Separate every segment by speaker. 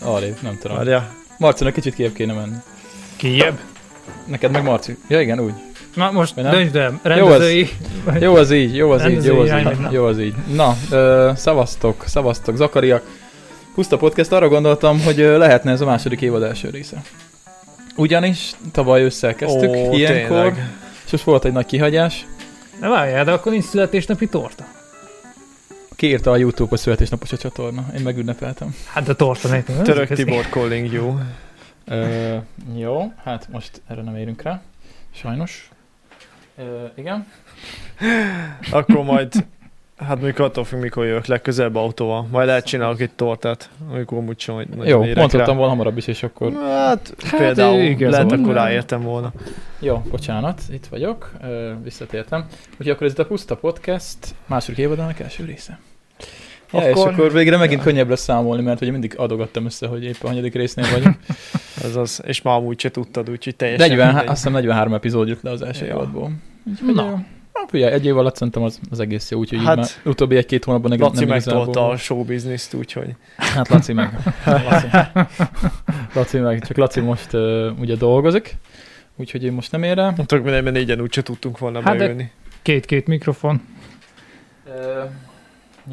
Speaker 1: Arrébb, nem tudom.
Speaker 2: Várja.
Speaker 1: Marcinak kicsit kiebb kéne menni.
Speaker 3: Kijebb?
Speaker 1: Neked meg Marci. Ja igen, úgy.
Speaker 3: Na most
Speaker 1: Vagy nem?
Speaker 3: döntsd el, rendezői.
Speaker 1: Jó az így, jó az így, jó az
Speaker 3: Rendezői irányba.
Speaker 1: így, jó az így. Na, ö, szavaztok, szavaztok, Zakariak. Puszta podcast, arra gondoltam, hogy ö, lehetne ez a második évad első része. Ugyanis tavaly ősszel kezdtük,
Speaker 2: Ó,
Speaker 1: ilyenkor,
Speaker 2: tényleg.
Speaker 1: és most volt egy nagy kihagyás.
Speaker 3: Na várjál, de akkor nincs születésnapi torta.
Speaker 1: Kiírta a YouTube a születésnapos a csatorna, én megünnepeltem.
Speaker 3: Hát de torta nekünk.
Speaker 2: Török Tibor calling you.
Speaker 1: Ö, jó, hát most erre nem érünk rá, sajnos. Ö, igen.
Speaker 2: Akkor majd, hát mondjuk attól függ, mikor jövök legközelebb autóval. Majd lehet csinálok egy tortát, amikor amúgy sem hogy nagyon
Speaker 1: Jó,
Speaker 2: érek
Speaker 1: mondhattam
Speaker 2: rá.
Speaker 1: volna hamarabb is, és akkor...
Speaker 2: Hát, hát például
Speaker 3: igaz
Speaker 2: lehet,
Speaker 3: van.
Speaker 2: akkor ráértem volna.
Speaker 1: Jó, bocsánat, itt vagyok, ö, visszatértem. Úgyhogy akkor ez itt a Puszta Podcast második évadának első része. Ja, akkor... és
Speaker 2: Akkor-
Speaker 1: akkor végre megint
Speaker 2: Ja.
Speaker 1: könnyebb lesz számolni, mert ugye mindig adogattam össze, hogy épp a hanyadik résznél vagyunk.
Speaker 2: Ez az, és már amúgy se tudtad, úgyhogy teljesen
Speaker 1: 40,
Speaker 2: mindegy.
Speaker 1: azt hiszem 43 epizód jött le az első
Speaker 2: Ja.
Speaker 1: évadból.
Speaker 3: Na.
Speaker 1: Na. Figyelj, egy év alatt szerintem az, az egész jó, úgyhogy hát,
Speaker 2: Hát,
Speaker 1: már utóbbi egy-két hónapban egész
Speaker 2: Laci
Speaker 1: nem
Speaker 2: megtolta
Speaker 1: igazából.
Speaker 2: a showbizniszt, úgyhogy
Speaker 1: Hát Laci meg. Laci. Laci meg, csak Laci most uh, ugye dolgozik, úgyhogy én most nem ér rá.
Speaker 2: nem tudok menni, mert négyen úgyse tudtunk volna
Speaker 3: Hát
Speaker 2: hát
Speaker 3: de-
Speaker 2: bejönni.
Speaker 3: Két-két mikrofon,
Speaker 1: Ö,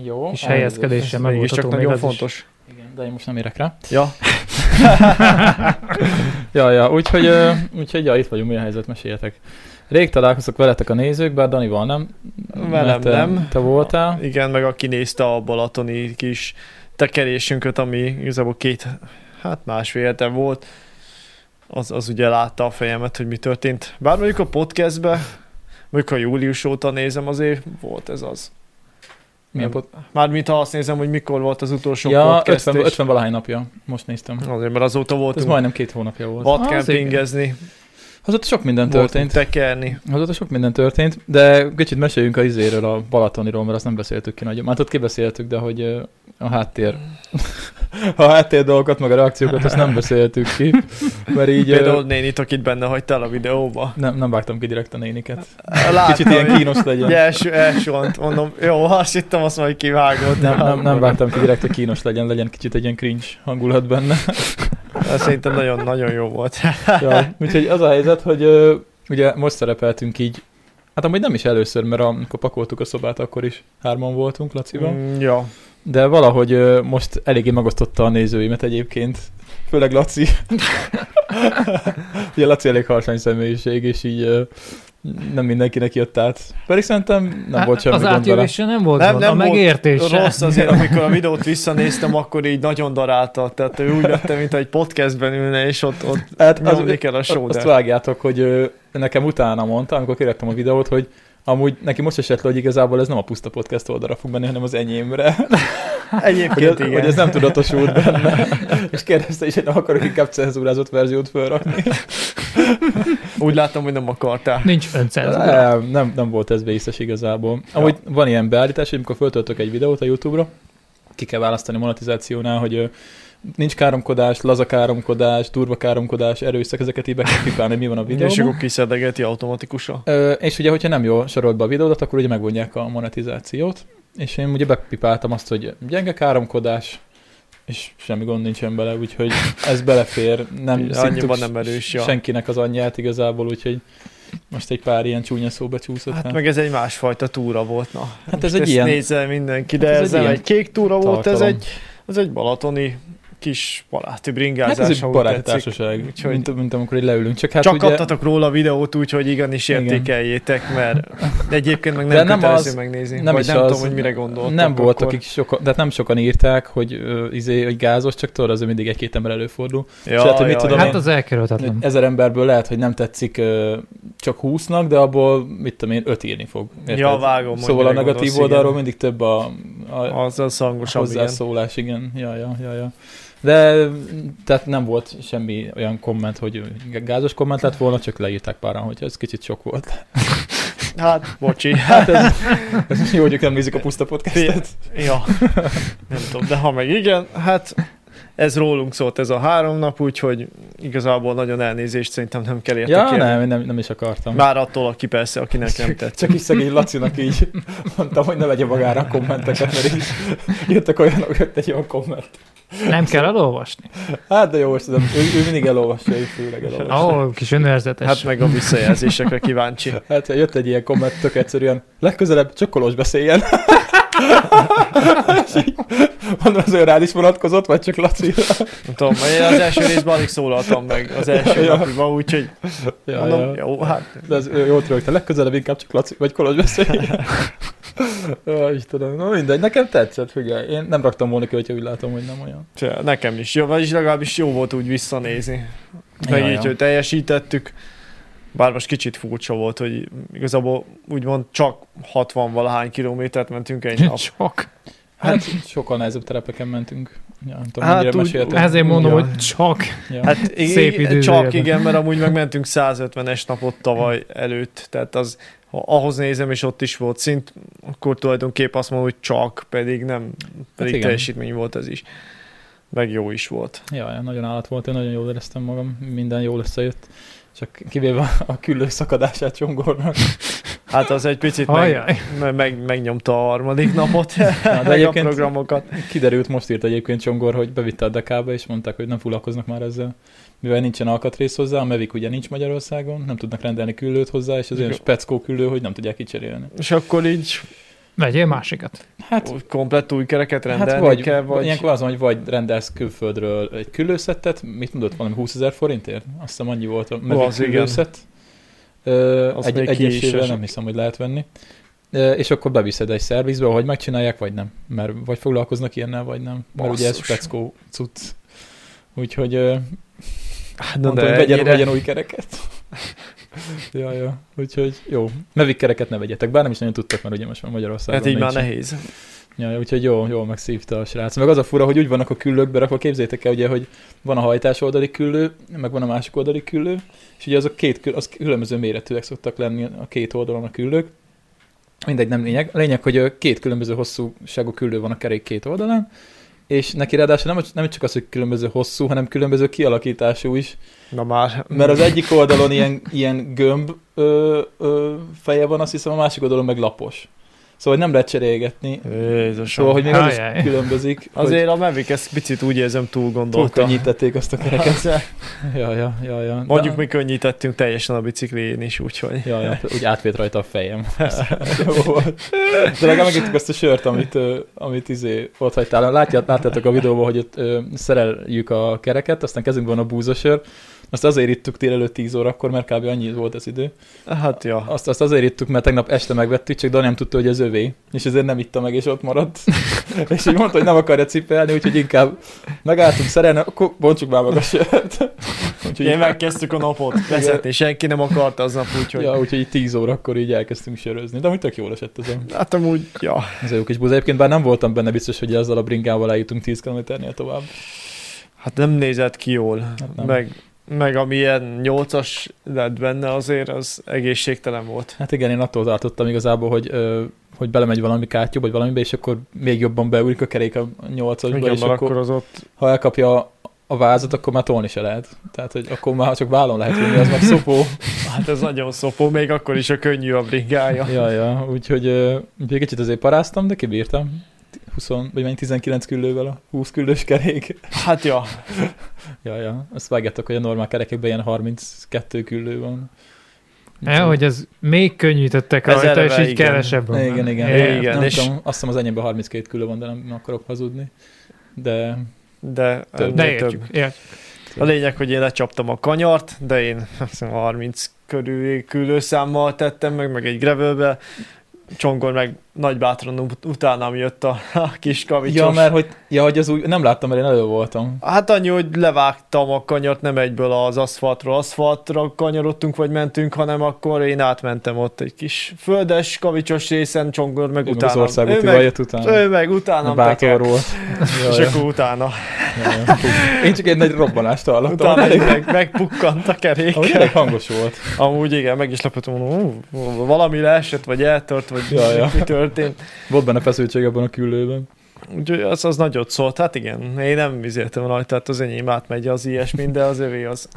Speaker 1: jó.
Speaker 3: és
Speaker 1: elnézést.
Speaker 3: helyezkedéssel
Speaker 2: Mégis
Speaker 3: megoldható
Speaker 2: csak
Speaker 3: még
Speaker 2: nagyon
Speaker 3: ez is.
Speaker 2: fontos.
Speaker 1: Igen, de én most nem érek rá.
Speaker 2: Ja,
Speaker 1: ja, ja, úgyhogy, ö, úgyhogy ja, itt vagyunk, mi a helyzet, meséljetek. Rég találkozok veletek a nézők, bár Danival nem.
Speaker 2: Velem
Speaker 1: mert te,
Speaker 2: nem.
Speaker 1: Te voltál.
Speaker 2: Igen, meg aki nézte a balatoni kis tekerésünket, ami igazából két, hát másfél hete volt, az, az ugye látta a fejemet, hogy mi történt. Bár mondjuk a podcastbe, mondjuk a július óta nézem, azért volt ez az.
Speaker 1: Milyen
Speaker 2: Nem.
Speaker 1: pot?
Speaker 2: Mármint ha azt nézem, hogy mikor volt az utolsó
Speaker 1: Ja,
Speaker 2: podcast.
Speaker 1: 50,
Speaker 2: és-
Speaker 1: 50 valahány napja, most néztem.
Speaker 2: Azért, mert azóta
Speaker 1: Ez
Speaker 2: voltunk
Speaker 1: majdnem két hónapja volt. Ah,
Speaker 2: vadkempingezni,
Speaker 1: Azóta sok minden
Speaker 2: voltunk
Speaker 1: történt.
Speaker 2: tekerni.
Speaker 1: Azóta sok minden történt, de kicsit meséljünk a izéről, a Balatoniról, mert azt nem beszéltük ki nagyon. Hát ott kibeszéltük, de hogy ö, a háttér... a háttér dolgokat, meg a reakciókat, azt nem beszéltük ki, mert így... ö,
Speaker 2: Például nénit, akit benne hagytál a videóba.
Speaker 1: Nem, nem vágtam ki direkt a néniket.
Speaker 2: Láttam,
Speaker 1: Kicsit ilyen
Speaker 2: hogy-
Speaker 1: kínos legyen.
Speaker 2: Ugye első, első mondom, jó, azt hittem, azt majd kivágod.
Speaker 1: Nem, nem, nem vágtam ki direkt, hogy kínos legyen, legyen kicsit egy ilyen cringe hangulat benne.
Speaker 2: Ez Szerintem nagyon-nagyon jó volt.
Speaker 1: ja. Úgyhogy az a helyzet, hogy ö, ugye most szerepeltünk így, hát amúgy nem is először, mert amikor pakoltuk a szobát, akkor is hárman voltunk Lacival, mm.
Speaker 2: Mm, ja.
Speaker 1: de valahogy ö, most eléggé megosztotta a nézőimet egyébként, főleg Laci. ugye Laci elég harsány személyiség, és így ö, nem mindenkinek jött át. Pedig szerintem nem volt semmi gond
Speaker 3: Hát, Az
Speaker 1: vele.
Speaker 3: átjövése nem volt
Speaker 2: Nem,
Speaker 3: gond,
Speaker 2: nem
Speaker 3: a
Speaker 2: volt
Speaker 3: megértése.
Speaker 2: Rossz azért, amikor a videót visszanéztem, akkor így nagyon darálta. Tehát ő úgy lettem, mint egy podcastben ülne, és ott, ott
Speaker 1: Hát az,
Speaker 2: nyomni kell a show,
Speaker 1: Azt
Speaker 2: de...
Speaker 1: vágjátok, hogy ö, nekem utána mondta, amikor kiraktam a videót, hogy amúgy neki most esett le, hogy igazából ez nem a puszta podcast oldalra fog menni, hanem az enyémre. Hogy,
Speaker 2: Egyébként
Speaker 1: ez,
Speaker 2: Hát igen.
Speaker 1: hogy ez nem tudatosult benne. És kérdezte is, hogy nem akarok inkább cenzúrázott verziót felrakni.
Speaker 2: Úgy láttam, hogy nem akartál.
Speaker 3: Nincs öncenzúra.
Speaker 1: Nem, nem, nem volt ez vészes igazából. Amúgy van ilyen beállítás, hogy amikor föltöltök egy videót a YouTube-ra, ki kell választani monetizációnál, hogy ö, nincs káromkodás, laza káromkodás, durva káromkodás, erőszak, ezeket így be kell pipálni, hogy mi van a videóban.
Speaker 2: És akkor kiszedegeti automatikusan.
Speaker 1: Ö, és ugye, hogyha nem jól sorolt be a videódat, akkor ugye megvonják a monetizációt, és én ugye bepipáltam azt, hogy gyenge káromkodás, és semmi gond nincsen bele, úgyhogy ez belefér, nem
Speaker 2: Így,
Speaker 1: szívtuk
Speaker 2: annyiban
Speaker 1: s-
Speaker 2: nem erős, ja.
Speaker 1: senkinek az anyját igazából, úgyhogy most egy pár ilyen csúnya szó becsúszott.
Speaker 2: Hát meg ez egy másfajta túra volt, na.
Speaker 1: hát ez
Speaker 2: Ezt
Speaker 1: egy ilyen
Speaker 2: nézze mindenki, de
Speaker 1: Hát ez
Speaker 2: ez,
Speaker 1: egy
Speaker 2: nem
Speaker 1: ilyen
Speaker 2: egy kék túra volt, ez
Speaker 1: tartalom.
Speaker 2: egy, ez egy balatoni kis baláti bringázás.
Speaker 1: hát ez egy
Speaker 2: ahogy
Speaker 1: baráti
Speaker 2: tetszik.
Speaker 1: társaság,
Speaker 2: Úgyhogy-
Speaker 1: mint, mint, amikor így leülünk. Csak hát
Speaker 2: Csak
Speaker 1: ugye,
Speaker 2: kaptatok róla videót, úgyhogy igenis
Speaker 1: Igen.
Speaker 2: értékeljétek, mert egyébként meg
Speaker 1: De
Speaker 2: nem,
Speaker 1: nem
Speaker 2: nem kötelező
Speaker 1: az-
Speaker 2: megnézni.
Speaker 1: nem
Speaker 2: Nem, vagy
Speaker 1: is
Speaker 2: nem
Speaker 1: az-
Speaker 2: tudom, hogy mire gondoltok.
Speaker 1: nem voltak,
Speaker 2: akkor.
Speaker 1: akik sokan, tehát hát nem sokan írták, hogy uh, izé, hogy gázos, csak tudod, azért mindig egy-két ember előfordul.
Speaker 2: Ja,
Speaker 1: hát, hogy mit tudom
Speaker 3: Hát
Speaker 1: én-
Speaker 3: az elkerülhetetlen.
Speaker 1: Ezer emberből lehet, hogy nem tetszik ö, csak 20-nak, de abból, mit tudom én, 5 írni fog. érted?
Speaker 2: Ja, vágom, hogy
Speaker 1: szóval a
Speaker 2: mire
Speaker 1: negatív
Speaker 2: gondolsz,
Speaker 1: oldalról
Speaker 2: igen.
Speaker 1: mindig több a, a,
Speaker 2: Az az
Speaker 1: a
Speaker 2: hangosabb, igen.
Speaker 1: hozzászólás, igen. Ja, ja, ja, ja. De m, tehát nem volt semmi olyan komment, hogy gázos komment lett volna, csak leírták páran, hogy ez kicsit sok volt.
Speaker 2: Hát, bocsi.
Speaker 1: Hát ez, ez jó, hogy ők nem nézik a puszta podcastet.
Speaker 2: ja, nem tudom, de ha meg igen, hát ez rólunk szólt ez a három nap, úgyhogy igazából nagyon elnézést szerintem nem kell érte
Speaker 1: Ja,
Speaker 2: kérni.
Speaker 1: nem, én nem, nem is akartam.
Speaker 2: Már attól, aki persze, akinek nem
Speaker 1: Csak-
Speaker 2: tett.
Speaker 1: Csak is szegény Lacinak így mondtam, hogy ne vegye magára a kommenteket, mert így jöttek olyanok, jött egy olyan komment.
Speaker 3: Nem kell elolvasni.
Speaker 1: Hát de jó, most tudom, ő, ő mindig elolvasja, ő főleg
Speaker 3: Ó,
Speaker 1: elolvasja.
Speaker 3: oh, kis önérzetes.
Speaker 2: Hát
Speaker 3: Hát
Speaker 2: meg a visszajelzésekre kíváncsi.
Speaker 1: Hát jött egy ilyen komment, tök egyszerűen, legközelebb csak Kolos beszéljen. És így, mondom, az ő rád is vonatkozott, vagy csak Laci?
Speaker 2: Nem tudom, én az első részben alig szólaltam meg az első
Speaker 1: Ja.
Speaker 2: napban, úgyhogy
Speaker 1: Ja,
Speaker 2: mondom,
Speaker 1: ja.
Speaker 2: jó, hát
Speaker 1: De az ő jót rögtön, legközelebb inkább csak Laci, vagy Kolos beszéljen. Ja, Istenem, na mindegy, nekem tetszett, figyelj, én nem raktam volna ki, hogyha úgy látom, hogy nem olyan.
Speaker 2: se, nekem is jó, vagyis legalábbis jó volt úgy visszanézni. Meg
Speaker 1: Ja,
Speaker 2: így,
Speaker 1: ja.
Speaker 2: hogy teljesítettük. Bár most kicsit furcsa volt, hogy igazából úgymond csak 60 valahány kilométert mentünk egy nap.
Speaker 3: csak.
Speaker 1: Hát sokkal nehezebb terepeken mentünk. Ja, nem tudom,
Speaker 2: Hát
Speaker 1: hát, mennyire
Speaker 2: úgy-
Speaker 1: meséltem.
Speaker 3: Ezért mondom,
Speaker 2: Ja.
Speaker 3: hogy csak.
Speaker 1: Ja. Hát,
Speaker 2: Hát i-
Speaker 3: Szép
Speaker 2: i-
Speaker 3: idő
Speaker 2: csak
Speaker 3: zöjjében.
Speaker 2: igen, mert amúgy meg mentünk 150-es napot tavaly előtt, tehát az, ha ahhoz nézem, és ott is volt szint, akkor tulajdonképp azt mondom, hogy csak, pedig nem, pedig
Speaker 1: Hát igen.
Speaker 2: teljesítmény volt ez is. Meg jó is volt.
Speaker 1: ja, ja, nagyon állat volt, én nagyon jól éreztem magam, minden jól összejött. Csak kivéve a küllő szakadását csongornak.
Speaker 2: Hát az egy picit meg,
Speaker 3: Ajaj.
Speaker 2: me- meg, megnyomta a harmadik napot,
Speaker 1: Na,
Speaker 2: meg
Speaker 1: de
Speaker 2: a
Speaker 1: egyébként
Speaker 2: programokat.
Speaker 1: kiderült, most írt egyébként Csongor, hogy bevitte a dekába, és mondták, hogy nem foglalkoznak már ezzel. Mivel nincsen alkatrész hozzá, a Mevik ugye nincs Magyarországon, nem tudnak rendelni küllőt hozzá, és az olyan
Speaker 2: Jó.
Speaker 1: speckó küllő, hogy nem tudják kicserélni.
Speaker 2: És akkor így
Speaker 3: Vegyél másikat.
Speaker 1: Hát
Speaker 2: úgy komplett új kereket rendelni
Speaker 1: Hát vagy,
Speaker 2: kell, vagy...
Speaker 1: ilyenkor az van, hogy vagy rendelsz külföldről egy küllőszettet, mit mondott valami 20 ezer forintért? Azt hiszem annyi volt a Mavic
Speaker 2: az igen.
Speaker 1: küllőszett. Ö,
Speaker 2: Az
Speaker 1: Egy,
Speaker 2: még ki is
Speaker 1: egyesével
Speaker 2: esik.
Speaker 1: nem hiszem, hogy lehet venni. Ö, És akkor beviszed egy szervizbe, hogy megcsinálják, vagy nem. Mert vagy foglalkoznak ilyennel, vagy nem. Mert ugye ez
Speaker 2: Basszus.
Speaker 1: speckó cucc. Úgyhogy ö,
Speaker 2: Hát, na
Speaker 1: mondtam,
Speaker 2: de
Speaker 1: hogy vegyen,
Speaker 2: ennyire-
Speaker 1: vegyen új kereket. ja, ja. Úgyhogy jó. Mavic kereket ne vegyetek, bár nem is nagyon tudtak, mert ugye most már Magyarországon
Speaker 2: Hát így már
Speaker 1: nincs.
Speaker 2: nehéz.
Speaker 1: Ja, ja, úgyhogy jó, jól megszívta a srác. Meg az a fura, hogy úgy vannak a küllőkbe rakva, képzétek el ugye, hogy van a hajtás oldali küllő, meg van a másik oldali küllő, és ugye azok két, kül- az különböző méretűek szoktak lenni a két oldalon a küllők. Mindegy, nem lényeg. A lényeg, hogy ö, két különböző hosszúságú küllő van a kerék két oldalán, és neki ráadásul nem, nem csak az, hogy különböző hosszú, hanem különböző kialakítású is,
Speaker 2: Na már.
Speaker 1: mert az egyik oldalon ilyen, ilyen gömb ö, ö, feje van, azt hiszem, a másik oldalon meg lapos. Szóval nem lehet cserélgetni,
Speaker 2: Jézusom.
Speaker 1: Szóval, hogy még az is
Speaker 3: Ajaj.
Speaker 1: különbözik, Azért
Speaker 2: Azért a Mavic ezt picit úgy érzem túl
Speaker 1: hogy
Speaker 2: gondolta.
Speaker 1: könnyítették azt a kereket. Ja, ja, ja, ja.
Speaker 2: Mondjuk
Speaker 1: De-
Speaker 2: mi könnyítettünk teljesen a biciklién is, úgyhogy.
Speaker 1: Ja, ja, úgy átvét rajta a fejem. Jó volt. De legalább megittük azt a sört, amit, ö, amit izé ott hagytál. Látját, láttátok a videóban, hogy ott ö, szereljük a kereket, aztán kezünkben van a búzasör. Azt azért ittuk délelőtt 10 órakor, mert kb. annyi volt az idő.
Speaker 2: Hát ja.
Speaker 1: Azt, azt azért ittuk, mert tegnap este megvettük, csak Dani nem tudta, hogy ez övé, és ezért nem itta meg, és ott maradt. és így mondta, hogy nem akarja cipelni, úgyhogy inkább megálltunk szerelni, akkor bontsuk már maga a sört. úgyhogy,
Speaker 2: Én megkezdtük a napot vezetni, senki nem akarta aznap, úgyhogy.
Speaker 1: ja, úgyhogy így 10 órakor így elkezdtünk sörözni, de amúgy tök jól esett ez a,
Speaker 2: Hát amúgy, ja.
Speaker 1: ez a jó kis búza. Egyébként bár nem voltam benne biztos, hogy azzal a bringával eljutunk 10 kilométernél tovább.
Speaker 2: Hát nem nézett ki jól.
Speaker 1: Hát nem.
Speaker 2: meg, meg amilyen nyolcas lett benne azért, az egészségtelen volt.
Speaker 1: Hát igen, én attól tartottam igazából, hogy, ö, hogy belemegy valami kátyú, vagy valamibe, és akkor még jobban beúrik a kerék a nyolcasba,
Speaker 2: Igen,
Speaker 1: és
Speaker 2: mert
Speaker 1: akkor
Speaker 2: akkor az ott
Speaker 1: ha elkapja a vázat, akkor már tolni se lehet. Tehát, hogy akkor már csak vállon lehet vinni, az meg szopó.
Speaker 2: Hát ez nagyon szopó, még akkor is a könnyű a brigája.
Speaker 1: ja, ja, úgyhogy ö, úgyhogy kicsit azért paráztam, de kibírtam. 20, vagy mennyi 19 küllővel a 20 küllős kerék.
Speaker 2: Hát ja,
Speaker 1: Ja, ja, azt vágjátok, hogy a normál kerekekben ilyen 32 küllő van.
Speaker 3: E, hogy ez még könnyítettek
Speaker 2: Ez
Speaker 3: rajta, és
Speaker 2: eleve
Speaker 3: így
Speaker 2: igen.
Speaker 3: kevesebb. van.
Speaker 1: Igen, igen.
Speaker 3: É,
Speaker 1: igen.
Speaker 2: igen,
Speaker 1: Nem
Speaker 2: és-
Speaker 1: tudom, azt hiszem az enyémben 32 küllő van, de nem akarok hazudni. De
Speaker 2: de,
Speaker 1: Több.
Speaker 3: De
Speaker 2: de több.
Speaker 3: értjük, értjük.
Speaker 2: A lényeg, hogy én lecsaptam a kanyart, de én azt hiszem, 30 körüli küldőszámmal tettem meg, meg egy grevőbe. Csongor meg nagy bátran ut- utánam jött a, a kis kavicsos.
Speaker 1: ja, mert hogy, ja, hogy az úgy, nem láttam, mert én elő voltam.
Speaker 2: Hát annyi, hogy levágtam a kanyart, nem egyből az aszfaltról aszfaltra kanyarodtunk, vagy mentünk, hanem akkor én átmentem ott egy kis földes kavicsos részen, Csongor meg
Speaker 1: Ő meg az
Speaker 2: utánam. ő,
Speaker 1: országútival
Speaker 2: meg,
Speaker 1: jött utána.
Speaker 2: ő meg
Speaker 1: A
Speaker 2: utánam tekert,
Speaker 1: bátor volt.
Speaker 2: és
Speaker 1: Ja, ja.
Speaker 2: akkor utána.
Speaker 1: Jaj, fú. Én csak egy nagy robbanást hallottam.
Speaker 2: Utána
Speaker 1: Utána
Speaker 2: meg, megpukkant a kerék.
Speaker 1: Amúgy tényleg hangos volt.
Speaker 2: Amúgy igen, meg is lepődtem, mondom, "Ú, valami leesett, vagy eltört, vagy
Speaker 1: Ja, ja.
Speaker 2: mi történt.
Speaker 1: Volt benne feszültség abban a küllőben.
Speaker 2: Úgyhogy az, az nagyot szólt. Hát igen, én nem vizéltem rajta, hát az enyém átmegy az ilyesmi, de az övé az,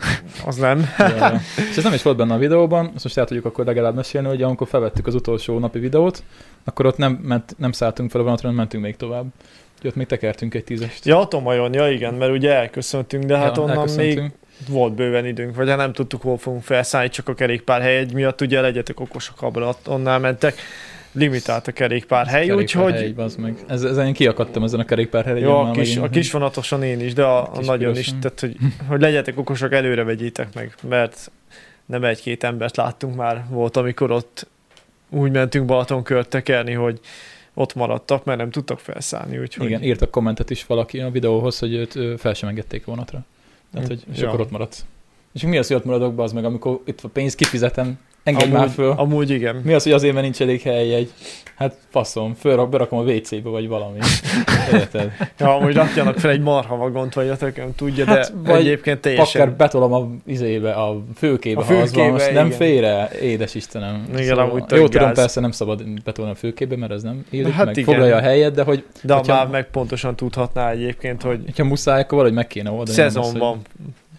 Speaker 2: az nem.
Speaker 1: Ja, ja. És ez nem is volt benne a videóban, ezt most el tudjuk akkor legalább mesélni, hogy amikor felvettük az utolsó napi videót, akkor ott nem, ment, nem szálltunk fel a vonatra, hanem mentünk még tovább. Úgyhogy ott még tekertünk egy tízest.
Speaker 2: Ja, Tomajon, ja igen, mert ugye elköszöntünk, de hát ja, onnan még
Speaker 1: elköszöntünk.
Speaker 2: volt bőven időnk, vagy hát nem tudtuk, hol fogunk felszállni, csak a kerékpár egy miatt, ugye legyetek okosak abban, ott- onnál mentek. Limitált a kerékpár hely,
Speaker 1: Kerékpárhely,
Speaker 2: úgyhogy
Speaker 1: bazd meg. Ez, ezen én kiakadtam ezen a kerékpárhelyen.
Speaker 2: jó, a kis, a kis vonatosan én is, de a,
Speaker 1: A
Speaker 2: a
Speaker 1: kis
Speaker 2: nagyon
Speaker 1: piroson.
Speaker 2: is, tehát hogy, hogy legyetek okosak, előre vegyétek meg, mert nem egy-két embert láttunk már, volt, amikor ott úgy mentünk Balaton kört tekerni, hogy ott maradtak, mert nem tudtak felszállni, úgyhogy
Speaker 1: Igen, írtak kommentet is valaki a videóhoz, hogy őt ö, fel sem engedték a vonatra. Tehát, hogy, és
Speaker 2: Hm, Ja.
Speaker 1: akkor ott maradt. És mi az, hogy ott maradok be az meg, amikor itt a pénzt kifizetem, engedj
Speaker 2: amúgy,
Speaker 1: már föl.
Speaker 2: amúgy igen.
Speaker 1: Mi az, hogy azért, mert nincs elég hely egy? Hát faszom, fölrak, berakom a WC-be, vagy valami. Érted?
Speaker 2: Ja, amúgy rakjanak fel egy marha vagont, vagy a tököm tudja, de
Speaker 1: Hát,
Speaker 2: hát,
Speaker 1: vagy
Speaker 2: egyébként teljesen.
Speaker 1: Akár betolom a izébe, a főkébe,
Speaker 2: A
Speaker 1: a főkébe ha az van,
Speaker 2: főkébe,
Speaker 1: most nem
Speaker 2: igen.
Speaker 1: fér el, édes Istenem. Szóval
Speaker 2: Igen, amúgy tök
Speaker 1: jó, tudom,
Speaker 2: gáz.
Speaker 1: persze nem szabad betolni a főkébe, mert az nem illik,
Speaker 2: Hát
Speaker 1: hát meg
Speaker 2: igen.
Speaker 1: igen. foglalja a helyet, de hogy,
Speaker 2: De
Speaker 1: hogyha-
Speaker 2: már meg pontosan tudhatná egyébként, hogy
Speaker 1: hogyha muszáj, akkor valahogy meg kéne oldani. nem az, hogy-
Speaker 2: szezonban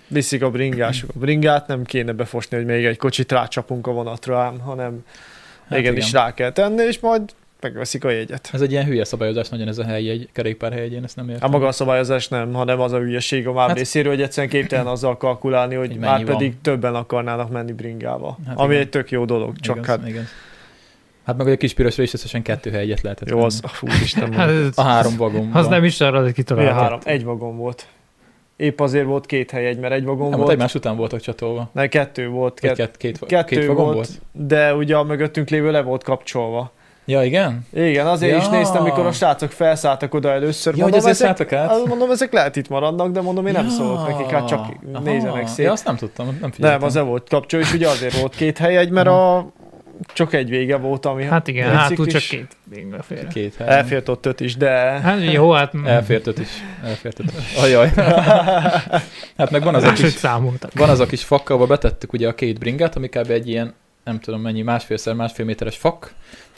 Speaker 2: viszik a bringások. A bringát nem kéne befosni, hogy még egy kocsit rácsapunk a vonatra ám, hanem hát
Speaker 1: Hát
Speaker 2: igenis
Speaker 1: igen.
Speaker 2: rá kell tenni, és majd megveszik a jegyet.
Speaker 1: Ez egy ilyen hülye szabályozás, nagyon ez a hely, egy kerékpárhegy, én ezt nem
Speaker 2: A
Speaker 1: értem.
Speaker 2: Hát maga a szabályozás nem, hanem az a hülyeség a MÁV
Speaker 1: Hát-
Speaker 2: részéről, hogy egyszerűen képtelen azzal kalkulálni, hogy,
Speaker 1: Hogy mennyi
Speaker 2: már pedig
Speaker 1: van.
Speaker 2: többen akarnának menni bringával.
Speaker 1: Hát
Speaker 2: ami
Speaker 1: igen.
Speaker 2: egy tök jó dolog, csak
Speaker 1: igaz,
Speaker 2: hát
Speaker 1: igaz. Hát meg hogy a kispirosra is összesen kettő helyet lehetett.
Speaker 2: jó
Speaker 1: venni.
Speaker 2: az, fú, Isten
Speaker 3: Hát ez-
Speaker 1: A három vagon.
Speaker 3: Az nem is arra, hogy
Speaker 2: Milyen
Speaker 3: kitalálta.
Speaker 2: három? Egy vagon volt. Épp azért volt két hely, egy, mert egy vagon
Speaker 1: nem,
Speaker 2: volt.
Speaker 1: volt. egymás után voltak csatolva.
Speaker 2: Ne, kettő volt.
Speaker 1: Két,
Speaker 2: Kett,
Speaker 1: két, két,
Speaker 2: kettő
Speaker 1: két vagon
Speaker 2: volt,
Speaker 1: volt. volt.
Speaker 2: de ugye a mögöttünk lévő le volt kapcsolva.
Speaker 1: Ja, igen?
Speaker 2: Igen, azért ja. is
Speaker 1: Ja.
Speaker 2: néztem, mikor a srácok felszálltak oda először.
Speaker 1: Ja, hogy ezért szálltak
Speaker 3: Hát
Speaker 1: át?
Speaker 2: azt Hát mondom, ezek lehet itt maradnak, de mondom, én nem
Speaker 1: Ja.
Speaker 2: szólok nekik, hát csak
Speaker 1: Aha.
Speaker 2: nézenek szét.
Speaker 1: Ja, azt nem tudtam, nem figyeltem.
Speaker 2: nem, az le volt kapcsolva, és ugye azért volt két hely, egy, mert a... csak egy vége volt, ami
Speaker 3: Hát igen,
Speaker 2: Tetszik
Speaker 3: hátul
Speaker 2: is.
Speaker 3: csak két végre fél.
Speaker 1: Két hely.
Speaker 2: elfért ott öt is, de...
Speaker 3: Hát jó, hát
Speaker 1: Elfért öt is. Elfért öt is. Ajaj. hát meg van az a
Speaker 3: máshogy
Speaker 1: kis,
Speaker 3: számoltak.
Speaker 1: van az a kis fakka, ahol betettük ugye a két bringát, ami kb. egy ilyen, nem tudom mennyi, másfélszer másfél méteres fak.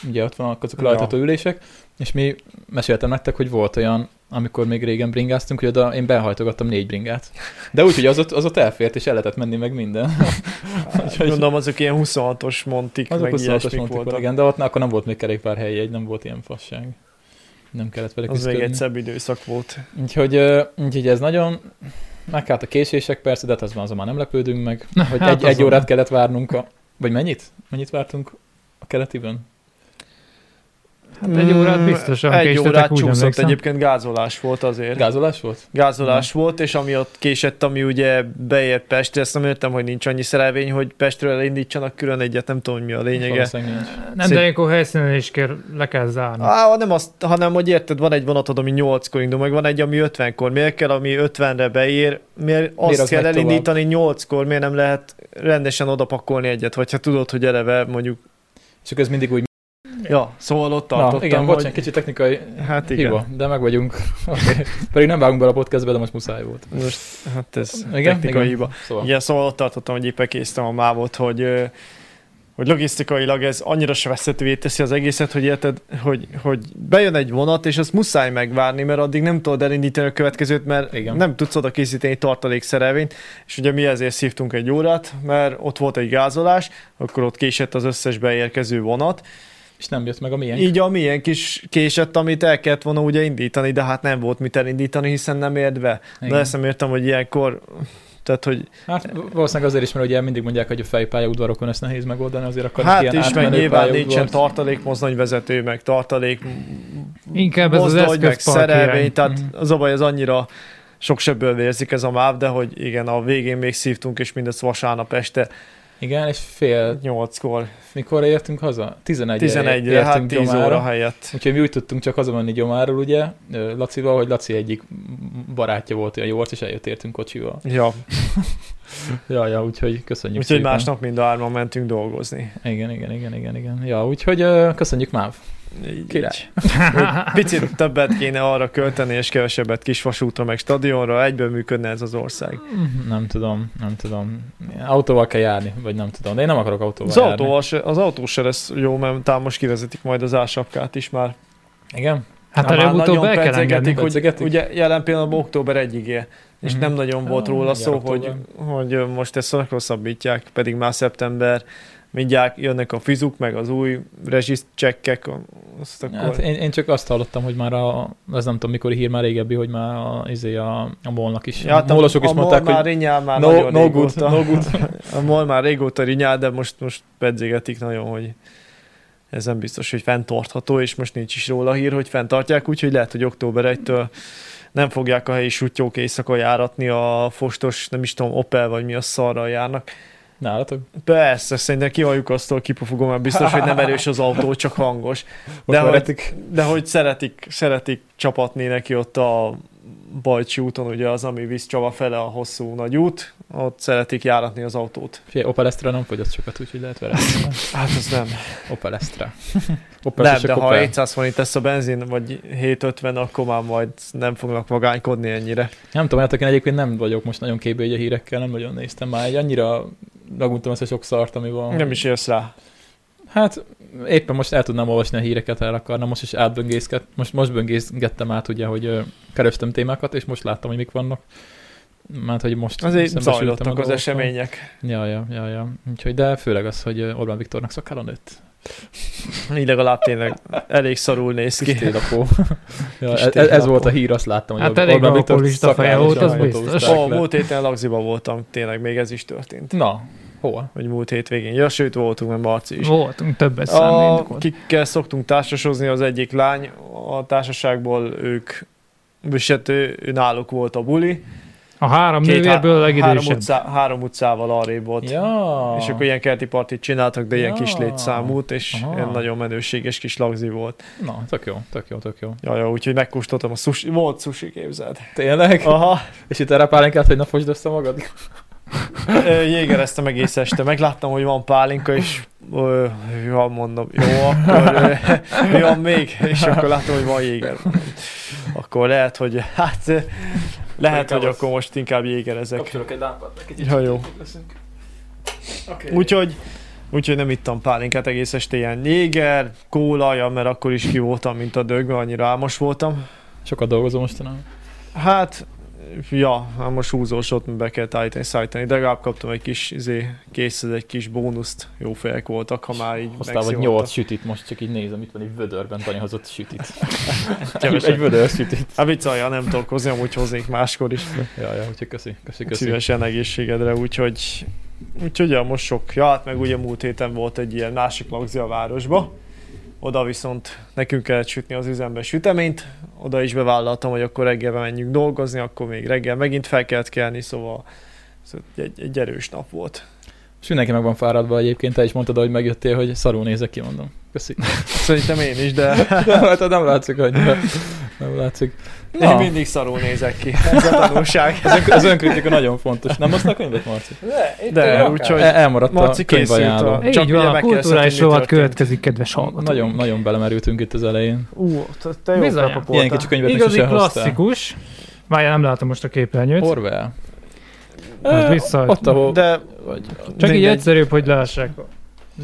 Speaker 1: Ugye ott vannak azok a
Speaker 2: Ja.
Speaker 1: lehajtható ülések. És mi meséltem nektek, hogy volt olyan, amikor még régen bringáztunk, hogy oda én behajtogattam négy bringát. De úgy, hogy az ott, az ott elfért, és el lehetett menni meg minden.
Speaker 2: Hát, Gondolom azok ilyen 26-os montik,
Speaker 1: Azok
Speaker 2: meg
Speaker 1: 26-os
Speaker 2: ilyesmik
Speaker 1: mondtuk,
Speaker 2: voltak.
Speaker 1: igen, de ott akkor nem volt még kerékpárhelyi egy, nem volt ilyen fasság. Nem kellett vele
Speaker 2: Az még
Speaker 1: küzdködni.
Speaker 2: egy szebb időszak volt.
Speaker 1: Úgyhogy, ö, úgyhogy ez nagyon... Meg hát a késések persze, de hát az már, azon már nem lepődünk meg. Hogy
Speaker 3: hát
Speaker 1: egy, egy
Speaker 3: azon
Speaker 1: órát
Speaker 3: nem.
Speaker 1: kellett várnunk a... Vagy mennyit? Mennyit vártunk a keletiben?
Speaker 3: Hát egy órát
Speaker 2: Mm,
Speaker 3: biztosan
Speaker 2: Egy
Speaker 3: késtetek,
Speaker 2: órát
Speaker 3: úgy
Speaker 2: csúszott,
Speaker 3: emlékszem.
Speaker 2: egyébként gázolás volt azért.
Speaker 1: Gázolás volt?
Speaker 2: Gázolás volt, és amiatt késett, ami ugye beért Pestre, ezt nem értem, hogy nincs annyi szerelvény, hogy Pestről elindítsanak külön egyet, nem tudom, hogy mi a lényege.
Speaker 1: Valószínűleg nincs.
Speaker 3: Nem, de
Speaker 2: Szép.
Speaker 3: ilyenkor helyszínen is kell, le kell zárni.
Speaker 2: Á, nem azt, hanem, hogy érted, van egy vonatod, ami 8-kor indul, meg van egy, ami 50-kor. Miért kell, ami 50-re beér? Miért azt
Speaker 1: Miért az
Speaker 2: kell
Speaker 1: megy
Speaker 2: elindítani 8-kor? Miért nem lehet rendesen odapakolni egyet? Vagy ha tudod, hogy eleve mondjuk...
Speaker 1: Csak ez mindig úgy...
Speaker 2: Ja, szóval ott tartottam,
Speaker 1: Na, igen,
Speaker 2: hogy...
Speaker 1: bocsánat, kicsit technikai
Speaker 2: Hát igen.
Speaker 1: hiba, de meg vagyunk. Oké. Pedig nem vágunk bele a podcastbe, de most muszáj volt.
Speaker 2: Most, hát ez
Speaker 1: Igen?
Speaker 2: igen, technikai
Speaker 1: Igen.
Speaker 2: hiba.
Speaker 1: Szóval.
Speaker 2: Igen, szóval ott tartottam, hogy épp ekésztem a mávot, hogy, ö, hogy logisztikailag ez annyira sebezhetővé teszi az egészet, hogy érted, hogy, hogy bejön egy vonat, és azt muszáj megvárni, mert addig nem tudod elindítani a következőt, mert Igen.
Speaker 1: Igen.
Speaker 2: nem tudsz oda készíteni tartalékszerelvényt, és ugye mi ezért szívtunk egy órát, mert ott volt egy gázolás, akkor ott késett az összes beérkező vonat,
Speaker 1: És nem jött meg a miénk.
Speaker 2: így a milyen kis késett, amit el kellett volna ugye indítani, de hát nem volt mit elindítani, hiszen nem ért be. De
Speaker 1: Igen.
Speaker 2: ezt nem értem, hogy ilyenkor, tehát hogy
Speaker 1: Hát valószínűleg azért is, mert ugye mindig mondják, hogy a fejpálya udvarokon ezt nehéz megoldani, azért akkor
Speaker 2: Hát
Speaker 1: ilyen
Speaker 2: is, meg
Speaker 1: átmenő
Speaker 2: nyilván
Speaker 1: pályaudvar.
Speaker 2: nincsen tartalékmozdonyvezető, meg tartalék
Speaker 3: Inkább ez az
Speaker 2: mozdony, meg
Speaker 3: eszközpark irány.
Speaker 2: szerelvény, tehát
Speaker 1: Mhm.
Speaker 2: az a baj, az annyira sok sebből vérzik ez a MÁV, de hogy igen, a végén még szívtunk, és mindezt vasárnap este
Speaker 1: Igen, és fél,
Speaker 2: 8-kor,
Speaker 1: mikor értünk haza? 11
Speaker 2: 11
Speaker 1: értünk
Speaker 2: hát 10
Speaker 1: gyomára.
Speaker 2: óra helyett.
Speaker 1: Úgyhogy mi úgy tudtunk csak hazamenni gyomáról, ugye, ö, Lacival, hogy Laci egyik barátja volt olyan jó arc, és eljött értünk kocsival.
Speaker 2: Ja,
Speaker 1: Ja, ja, úgyhogy köszönjük
Speaker 2: úgyhogy
Speaker 1: szépen.
Speaker 2: másnap mind a hárman mentünk dolgozni.
Speaker 1: Igen, igen, igen, igen, igen. Ja, úgyhogy ö, köszönjük MÁV.
Speaker 2: Így-
Speaker 1: Király.
Speaker 2: Hogy Picit többet kéne arra költeni, és kevesebbet kisvasútra, meg stadionra, egyben működne ez az ország.
Speaker 1: Nem tudom, nem tudom. Autóval kell járni, vagy nem tudom. De én nem akarok autóval
Speaker 2: Az,
Speaker 1: járni.
Speaker 2: autóval se, az autó se lesz jó, mert tám most kivezetik majd az ásapkát is már.
Speaker 1: Igen?
Speaker 3: Hát
Speaker 2: Már
Speaker 3: előbb-utóbb
Speaker 2: nagyon
Speaker 3: el kell
Speaker 2: pedzegetik,
Speaker 3: engedni.
Speaker 2: Hogy,
Speaker 1: Pedzegetik?
Speaker 2: ugye jelen pillanatban október 1 -e, és
Speaker 1: Mhm.
Speaker 2: nem nagyon
Speaker 1: Ah,
Speaker 2: volt róla
Speaker 1: mindjárt
Speaker 2: szó, hogy, hogy most ezt hosszabbítják, pedig már szeptember mindjárt jönnek a fizuk, meg az új rezsiszcsekkek, azt akkor...
Speaker 1: Hát én, én, csak azt hallottam, hogy már a, ez nem tudom mikor hír, már régebbi, hogy már a, izé a, a molnak is.
Speaker 2: Ja, hát
Speaker 1: a molosok is
Speaker 2: a
Speaker 1: mondták,
Speaker 2: Mol már
Speaker 1: hogy
Speaker 2: rinyál már
Speaker 1: no-
Speaker 2: nagyon
Speaker 1: no good,
Speaker 2: régóta.
Speaker 1: no good.
Speaker 2: A Mol már régóta rinyál, de most, most pedzegetik nagyon, hogy ez nem biztos, hogy fenntartható, és most nincs is róla hír, hogy fenntartják, úgyhogy lehet, hogy október 1-től nem fogják a helyi sutyók éjszaka járatni a fostos, nem is tudom, Opel vagy mi a szarral járnak.
Speaker 1: nálatok.
Speaker 2: Persze, szerintem kihalljuk aztól, kipufogom, mert biztos, hogy nem erős az autó, csak hangos.
Speaker 1: Most
Speaker 2: hogy-
Speaker 1: veretik.
Speaker 2: De hogy szeretik, szeretik csapatni neki ott a Bajcsi úton, ugye az, ami visz Csaba fele a hosszú nagy út, ott szeretik járatni az autót.
Speaker 1: Figyelj, Opel Astra nem fogyaszt sokat, úgyhogy lehet veretni.
Speaker 2: Hát ez nem.
Speaker 1: Opel Astra. Opel
Speaker 2: Nem,
Speaker 1: Astra
Speaker 2: de
Speaker 1: csak
Speaker 2: ha
Speaker 1: Opel.
Speaker 2: 700 forint lesz a benzin, vagy 750, akkor már majd nem fognak vagánykodni ennyire.
Speaker 1: Nem tudom, hát én egyébként nem vagyok most nagyon képbe így a hírekkel, nem nagyon néztem már, egy annyira raguntam ezt a sok szart, ami van.
Speaker 2: Nem is jössz rá.
Speaker 1: Hát éppen most el tudnám olvasni a híreket, el akarnám, most is átböngészket, most, most böngészgettem át ugye, hogy ö, kerestem témákat, és most láttam, hogy mik vannak. Mert hogy most
Speaker 2: Azért
Speaker 1: szembesültem a
Speaker 2: zajlottak az
Speaker 1: dolgokkal.
Speaker 2: események.
Speaker 1: Ja, ja, ja, ja. Úgyhogy, de főleg az, hogy ö, Orbán Viktornak szakála nőtt.
Speaker 2: Így legalább tényleg elég szarul néz ki.
Speaker 1: Kis télapó. ja, e-
Speaker 2: Kis
Speaker 1: ez, ez
Speaker 2: télapó.
Speaker 1: volt a hír, azt láttam, hogy
Speaker 3: Hát
Speaker 1: a-
Speaker 3: elég
Speaker 1: Orbán Viktor
Speaker 3: alkoholista feje
Speaker 1: szakállal
Speaker 3: volt,
Speaker 1: sem
Speaker 3: az
Speaker 1: autózták
Speaker 3: biztos.
Speaker 1: le.
Speaker 2: Ó, múlt héten Lagziba voltam, tényleg még ez is történt.
Speaker 1: Na, hol?
Speaker 2: Hogy múlt hétvégén. Ja, sőt, voltunk, mert Marci is.
Speaker 3: Voltunk többet
Speaker 2: A,
Speaker 3: számít. volt.
Speaker 2: kikkel szoktunk társasozni, az egyik lány a társaságból ők, és hát ő, ő náluk volt a buli.
Speaker 3: A három
Speaker 2: Két-
Speaker 3: nővérből a
Speaker 2: három,
Speaker 3: legidősebb.
Speaker 2: utcá, három utcával arrébb volt.
Speaker 1: Ja.
Speaker 2: És akkor ilyen kerti partit csináltak, de ilyen
Speaker 1: Ja.
Speaker 2: kis létszámút, és
Speaker 1: Aha.
Speaker 2: ilyen nagyon menőséges kis lagzi volt.
Speaker 1: Na, tök jó, tök jó, tök jó.
Speaker 2: Jaj, úgyhogy megkóstoltam a sushi, volt sushi képzeld.
Speaker 1: Tényleg?
Speaker 2: Aha,
Speaker 1: És itt erre pálinkát, hogy na fosd össze magad?
Speaker 2: Ö, jégereztem egész este, megláttam, hogy van pálinka, és ö, jó, mondom, jó, akkor ö, mi van még? És akkor látom, hogy van jéger. Akkor lehet, hogy hát ö, lehet, hogy akkor most inkább jégerezek.
Speaker 1: Kapcsolok egy lámpát, kicsit
Speaker 2: Ja, jó.
Speaker 1: Okay.
Speaker 2: Úgyhogy, úgyhogy nem ittam pálinkát egész este ilyen jéger, kóla, ja, mert akkor is ki voltam, mint a dög, mert annyira álmos voltam.
Speaker 1: Sokat dolgozom mostanában.
Speaker 2: Hát, ja, hát most húzós ott be kell állítani, szállítani, de legalább kaptam egy kis izé, készhez egy kis bónuszt, jó fejek voltak, ha már így
Speaker 1: Hoztál vagy
Speaker 2: megszívottak.
Speaker 1: 8 sütit, most csak így nézem, itt van egy vödörben Dani hozott sütit. egy,
Speaker 2: Kevesen.
Speaker 1: egy vödör sütit.
Speaker 2: Hát viccelja, nem tudok hozni, amúgy hoznék máskor is.
Speaker 1: Ja, ja, úgyhogy köszi, köszi, köszi.
Speaker 2: Szívesen egészségedre, úgyhogy... Úgyhogy ja, most sok. Ja, hát meg ugye múlt héten volt egy ilyen másik lagzi a városba. Oda viszont nekünk kellett sütni az üzembe süteményt. Oda is bevállaltam, hogy akkor reggelbe menjünk dolgozni, akkor még reggel megint fel kellett kelni, szóval ez egy, egy erős nap volt.
Speaker 1: És mindenki meg van fáradva egyébként, te is mondtad, hogy megjöttél, hogy szarul nézek ki, mondom. Köszi.
Speaker 2: Szerintem én is, de
Speaker 1: De hát nem látszik annyira. Nem látszik.
Speaker 2: én
Speaker 1: Na.
Speaker 2: mindig szarul nézek ki. Ez a tanulság.
Speaker 1: Az, ön, az önkritika nagyon E, fontos. Nem hoztál könyvet, Marci?
Speaker 2: De úgyhogy
Speaker 1: El, elmaradt
Speaker 2: Marci
Speaker 1: a könyvajánló.
Speaker 2: készült a-
Speaker 3: Így
Speaker 2: Csak ugye
Speaker 3: van, a
Speaker 2: meg kell
Speaker 3: kulturális
Speaker 2: szedni, mi
Speaker 3: rovat
Speaker 2: történt.
Speaker 3: következik, kedves hallgatók.
Speaker 1: Nagyon, nagyon belemerültünk itt az elején.
Speaker 2: Ú, te jó
Speaker 3: Bizony.
Speaker 2: kapapoltál.
Speaker 1: Ilyen kicsi könyvet még
Speaker 3: Igazi
Speaker 1: sose hoztál.
Speaker 3: klasszikus. Várjál, nem látom most a képernyőt.
Speaker 1: Orwell.
Speaker 3: Az
Speaker 1: Ö,
Speaker 3: vissza-
Speaker 1: Ott, ahol...
Speaker 2: De
Speaker 1: Vagy,
Speaker 3: Csak így
Speaker 2: mindegy.
Speaker 3: egyszerűbb, hogy lássák.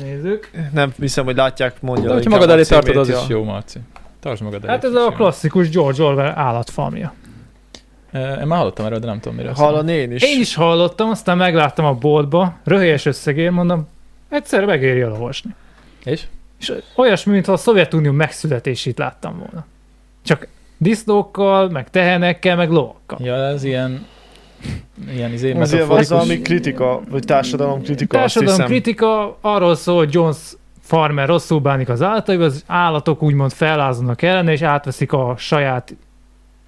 Speaker 3: Nézzük.
Speaker 2: Nem hiszem, hogy látják, mondja.
Speaker 1: de hogyha
Speaker 2: inkább
Speaker 1: magad
Speaker 2: a
Speaker 1: elé tartod,
Speaker 2: címét,
Speaker 1: az
Speaker 2: ja.
Speaker 1: is jó, Marci. Tartsd magad elé.
Speaker 3: Hát ez a klasszikus George Orwell állatfamja.
Speaker 1: Eh, Én már hallottam erről, de nem tudom, miről szól.
Speaker 2: Hallani én is.
Speaker 3: Én is hallottam, aztán megláttam a boltba, röhelyes összegért, mondom, egyszer megéri elolvasni.
Speaker 1: És?
Speaker 3: És olyasmi, mintha a Szovjetunió megszületését láttam volna. Csak disznókkal, meg tehenekkel, meg lovakkal.
Speaker 1: Ja, ez ilyen... Ilyen izé,
Speaker 2: Az ilyen
Speaker 1: metaforikus...
Speaker 2: valami kritika, vagy társadalom kritika,
Speaker 3: Társadalom
Speaker 2: azt hiszem.
Speaker 3: kritika arról szól, hogy Jones farmer rosszul bánik az állataival, az állatok úgymond fellázadnak ellene, és átveszik a saját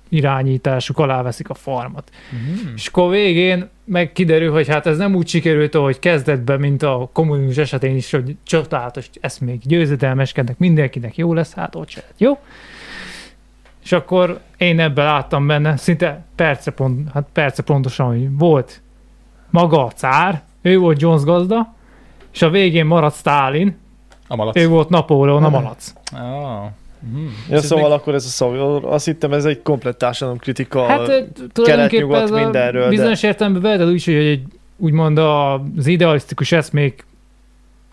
Speaker 3: irányításuk, aláveszik a farmat.
Speaker 1: Mhm.
Speaker 3: És akkor végén meg kiderül, hogy hát ez nem úgy sikerült, ahogy kezdetben, mint a kommunizmus esetén is, hogy csodálatos eszmék győzedelmeskednek, mindenkinek jó lesz, hát ott se lett jó. És akkor én ebben láttam benne, szinte perce, pont, hát perce pontosan, hogy volt maga a cár, ő volt Jones gazda, és a végén maradt Stalin,
Speaker 1: A malac.
Speaker 3: ő volt Napóleon a malac.
Speaker 1: Ah. Mhm.
Speaker 2: Ja,
Speaker 1: Ez
Speaker 2: szóval
Speaker 1: még-
Speaker 2: akkor ez a szó. Azt hittem, ez egy komplett társadalom kritika.
Speaker 3: Hát ö, tulajdonképpen
Speaker 2: kelet-nyugat
Speaker 3: ez a
Speaker 2: mindenről, de-
Speaker 3: bizonyos értelemben veled úgy, hogy egy, úgymond az idealisztikus eszmék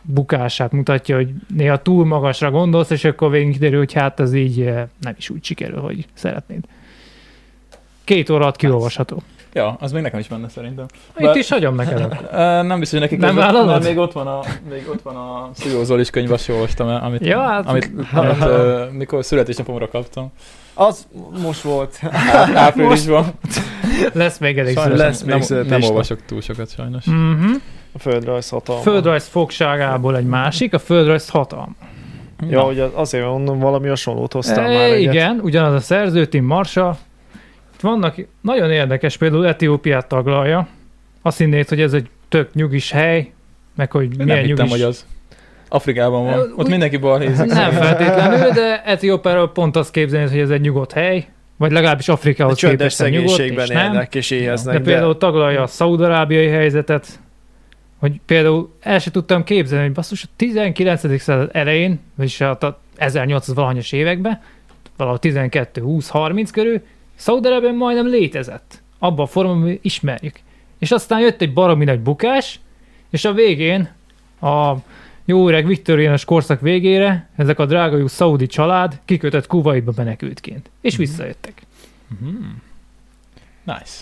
Speaker 3: bukását mutatja, hogy néha túl magasra gondolsz, és akkor végén kiderül, hogy hát ez így eh, nem is úgy sikerül, hogy szeretnéd. Két óra alatt kiolvasható.
Speaker 1: Ja, az még nekem is menne szerintem.
Speaker 3: Itt is hagyom neked. akkor.
Speaker 1: Ö, Nem biztos, hogy nekik
Speaker 3: Nem
Speaker 1: ez-
Speaker 3: vállalod?
Speaker 1: mert még ott van a, még ott van a Szujó Zolis könyv, azt se olvastam el, amit,
Speaker 3: Ja, hát-
Speaker 1: amit, amit ö, mikor születésnapomra kaptam.
Speaker 2: Az most volt.
Speaker 1: Á- Áprilisban.
Speaker 3: Lesz még Hát, elég
Speaker 2: Sajnos.
Speaker 3: szó.
Speaker 2: lesz még
Speaker 1: nem, nem,
Speaker 2: születésnap.
Speaker 1: olvasok túl sokat sajnos.
Speaker 3: Mhm.
Speaker 2: A földrajz hatalma.
Speaker 3: Földrajz fogságából egy másik, a földrajz hatalma.
Speaker 2: Ja, hogy az- azért mondom, valami hasonlót hoztam
Speaker 3: E,
Speaker 2: már. egyet.
Speaker 3: Igen, ugyanaz a szerző, Tim Marshall. Itt vannak, nagyon érdekes, például Etiópiát taglalja. Azt hinnéd, hogy ez egy tök nyugis hely, meg hogy
Speaker 1: Én
Speaker 3: milyen
Speaker 1: nem hittem,
Speaker 3: nyugis...
Speaker 1: hogy az Afrikában van.
Speaker 3: Ö,
Speaker 1: Ott
Speaker 3: úgy-
Speaker 1: mindenki balhézik.
Speaker 3: Nem feltétlenül, de Etiópiáról pont azt képzelni, hogy ez egy nyugodt hely, vagy legalábbis
Speaker 2: A
Speaker 3: Afrikához
Speaker 2: csöndes
Speaker 3: képest a nyugodt,
Speaker 2: szegénységben
Speaker 3: és nem.
Speaker 2: élnek és
Speaker 3: De
Speaker 2: éheznek.
Speaker 3: például taglalja a szaudarábiai helyzetet, hogy például el se tudtam képzelni, hogy basszus a 19. század elején, vagyis hát a ta- 1800-valahanyas években, valahol 12-20-30 körül, Szaudarábia majdnem létezett. Abban a formában, amit ismerjük. És aztán jött egy baromi nagy bukás, és a végén, a jó öreg viktoriánus korszak végére, ezek a drágajú szaudi család kikötött Kuwaitba menekültként. És
Speaker 1: Mhm.
Speaker 3: visszajöttek.
Speaker 1: Mhm. Nice.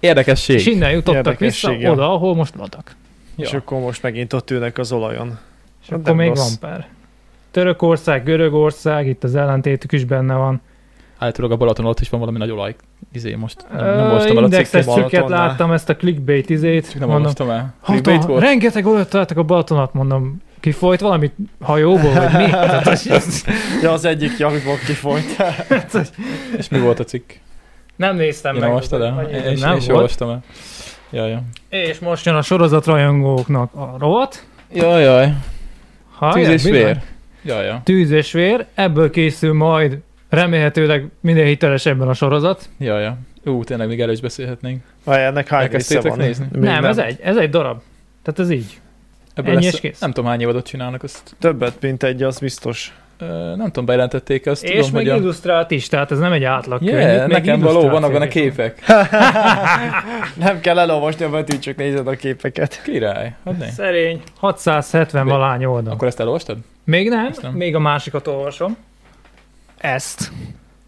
Speaker 1: Érdekesség.
Speaker 3: És innen jutottak vissza
Speaker 2: Érdekesség, ja.
Speaker 3: oda, ahol most ladak.
Speaker 2: És
Speaker 1: ja.
Speaker 2: akkor most megint ott ülnek az olajon.
Speaker 3: És
Speaker 2: Hát
Speaker 3: akkor
Speaker 2: nem
Speaker 3: még
Speaker 2: rossz.
Speaker 3: van pár. Törökország, Görögország, itt az ellentétük is benne van.
Speaker 1: Állítólag a Balaton alatt is van valami nagy olaj. Izé most nem, nem
Speaker 3: Ö,
Speaker 1: olvastam el a
Speaker 3: Indexes
Speaker 1: cikket.
Speaker 2: cikkét
Speaker 3: cikket
Speaker 2: Balatonnál.
Speaker 3: láttam, ezt a clickbait izét.
Speaker 1: Csak nem
Speaker 3: mondom,
Speaker 1: olvastam el.
Speaker 3: hatal,
Speaker 1: Clickbait volt?
Speaker 3: rengeteg olyat találtak a Balatonat, mondom, kifolyt valamit hajóból, vagy mi? Tehát, hogy ez-
Speaker 2: Ja, az egyik jakból kifolyt.
Speaker 1: És mi volt a cikk?
Speaker 3: nem néztem
Speaker 1: Én
Speaker 3: meg.
Speaker 1: olvastad el?
Speaker 3: Vagy
Speaker 1: Én, én,
Speaker 3: nem
Speaker 1: én sem
Speaker 3: volt.
Speaker 1: olvastam el. Jajjaj.
Speaker 3: És most jön a sorozatrajongóknak a rovat.
Speaker 1: Jajjaj.
Speaker 3: Ha,
Speaker 1: Tűz és
Speaker 3: bizony.
Speaker 1: vér. Jajjaj.
Speaker 3: Tűz és vér. Ebből készül majd remélhetőleg minél hitelesebben a sorozat.
Speaker 1: Jajjaj. Ú, tényleg még elő is beszélhetnénk.
Speaker 2: Vagy ennek hány része
Speaker 1: Elkezdtétek
Speaker 2: van?
Speaker 1: nézni?
Speaker 2: Még
Speaker 3: nem, ez egy, ez egy darab. Tehát ez így.
Speaker 1: Ebből
Speaker 3: Ennyi
Speaker 1: lesz,
Speaker 3: és kész.
Speaker 1: nem tudom hány évadot csinálnak, azt,
Speaker 2: Többet, mint egy, az biztos.
Speaker 1: ö, nem tudom, bejelentették azt.
Speaker 3: És
Speaker 1: tudom,
Speaker 3: még
Speaker 1: hogy a...
Speaker 3: illusztrált is, tehát ez nem egy átlag könyv.
Speaker 1: Yeah,
Speaker 3: itt
Speaker 1: nekem
Speaker 3: még
Speaker 1: való, vannak
Speaker 3: illusztráció
Speaker 1: benne
Speaker 3: is van. Hát,
Speaker 1: képek.
Speaker 2: Nem kell elolvasni a betűt, csak nézed a képeket.
Speaker 1: Király. Hát ne.
Speaker 3: Szerény. 670 valány oldal.
Speaker 1: Akkor ezt elolvastad?
Speaker 3: Még nem,
Speaker 1: Ezt nem.
Speaker 3: még a másikat olvasom. Ezt.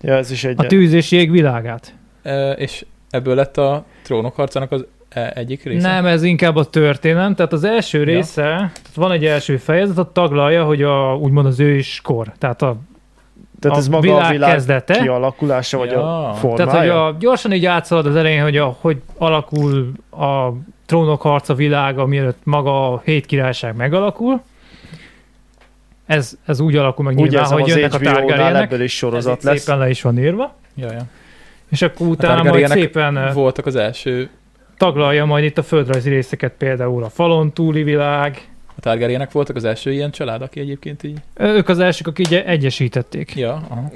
Speaker 2: Ja, ez is egy...
Speaker 3: A tűz és jég világát.
Speaker 1: Ö, és ebből lett a trónok harcának az e- egyik része?
Speaker 3: Nem, ez inkább a történelem. Tehát az első része, tehát van egy első fejezet, ott taglalja, hogy a, úgymond az őskor. Tehát a,
Speaker 2: Tehát
Speaker 3: a
Speaker 2: ez maga a világ
Speaker 3: kezdete.
Speaker 2: kialakulása, vagy
Speaker 1: Ja.
Speaker 2: a formája.
Speaker 3: Tehát, hogy a, gyorsan így átszalad az elején, hogy a, hogy alakul a trónok harca világa, mielőtt maga a hét királyság megalakul. Ez, ez úgy alakul meg
Speaker 2: Úgy
Speaker 3: nyilván,
Speaker 2: érzem,
Speaker 3: hogy
Speaker 2: az
Speaker 3: jönnek a
Speaker 2: HBO-nál
Speaker 3: tárgárjenek.
Speaker 2: ebből is
Speaker 3: Ez
Speaker 2: sorozat
Speaker 3: itt
Speaker 2: lesz.
Speaker 3: szépen le is van írva.
Speaker 1: Jajjaj.
Speaker 3: És akkor utána majd
Speaker 1: Targaryenek
Speaker 3: szépen eh,
Speaker 1: Voltak az első,
Speaker 3: taglalja majd itt a földrajzi részeket, például a falon túli világ.
Speaker 1: a Targaryenek voltak az első ilyen család, aki egyébként így
Speaker 3: Ö, Ők az elsők, akik így egyesítették.
Speaker 1: Ja, aha.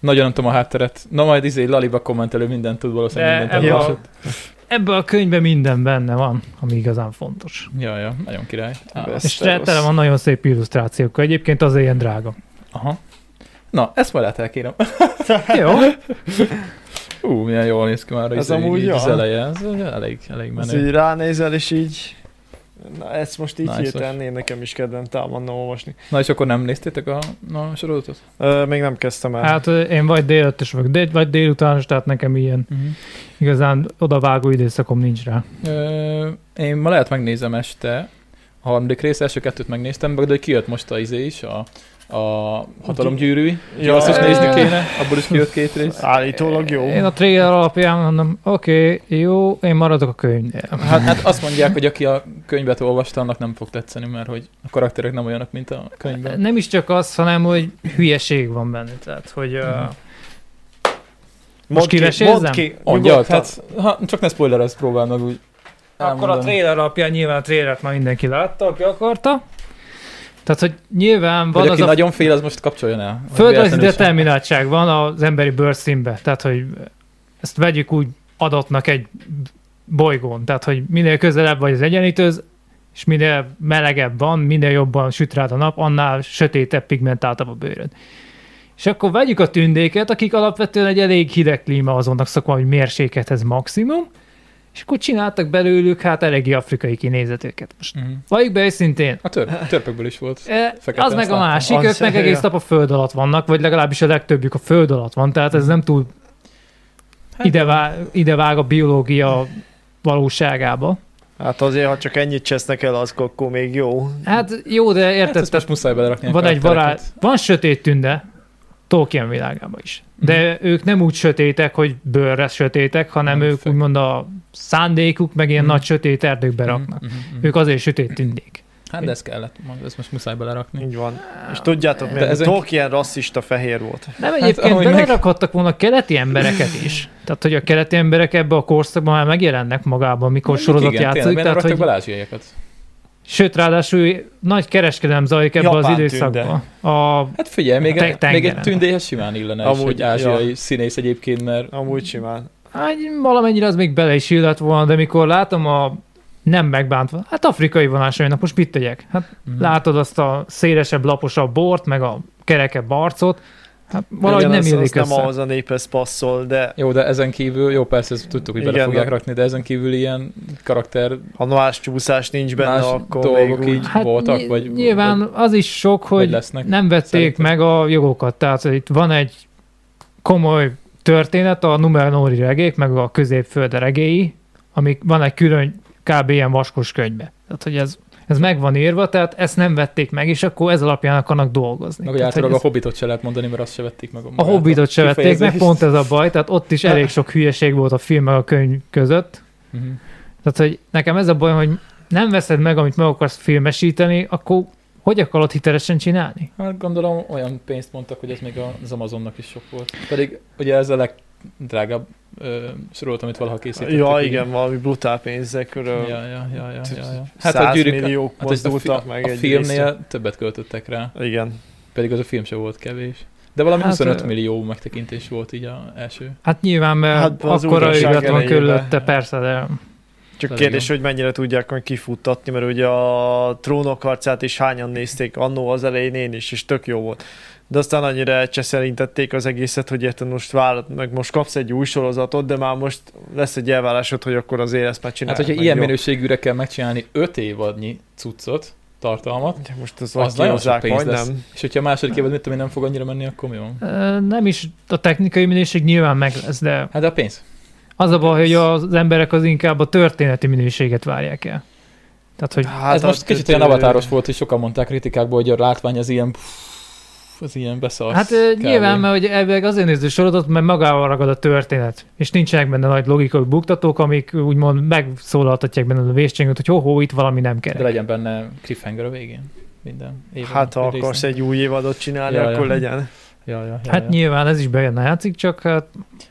Speaker 1: Nagyon nem tudom a hátteret. Na majd izé Laliba kommentelő mindent tud valószínűleg
Speaker 3: De
Speaker 1: mindent
Speaker 3: ebbe
Speaker 1: elolvasott.
Speaker 3: a, ebbe a könyvben minden benne van, ami igazán fontos.
Speaker 1: Ja, ja, nagyon király. Á,
Speaker 2: Best.
Speaker 3: És
Speaker 2: Ezt rossz.
Speaker 3: tele van nagyon szép illusztrációkkal. Egyébként az ilyen drága.
Speaker 1: aha. Na, ezt majd át elkérem.
Speaker 3: Jó.
Speaker 1: Ú, milyen jól néz ki már
Speaker 2: Ez
Speaker 1: ez
Speaker 2: amúgy
Speaker 1: amúgy
Speaker 2: jó.
Speaker 1: az eleje. Ez elég, elég
Speaker 2: Az
Speaker 1: menő.
Speaker 2: így ránézel, és így... Na, ezt most így
Speaker 1: Nice-os.
Speaker 2: hirtelen én nekem is kedvem támadna olvasni.
Speaker 1: Na, és akkor nem néztétek a, a sorozatot?
Speaker 2: Ö, még nem kezdtem el.
Speaker 3: Hát ö, én vagy délelőtt is vagyok, de, vagy délutános, tehát nekem ilyen
Speaker 2: Mhm.
Speaker 1: Uh-huh.
Speaker 3: igazán odavágó időszakom nincs rá.
Speaker 1: Ö, én ma lehet megnézem este. A harmadik rész, első kettőt megnéztem, de kijött most a izé is, a, a hatalomgyűrű. Ja, azt is nézni kéne, abból is kijött két rész.
Speaker 2: Állítólag jó.
Speaker 3: Én a trailer alapján mondom, oké, okay, jó, én maradok a könyvnél.
Speaker 1: Hát, hát azt mondják, hogy aki a könyvet olvasta, annak nem fog tetszeni, mert hogy a karakterek nem olyanok, mint a könyvben.
Speaker 3: Nem is csak az, hanem hogy hülyeség van benne, tehát hogy uh, most kivesézzem?
Speaker 2: mondd ki,
Speaker 1: Mondjad,
Speaker 2: nyugodtan.
Speaker 1: hát ha, csak ne spoilerezt próbál meg úgy.
Speaker 3: akkor a
Speaker 1: elmondani.
Speaker 3: trailer alapján nyilván a trailert már mindenki látta, aki akarta. Tehát, hogy nyilván
Speaker 1: Vagy
Speaker 3: van az
Speaker 1: aki
Speaker 3: a
Speaker 1: nagyon fél, az most kapcsoljon el. Hogy
Speaker 3: földrajzi
Speaker 1: véletlenül sem.
Speaker 3: determináltság van az emberi bőrszínbe, tehát hogy ezt vegyük úgy adatnak egy bolygón, tehát hogy minél közelebb vagy az egyenlítőz, és minél melegebb van, minél jobban süt rád a nap, annál sötétebb, pigmentáltabb a bőröd. És akkor vegyük a tündéket, akik alapvetően egy elég hideg klíma azonnak szokva, hogy mérséklethez maximum, és akkor csináltak belőlük hát eléggé afrikai kinézetőket. Most
Speaker 1: Uh-huh.
Speaker 3: valljuk be őszintén,
Speaker 1: A törp, törpökből is volt.
Speaker 3: E,
Speaker 1: Fekete
Speaker 3: az
Speaker 1: azt
Speaker 3: meg a
Speaker 1: láttam.
Speaker 3: másik,
Speaker 2: Az
Speaker 3: ők
Speaker 2: se
Speaker 3: meg
Speaker 2: hülye.
Speaker 3: egész nap a föld alatt vannak, vagy legalábbis a legtöbbjük a föld alatt van, tehát ez nem túl
Speaker 1: Hát-
Speaker 3: ide vág, ide vág a biológia valóságába.
Speaker 2: Hát azért, ha csak ennyit csesznek el, az akkor még jó.
Speaker 3: Hát jó, de
Speaker 1: Hát
Speaker 3: érted,
Speaker 1: ezt most muszáj belerakni. a
Speaker 3: van egy
Speaker 1: karaktereket.
Speaker 3: barát, van sötét tünde, Tolkien világában is. De ők nem úgy sötétek, hogy bőrre sötétek, hanem
Speaker 1: Mhm. Nem,
Speaker 3: ők
Speaker 1: fek-
Speaker 3: úgymond a szándékuk meg ilyen
Speaker 1: Mhm.
Speaker 3: nagy sötét erdőkbe raknak.
Speaker 1: Mhm, mhm, mhm.
Speaker 3: Ők azért sötét tündék.
Speaker 1: Hát de ez kellett, mondom, ezt most muszáj belerakni.
Speaker 2: Így van. És tudjátok,
Speaker 1: De
Speaker 2: mert
Speaker 1: ezen-
Speaker 2: ezen... Tolkien rasszista fehér volt.
Speaker 3: Nem egyébként
Speaker 1: ahogy
Speaker 3: hát,
Speaker 1: meg-
Speaker 3: belerakhattak volna keleti embereket is. Tehát, hogy a keleti emberek ebbe a korszakban már megjelennek magában,
Speaker 2: Hát,
Speaker 3: mikor sorozat játszik.
Speaker 1: tehát,
Speaker 3: Tehát,
Speaker 1: hogy...
Speaker 3: hogy,
Speaker 1: bele ázsiaiakat.
Speaker 3: sőt, ráadásul nagy kereskedelem zajlik ebbe az
Speaker 2: Japán
Speaker 3: időszakban. A
Speaker 1: Hát figyelj, még,
Speaker 3: Te-
Speaker 1: te, még egy
Speaker 3: tengeren.
Speaker 1: tündéhez simán illene Amúgy, is,
Speaker 2: Amúgy,
Speaker 1: hogy ázsiai ja. színész egyébként, mert
Speaker 2: Amúgy simán.
Speaker 3: Hát valamennyire az még bele is illett volna, de mikor látom a nem megbántva, hát afrikai vonásainak most mit tegyek? Hát
Speaker 1: Mhm.
Speaker 3: látod azt a szélesebb, laposabb bort, meg a kerekebb arcot, hát valahogy
Speaker 2: Igen,
Speaker 3: nem
Speaker 2: az- az
Speaker 3: illik
Speaker 2: nem
Speaker 3: össze.
Speaker 2: ahhoz a néphez passzol, de
Speaker 1: jó, de ezen kívül, jó persze, ezt tudtuk, hogy bele
Speaker 2: Igen,
Speaker 1: fogják
Speaker 2: de-
Speaker 1: rakni, de ezen kívül ilyen karakter
Speaker 2: ha más csúszás nincs benne,
Speaker 1: Más
Speaker 2: akkor
Speaker 1: dolgok
Speaker 2: még úgy-
Speaker 1: így. voltak, vagy-
Speaker 3: Hát, nyilván az is sok, hogy
Speaker 1: lesznek,
Speaker 3: nem vették
Speaker 1: szerintem.
Speaker 3: meg a jogokat, tehát hogy itt van egy komoly történet, a Numenóri regék, meg a középföld regéi, amik van egy külön kb. ilyen vaskos könyvbe. Tehát, hogy ez, ez meg van írva, tehát ezt nem vették meg, és akkor ez alapján akarnak dolgozni.
Speaker 1: Meg hogy
Speaker 3: tehát, hogy
Speaker 1: általában a
Speaker 3: ez-
Speaker 1: hobbitot se lehet mondani, mert azt se vették meg.
Speaker 3: a
Speaker 1: magát,
Speaker 3: hobbitot se vették meg,
Speaker 1: kifejezést.
Speaker 3: pont ez a baj, tehát ott is elég sok hülyeség volt a film meg a könyv között.
Speaker 1: Mhm.
Speaker 3: Tehát, hogy nekem ez a baj, hogy nem veszed meg, amit meg akarsz filmesíteni, akkor hogy akarod hitelesen csinálni?
Speaker 1: Hát gondolom olyan pénzt mondtak, hogy ez még az Amazonnak is sok volt. Pedig ugye ez a legdrágább ö, sorozat, amit valaha készítettek.
Speaker 2: Ja,
Speaker 1: ugye.
Speaker 2: igen, valami brutál pénzekről.
Speaker 1: Ja, ja, ja, ja, ja, ja.
Speaker 2: Hát
Speaker 1: a
Speaker 2: 100
Speaker 1: gyűrűk-
Speaker 2: milliók
Speaker 1: hát ez a, fi-
Speaker 2: mozdultak
Speaker 1: a,
Speaker 2: meg
Speaker 1: a
Speaker 2: egy
Speaker 1: filmnél többet költöttek rá,
Speaker 2: részt. Igen.
Speaker 1: pedig az a film sem volt kevés. De valami
Speaker 3: Hát,
Speaker 1: 25
Speaker 3: ö-
Speaker 1: millió megtekintés volt így a első.
Speaker 3: Hát nyilván, mert
Speaker 2: Hát
Speaker 3: hát,
Speaker 2: az
Speaker 3: akkora
Speaker 2: újdonság
Speaker 3: ügylet van
Speaker 2: elejébe.
Speaker 3: körülötte, persze, de
Speaker 2: Csak
Speaker 1: Ez
Speaker 2: kérdés, hogy mennyire tudják majd kifuttatni, mert ugye a trónok harcát is hányan nézték annó az elején én is, és tök jó volt. De aztán annyira cseszerintették az egészet, hogy érted most várat, meg most kapsz egy új sorozatot, de már most lesz egy elvárásod, hogy akkor azért ezt már
Speaker 1: Hát,
Speaker 2: csinálják.
Speaker 1: hogyha
Speaker 2: meg,
Speaker 1: ilyen
Speaker 2: jó?
Speaker 1: minőségűre kell megcsinálni 5 évadnyi cuccot, tartalmat,
Speaker 2: De Most az,
Speaker 1: az nagyon sok pénz lesz.
Speaker 2: majdnem.
Speaker 1: És hogyha a második évad, mit tudom én, nem fog annyira menni, akkor mi van?
Speaker 3: ö, nem is a technikai minőség nyilván meg lesz, de
Speaker 1: Hát de a pénz.
Speaker 3: az a baj, hogy az emberek az inkább a történeti minőséget várják el. Tehát, hogy
Speaker 1: Hát
Speaker 2: Hát
Speaker 1: ez
Speaker 2: az-
Speaker 1: most kicsit olyan avatáros volt, és sokan mondták kritikákból, hogy a látvány az ilyen az ilyen beszarsz.
Speaker 3: Hát ö,
Speaker 1: kb.
Speaker 3: nyilván, mert hogy elvileg azért néző sorozatot, mert magával ragad a történet, és nincsenek benne nagy logikai buktatók, amik úgymond megszólaltatják benne a vészcsengőt, hogy ho-ho, itt valami nem
Speaker 1: De
Speaker 3: kerek.
Speaker 1: legyen benne cliffhanger a végén. Minden. évben,
Speaker 2: Hát ha
Speaker 1: egy
Speaker 2: akarsz
Speaker 1: résznek.
Speaker 2: egy új évadot csinálni,
Speaker 1: Ja, ja.
Speaker 2: akkor legyen.
Speaker 1: Ja, ja, ja,
Speaker 3: Hát
Speaker 1: ja.
Speaker 3: nyilván ez is bejön játszik, csak hát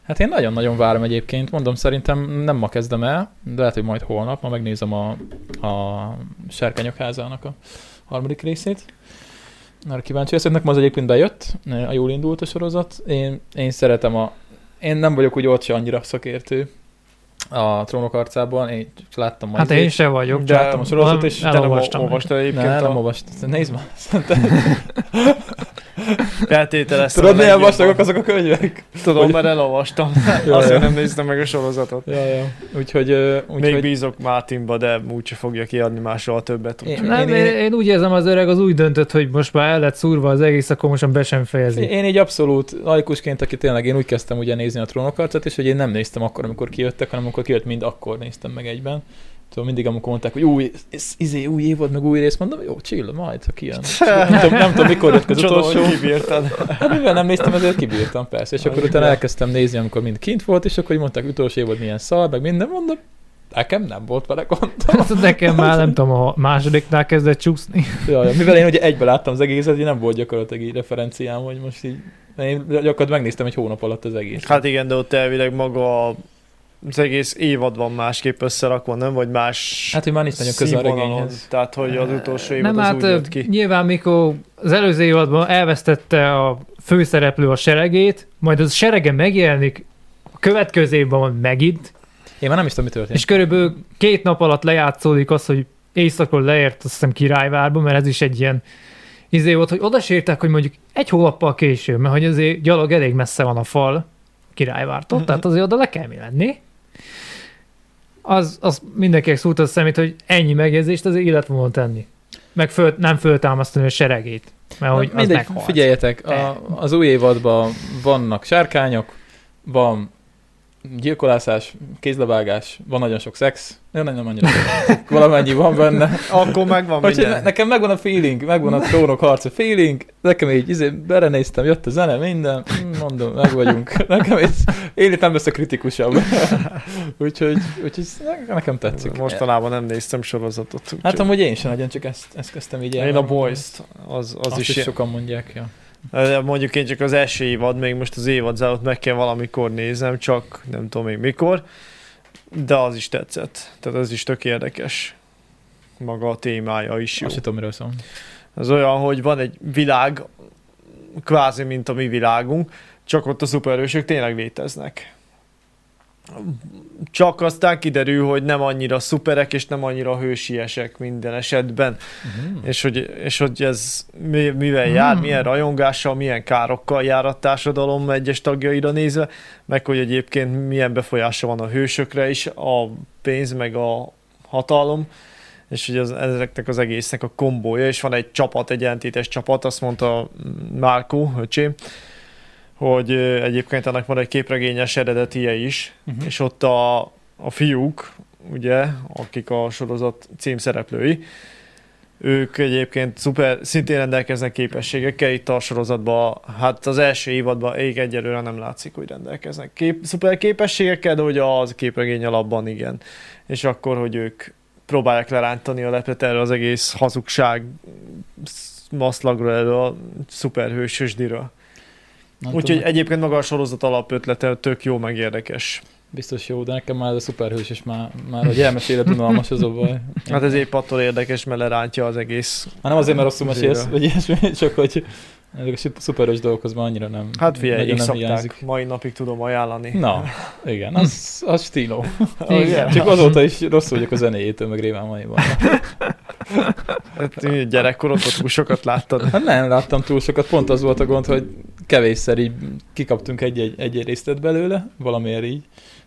Speaker 1: Hát én nagyon-nagyon várom egyébként, mondom, szerintem nem ma kezdem el, de lehet, hogy majd holnap, ma megnézem a, a Sárkányok házának a harmadik részét. Arra kíváncsi leszek, nekem az egyébként bejött, a jól indult a sorozat. Én, én szeretem a... Én nem vagyok úgy ott se annyira szakértő a trónok arcában, én csak láttam majd.
Speaker 3: hát én se vagyok.
Speaker 1: de láttam a sorozatot,
Speaker 3: valami-
Speaker 1: és
Speaker 2: Te nem
Speaker 3: Elolvastam.
Speaker 2: olvastad egyébként
Speaker 1: Ne, nem
Speaker 2: a
Speaker 1: olvast. Nézd már.
Speaker 2: feltételeztem.
Speaker 1: Tudod,
Speaker 2: a
Speaker 1: milyen
Speaker 2: legjobban.
Speaker 1: vastagok azok a könyvek?
Speaker 2: Tudom,
Speaker 1: Hogy-
Speaker 2: mert elolvastam.
Speaker 1: Jaj, jaj.
Speaker 2: Azért nem néztem meg a sorozatot.
Speaker 1: Ja, ja. Úgyhogy, ö,
Speaker 2: Még
Speaker 1: úgyhogy
Speaker 2: bízok Mátinba, de úgyse fogja kiadni másról a többet.
Speaker 1: Én-
Speaker 2: úgyhogy-
Speaker 3: Nem, én, én, én, úgy érzem, az öreg az úgy döntött, hogy most már el lett szúrva az egész, akkor most már be sem fejezi.
Speaker 1: Én így abszolút laikusként, aki tényleg én úgy kezdtem ugye nézni a trónokarcot, és hogy én nem néztem akkor, amikor kijöttek, hanem amikor kijött, mind akkor néztem meg egyben. Tudom, mindig amikor mondták, hogy új, ez, izé, új évad, meg új rész, mondom, jó, chill, majd, ha kijön. Nem tudom, nem tudom mikor jött ki az
Speaker 2: Csodom,
Speaker 1: utolsó.
Speaker 2: hogy kibírtad.
Speaker 1: Hát mivel nem néztem, ezért kibírtam, persze. És
Speaker 2: Na,
Speaker 1: akkor
Speaker 2: igen.
Speaker 1: utána elkezdtem nézni, amikor mind kint volt, és akkor így mondták, utolsó évad milyen szar, meg minden, mondom, nekem nem volt vele gond.
Speaker 3: Hát nekem már nem tudom, a másodiknál kezdett csúszni.
Speaker 1: Ja, ja, mivel én ugye egybe láttam az egészet, így nem volt gyakorlatilag így referenciám, hogy most így... Én gyakorlatilag megnéztem egy hónap alatt az egész.
Speaker 2: Hát igen, de ott elvileg maga a- az egész évad van másképp összerakva, nem? Vagy más
Speaker 1: Hát, hogy már nincs nagyon közel a
Speaker 2: színvonalon.
Speaker 1: regényhez.
Speaker 2: Tehát, hogy az utolsó évad
Speaker 3: Nem,
Speaker 2: az
Speaker 3: hát
Speaker 2: úgy jött ki.
Speaker 3: nyilván mikor az előző évadban elvesztette a főszereplő a seregét, majd az serege megjelenik a következő évben megint,
Speaker 1: Én már nem is tudom, mi történt.
Speaker 3: és körülbelül két nap alatt lejátszódik az, hogy éjszakon leért, azt hiszem királyvárba, mert ez is egy ilyen izé volt, hogy oda sértek, hogy mondjuk egy hónappal később, mert hogy azért gyalog
Speaker 1: Mhm.
Speaker 3: elég messze van a fal királyvártól, tehát azért oda le kell mi lenni. az, az mindenkinek szúrt a szemét, hogy ennyi megjegyzést azért illet volna tenni. Meg föl, nem föltámasztani a seregét, mert hogy az
Speaker 1: Mindegy,
Speaker 3: meghalt.
Speaker 1: figyeljetek, a, az új évadban vannak sárkányok, van gyilkolászás, kézlebágás, van nagyon sok szex, nem, nem, nem annyira sok. Valamennyi van benne.
Speaker 2: Akkor megvan
Speaker 1: Úgyhogy
Speaker 2: minden.
Speaker 1: ne- nekem megvan a feeling, megvan a trónok harca feeling, nekem így izé, belenéztem, jött a zene, minden, mm, mondom, meg vagyunk. Nekem ez életem lesz a kritikusabb. úgyhogy, úgyhogy ne- nekem tetszik.
Speaker 2: Mostanában nem néztem sorozatot. Úgyhogy.
Speaker 1: Hát amúgy én sem nagyon, csak ezt, ezt kezdtem így
Speaker 2: én a
Speaker 1: elmondani.
Speaker 2: Boys-t, az, az
Speaker 1: Azt
Speaker 2: is,
Speaker 1: is, sokan mondják, ja.
Speaker 2: Eh, Mondjuk én csak az első évad, még most az évad zárót meg kell valamikor nézem, csak nem tudom még mikor, de az is tetszett. Tehát ez is tök érdekes. Maga a témája is jó.
Speaker 1: Azt sem tudom, miről szól.
Speaker 2: Az olyan, hogy van egy világ, kvázi mint a mi világunk, csak ott a szupererősök tényleg léteznek. Csak aztán kiderül, hogy nem annyira szuperek és nem annyira hősiesek minden esetben.
Speaker 1: Uh-huh.
Speaker 2: És hogy, és hogy ez mi- mivel jár,
Speaker 3: Hmm.
Speaker 2: milyen rajongással, milyen károkkal jár a társadalom egyes tagjaira nézve, meg hogy egyébként milyen befolyása van a hősökre is, a pénz meg a hatalom, és hogy az, ezeknek az egésznek a kombója, és van egy csapat, egy ellentétes csapat, azt mondta Márkó, öcsém, hogy ö, egyébként ennek van egy képregényes eredetie is,
Speaker 1: Uh-huh.
Speaker 2: és ott a, a fiúk, ugye, akik a sorozat címszereplői, ők egyébként szuper, szintén rendelkeznek képességekkel, itt a sorozatban, hát az első évadban ég egyelőre nem látszik, hogy rendelkeznek kép, szuper képességekkel, de ugye az képregény alapban igen. És akkor, hogy ők próbálják lerántani a lepet erre az egész hazugság sz- maszlagról, erről a szuperhősösdiről. Úgyhogy egyébként maga a sorozat alapötlete tök jó, meg érdekes.
Speaker 1: Biztos jó, de nekem már ez a szuperhős, és már, már a gyermes élet unalmas az a baj.
Speaker 2: Hát ez épp attól érdekes, mert lerántja az egész.
Speaker 1: Hát nem azért, mert rosszul mesélsz,
Speaker 2: Zsíra.
Speaker 1: vagy ilyesmi, csak hogy ezek a szup- szuperhős dolgokhoz már annyira nem
Speaker 2: Hát figyelj,
Speaker 1: nagyon
Speaker 2: így
Speaker 1: nem
Speaker 2: szokták,
Speaker 1: hiányzik.
Speaker 2: mai napig tudom ajánlani.
Speaker 1: Na, igen, az, az stíló.
Speaker 3: Igen.
Speaker 1: Csak azóta is rossz vagyok a zenéjétől, meg rémán maiban.
Speaker 2: Hát, mi gyerekkorodban túl sokat láttad.
Speaker 1: Hát nem láttam túl sokat, pont az volt a gond, hogy kevésszer így kikaptunk egy-egy, egy részlet belőle, valamiért így,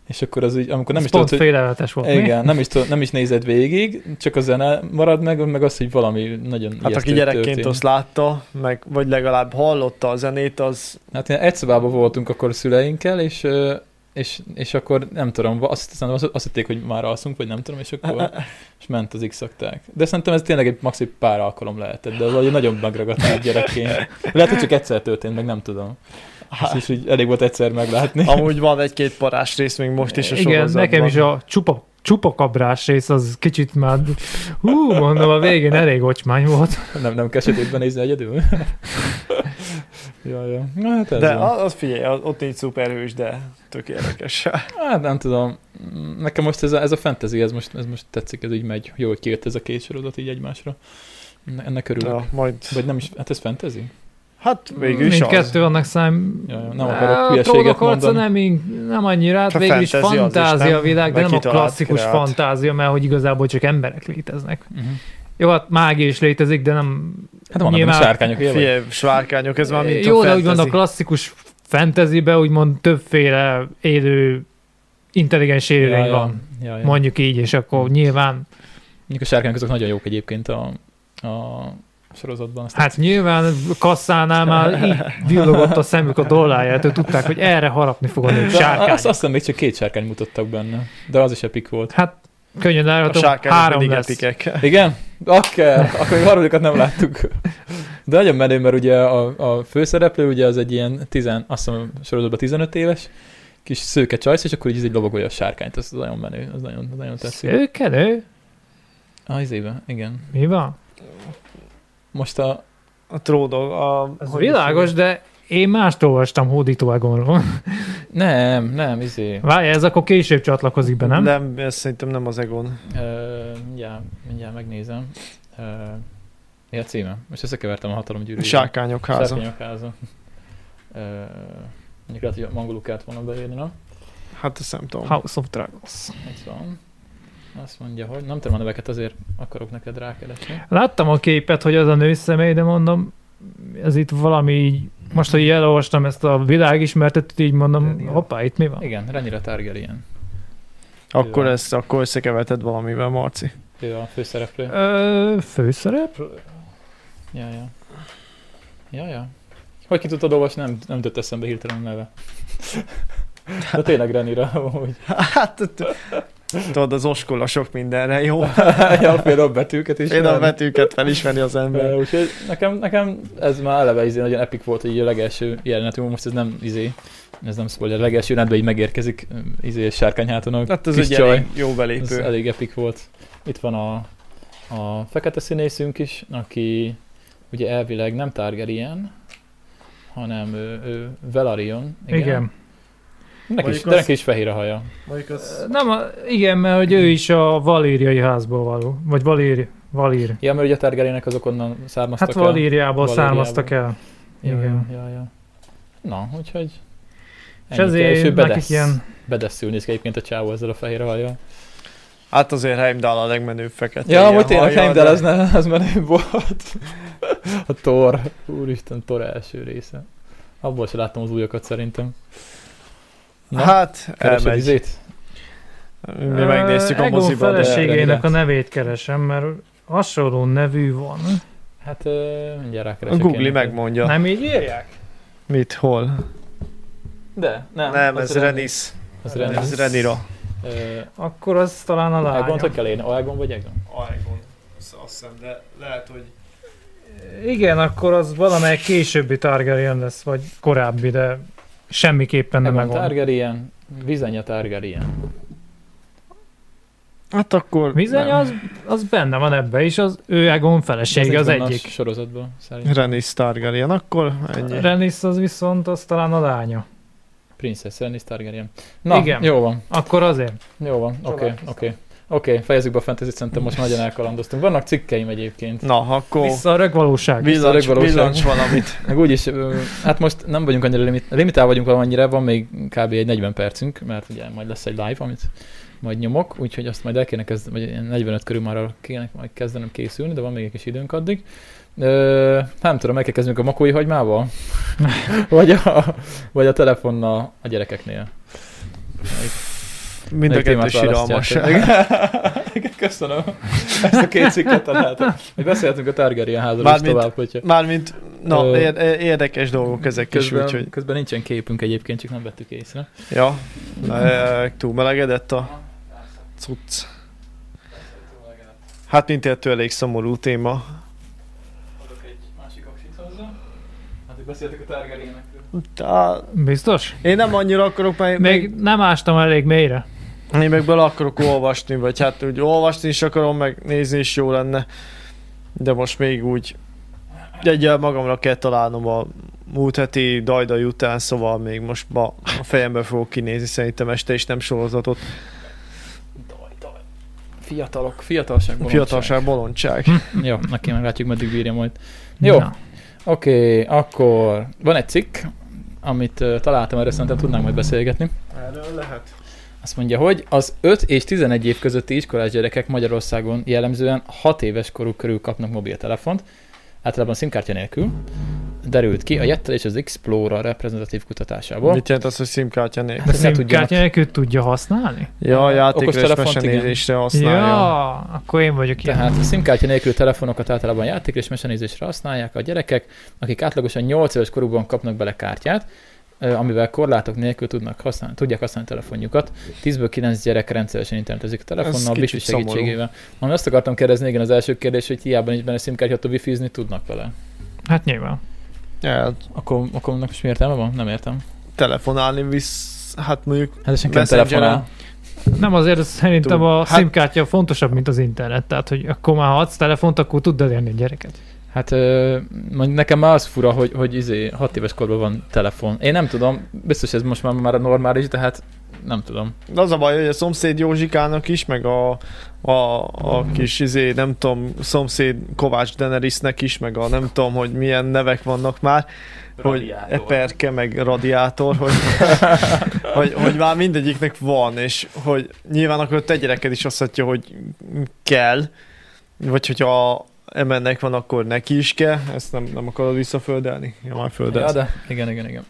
Speaker 1: és akkor az így, amikor nem is tudod,
Speaker 3: Pont
Speaker 1: hogy
Speaker 3: félelmetes volt, mi?
Speaker 1: Igen, nem is, tud- nem is nézed végig, csak a zene marad meg, meg az, hogy valami nagyon
Speaker 2: Hát
Speaker 1: ijesztő
Speaker 2: aki gyerekként
Speaker 1: történik.
Speaker 2: azt látta, meg, vagy legalább hallotta a zenét, az
Speaker 1: Hát ilyen egy szobában voltunk akkor a szüleinkkel, és, ö, és, és akkor nem tudom, azt, hiszem, azt, azt hitték, hogy már alszunk, vagy nem tudom, és akkor és ment az x De szerintem ez tényleg egy maxi pár alkalom lehetett, de valahogy nagyon megragadt egy gyerekként. Lehet, hogy csak egyszer történt, meg nem tudom. Hát. És így elég volt egyszer meglátni.
Speaker 2: amúgy van egy-két parás rész még most is a
Speaker 3: Igen,
Speaker 2: sorozatban.
Speaker 3: nekem is a csupa, csupakabrás rész az kicsit már, hú, mondom, a végén elég ocsmány volt.
Speaker 1: Nem, nem kell sötétben nézni egyedül. ja, ja. Na, Hát ez
Speaker 2: De
Speaker 1: van.
Speaker 2: a- az figyelj, az- ott nincs szuperhős, de tök érdekes.
Speaker 1: Hát nem tudom, Mm, nekem most ez a, ez a fantasy, ez most, ez most tetszik, ez így megy. Jó, hogy kijött ez a két sorozat így egymásra. Ne- Ennek örülök. Ja.
Speaker 2: Ja, majd...
Speaker 1: Vagy nem is, hát ez fantasy?
Speaker 2: Hát végül is az.
Speaker 3: Mindkettő annak szám.
Speaker 1: Jaj, jaj, nem akarok
Speaker 3: Á,
Speaker 1: hülyeséget
Speaker 3: Trónok harca
Speaker 1: mondani.
Speaker 3: nem, ing- nem annyira, hát
Speaker 2: Hát a
Speaker 3: végül is
Speaker 2: fantasy az is,
Speaker 3: fantázia
Speaker 2: nem?
Speaker 3: világ, de
Speaker 2: Meg
Speaker 3: nem a
Speaker 2: kitalált,
Speaker 3: klasszikus
Speaker 2: kreált.
Speaker 3: fantázia, mert hogy igazából csak emberek léteznek.
Speaker 1: Uh-huh.
Speaker 3: Jó, hát mágia is létezik, de nem...
Speaker 1: Hát van, Nyilván... a sárkányok élve.
Speaker 2: Figyelj, svárkányok, ez már mint
Speaker 3: Jó,
Speaker 2: a
Speaker 3: de úgymond a
Speaker 2: fantasy.
Speaker 3: klasszikus fantasybe úgymond többféle élő intelligens élőlény
Speaker 1: ja,
Speaker 3: van.
Speaker 1: Ja, ja. Mondjuk
Speaker 3: Mondjuk így, és akkor nyilván,
Speaker 1: a sárkányok azok nagyon jók egyébként a, a sorozatban. Azt
Speaker 3: hát nyilván kasszánál már így villogott a szemük a dollárját, hogy tudták, hogy erre harapni fog a nők
Speaker 1: De Azt,
Speaker 3: sárkány.
Speaker 1: azt hiszem, még csak két sárkány mutattak benne, de az is epik volt.
Speaker 3: Hát könnyen
Speaker 2: A
Speaker 3: elható,
Speaker 2: sárkányok
Speaker 3: három
Speaker 2: mindig
Speaker 3: lesz.
Speaker 2: epikek.
Speaker 1: Igen? Akár, akkor még harmadikat nem láttuk. De nagyon menő, mert ugye a, a főszereplő ugye az egy ilyen, tizen, azt hiszem sorozatban 15 éves, kis szőke csajsz, és akkor így ez egy lovagolja a sárkányt, az nagyon menő, az nagyon, az nagyon tetszik.
Speaker 3: Szőkenő?
Speaker 1: Ah, izébe, igen.
Speaker 3: Mi van?
Speaker 1: Most a,
Speaker 2: A tródog, a...
Speaker 3: Ez
Speaker 2: hogy
Speaker 3: világos, de én mást olvastam hódítóágonról.
Speaker 1: nem, nem, izé,
Speaker 3: Várj, ez akkor később csatlakozik be, nem? De.
Speaker 2: Nem, ez szerintem nem az Egon.
Speaker 1: ö, mindjárt, mindjárt megnézem. Ö, mi a címe? Most összekevertem a hatalom gyűrűjét.
Speaker 2: Sárkányok háza.
Speaker 1: Sárkányok háza. Ö, mondjuk lehet, hogy angolul kellett volna beírni, nem?
Speaker 2: Hát ezt nem tudom.
Speaker 3: House of Dragons.
Speaker 1: Itt van. Azt mondja, hogy nem tudom a neveket, azért akarok neked rákeresni.
Speaker 3: Láttam a képet, hogy az a nő személy, de mondom, ez itt valami így, most, hogy elolvastam ezt a világismertet, így mondom,
Speaker 2: Daniel.
Speaker 3: hoppá, itt mi van?
Speaker 1: Igen, Renira Targaryen.
Speaker 2: Akkor
Speaker 1: van.
Speaker 2: ezt akkor összekeverted valamivel, Marci.
Speaker 1: Ő a főszereplő.
Speaker 3: Ö, főszerep?
Speaker 1: Ja, ja. Ja, ja. Hogy ki tudtad olvasni, nem, nem jutott eszembe hirtelen a neve. De tényleg Renira, hogy
Speaker 2: Hát, t- tudod, az oskola sok mindenre jó.
Speaker 1: ja, például betűket Hát is.
Speaker 2: Én a
Speaker 1: nem.
Speaker 2: betűket felismeri az
Speaker 1: Ö,
Speaker 2: ember.
Speaker 1: Úgyhogy nekem, nekem ez már eleve izé nagyon epik volt, hogy így a legelső jelenetünk, most ez nem izé, ez nem spoiler, a legelső jelenetben így megérkezik öm, izé sárkányhátonok.
Speaker 2: Hát ez
Speaker 1: Kis
Speaker 2: egy
Speaker 1: csaj.
Speaker 2: elég jó
Speaker 1: Ez
Speaker 2: belépő.
Speaker 1: elég epik volt. Itt van a, a fekete színészünk is, aki ugye elvileg nem Targaryen, hanem ő, ő Velaryon.
Speaker 3: Igen. igen.
Speaker 1: Neki is,
Speaker 2: Mondjuk
Speaker 1: de
Speaker 2: az-
Speaker 1: neki is fehér a haja.
Speaker 2: Mondjuk az...
Speaker 3: Nem, a- igen, mert hogy ő is a valériai házból való. Vagy valéri, valír.
Speaker 1: Ja, mert ugye a Targaryenek azok onnan származtak
Speaker 3: Hát valériából
Speaker 1: Valériából.
Speaker 3: származtak el.
Speaker 1: Ja,
Speaker 3: igen.
Speaker 1: Ja, ja, ja. Na, úgyhogy...
Speaker 3: És
Speaker 1: ennyi kell. ő
Speaker 3: ezért nekik
Speaker 1: bedesz-
Speaker 3: ilyen...
Speaker 1: Bedesszül néz ki egyébként a csávó ezzel a fehér hajjal.
Speaker 2: Hát azért Heimdall a legmenőbb fekete.
Speaker 1: Ja,
Speaker 2: ilyen
Speaker 1: hogy tényleg
Speaker 2: hajjal,
Speaker 1: Heimdall,
Speaker 2: Hát de-
Speaker 1: az, ne, az menő volt. A Thor. Úristen, Thor első része. Abból se láttam az újakat szerintem. Na,
Speaker 2: Hát,
Speaker 1: Keresed
Speaker 2: elmegy.
Speaker 1: izét?
Speaker 2: Mi megnéztük
Speaker 3: Ö,
Speaker 2: a
Speaker 3: Egon
Speaker 2: moziban. de-
Speaker 3: eh, feleségének a
Speaker 1: rendben.
Speaker 3: nevét keresem, mert hasonló nevű van.
Speaker 1: Hát ö, mindjárt rákeresek.
Speaker 2: Google
Speaker 1: én.
Speaker 2: megmondja.
Speaker 3: Nem így írják?
Speaker 2: Mit, hol?
Speaker 1: De, nem.
Speaker 2: Nem,
Speaker 1: az
Speaker 2: ez
Speaker 1: Renny.
Speaker 2: Renis.
Speaker 1: Az Renis.
Speaker 2: Ez Renira.
Speaker 1: Ö,
Speaker 3: Akkor az talán a lánya.
Speaker 1: Egont kell én? Egon vagy Egon?
Speaker 2: Aegon, azt hiszem, de lehet, hogy...
Speaker 3: Igen, akkor az valamelyik későbbi Targaryen lesz, vagy korábbi, de semmiképpen nem
Speaker 1: Egon
Speaker 3: Egon.
Speaker 1: Targaryen. Vizenya Targaryen.
Speaker 2: Hát akkor...
Speaker 3: Bizony,
Speaker 2: nem.
Speaker 3: az, az benne van ebbe is, az ő Egon felesége az
Speaker 1: Ez nincs benne a
Speaker 3: egyik.
Speaker 1: sorozatban szerintem.
Speaker 2: Renis Targaryen, akkor ennyi.
Speaker 3: Renis az viszont az talán a lánya.
Speaker 1: Princess Renis Targaryen. Na,
Speaker 3: Igen.
Speaker 1: jó van.
Speaker 3: Akkor azért.
Speaker 1: Jó van, oké,
Speaker 2: Csodálkoztam.
Speaker 1: oké. Oké, fejezzük be a fantasy szerintem most nagyon elkalandoztunk. Vannak cikkeim egyébként.
Speaker 2: Na, akkor
Speaker 3: Vissza a rögvalóság.
Speaker 1: Vissza a
Speaker 2: villancs,
Speaker 1: legvalóság.
Speaker 2: villancs valamit.
Speaker 1: Meg úgyis, ö, hát most nem vagyunk annyira limit, limitál vagyunk valamennyire, van még kb. egy 40 percünk, mert ugye majd lesz egy live, amit majd nyomok, úgyhogy azt majd el kéne kezdeni, vagy ilyen 45 körül már arra kéne majd kezdenem készülni, de van még egy kis időnk addig. Ö, nem tudom, meg kell kezdenünk a makói hagymával? vagy, a, vagy a telefonnal a gyerekeknél?
Speaker 2: Mind a
Speaker 1: Melyik
Speaker 2: kettő
Speaker 1: témát választják?
Speaker 2: síralmas.
Speaker 1: Igen, Köszönöm. Ezt a két cikket találtam. Hogy beszéltünk a Targaryen házról is
Speaker 2: Mármint-
Speaker 1: tovább, hogyha
Speaker 2: Mármint,
Speaker 1: Ö,
Speaker 2: na, ér- é- érdekes dolgok ezek is,
Speaker 1: közben,
Speaker 2: úgyhogy...
Speaker 1: közben nincsen képünk egyébként, csak nem vettük észre.
Speaker 2: Ja, ö, túl melegedett a cucc. Hát mindkettő elég szomorú téma.
Speaker 1: Adok egy másik aksit hozzá. Hát, beszéltek a Targaryenekről.
Speaker 2: Tá,
Speaker 3: Biztos?
Speaker 2: én nem annyira akarok, mert
Speaker 3: Még nem ástam elég mélyre.
Speaker 2: Én meg bele akarok olvasni, vagy hát úgy olvasni is akarom, meg nézni is jó lenne. De most még úgy egyel magamra kell találnom a múlt heti dajdai után, szóval még most ba, a fejembe fogok kinézni szerintem este is nem sorozatot.
Speaker 1: Daj, daj. Fiatalok, fiatalság, bolondság.
Speaker 2: Fiatalság bolondság.
Speaker 1: Jó, neki meglátjuk, meddig bírja majd. Jó. Oké, okay, akkor van egy cikk, amit ö, találtam, erre szerintem tudnánk majd beszélgetni.
Speaker 2: Erről lehet.
Speaker 1: Azt mondja, hogy az 5 és 11 év közötti iskolás gyerekek Magyarországon jellemzően 6 éves koruk körül kapnak mobiltelefont, általában szimkártya nélkül, derült ki a Jettel és az Explorer reprezentatív kutatásából.
Speaker 2: Mit jelent az, hogy szimkártya nélkül?
Speaker 3: De
Speaker 1: Hát ne tudjanak.
Speaker 3: szimkártya nélkül tudja használni?
Speaker 2: Ja, a játékra és
Speaker 1: Okostelefont,
Speaker 2: mesenézésre használja.
Speaker 3: Ja, akkor én vagyok ilyen.
Speaker 1: Tehát szimkártya nélkül telefonokat általában játékra és mesenézésre használják a gyerekek, akik átlagosan 8 éves korukban kapnak bele kártyát, ö, amivel korlátok nélkül tudnak használni, tudják használni telefonjukat. 10-ből 9 gyerek rendszeresen internetezik a telefonnal,
Speaker 2: kicsit
Speaker 1: Wi-Fi
Speaker 2: szomorú.
Speaker 1: segítségével. Ami azt akartam kérdezni, igen, az első kérdés, hogy hiába nincs benne szimkártya, attól wifi tudnak vele.
Speaker 3: Hát nyilván.
Speaker 2: Ja,
Speaker 1: Akkor, akkor annak most mi értelme van? Nem értem.
Speaker 2: telefonálni visz... Hát mondjuk
Speaker 1: Hát ez senki nem
Speaker 2: Messengeren.
Speaker 1: telefonál.
Speaker 3: Nem azért szerintem
Speaker 2: Tudom.
Speaker 3: a
Speaker 2: Hát-
Speaker 3: SIM-kártya fontosabb, mint az internet. Tehát, hogy akkor már ha adsz telefont, akkor tud elérni a gyereket.
Speaker 1: Hát ö, mondj- nekem már az fura, hogy, hogy izé, hat éves korban van telefon. Én nem tudom, biztos ez most már, már a normális, de hát nem tudom.
Speaker 2: De az a baj, hogy a szomszéd Józsikának is, meg a, a, a kis izé, nem tudom, szomszéd Kovács Denerisnek is, meg a nem tudom, hogy milyen nevek vannak már, hogy Eperke, meg Radiátor, hogy, hogy, hogy már mindegyiknek van, és hogy nyilván akkor a te gyereked is azt mondja, hogy kell, vagy hogyha emennek van, akkor neki is kell, ezt nem, nem akarod visszaföldelni? Ja, már
Speaker 1: Ja,
Speaker 2: földelsz.
Speaker 1: de igen, igen, igen.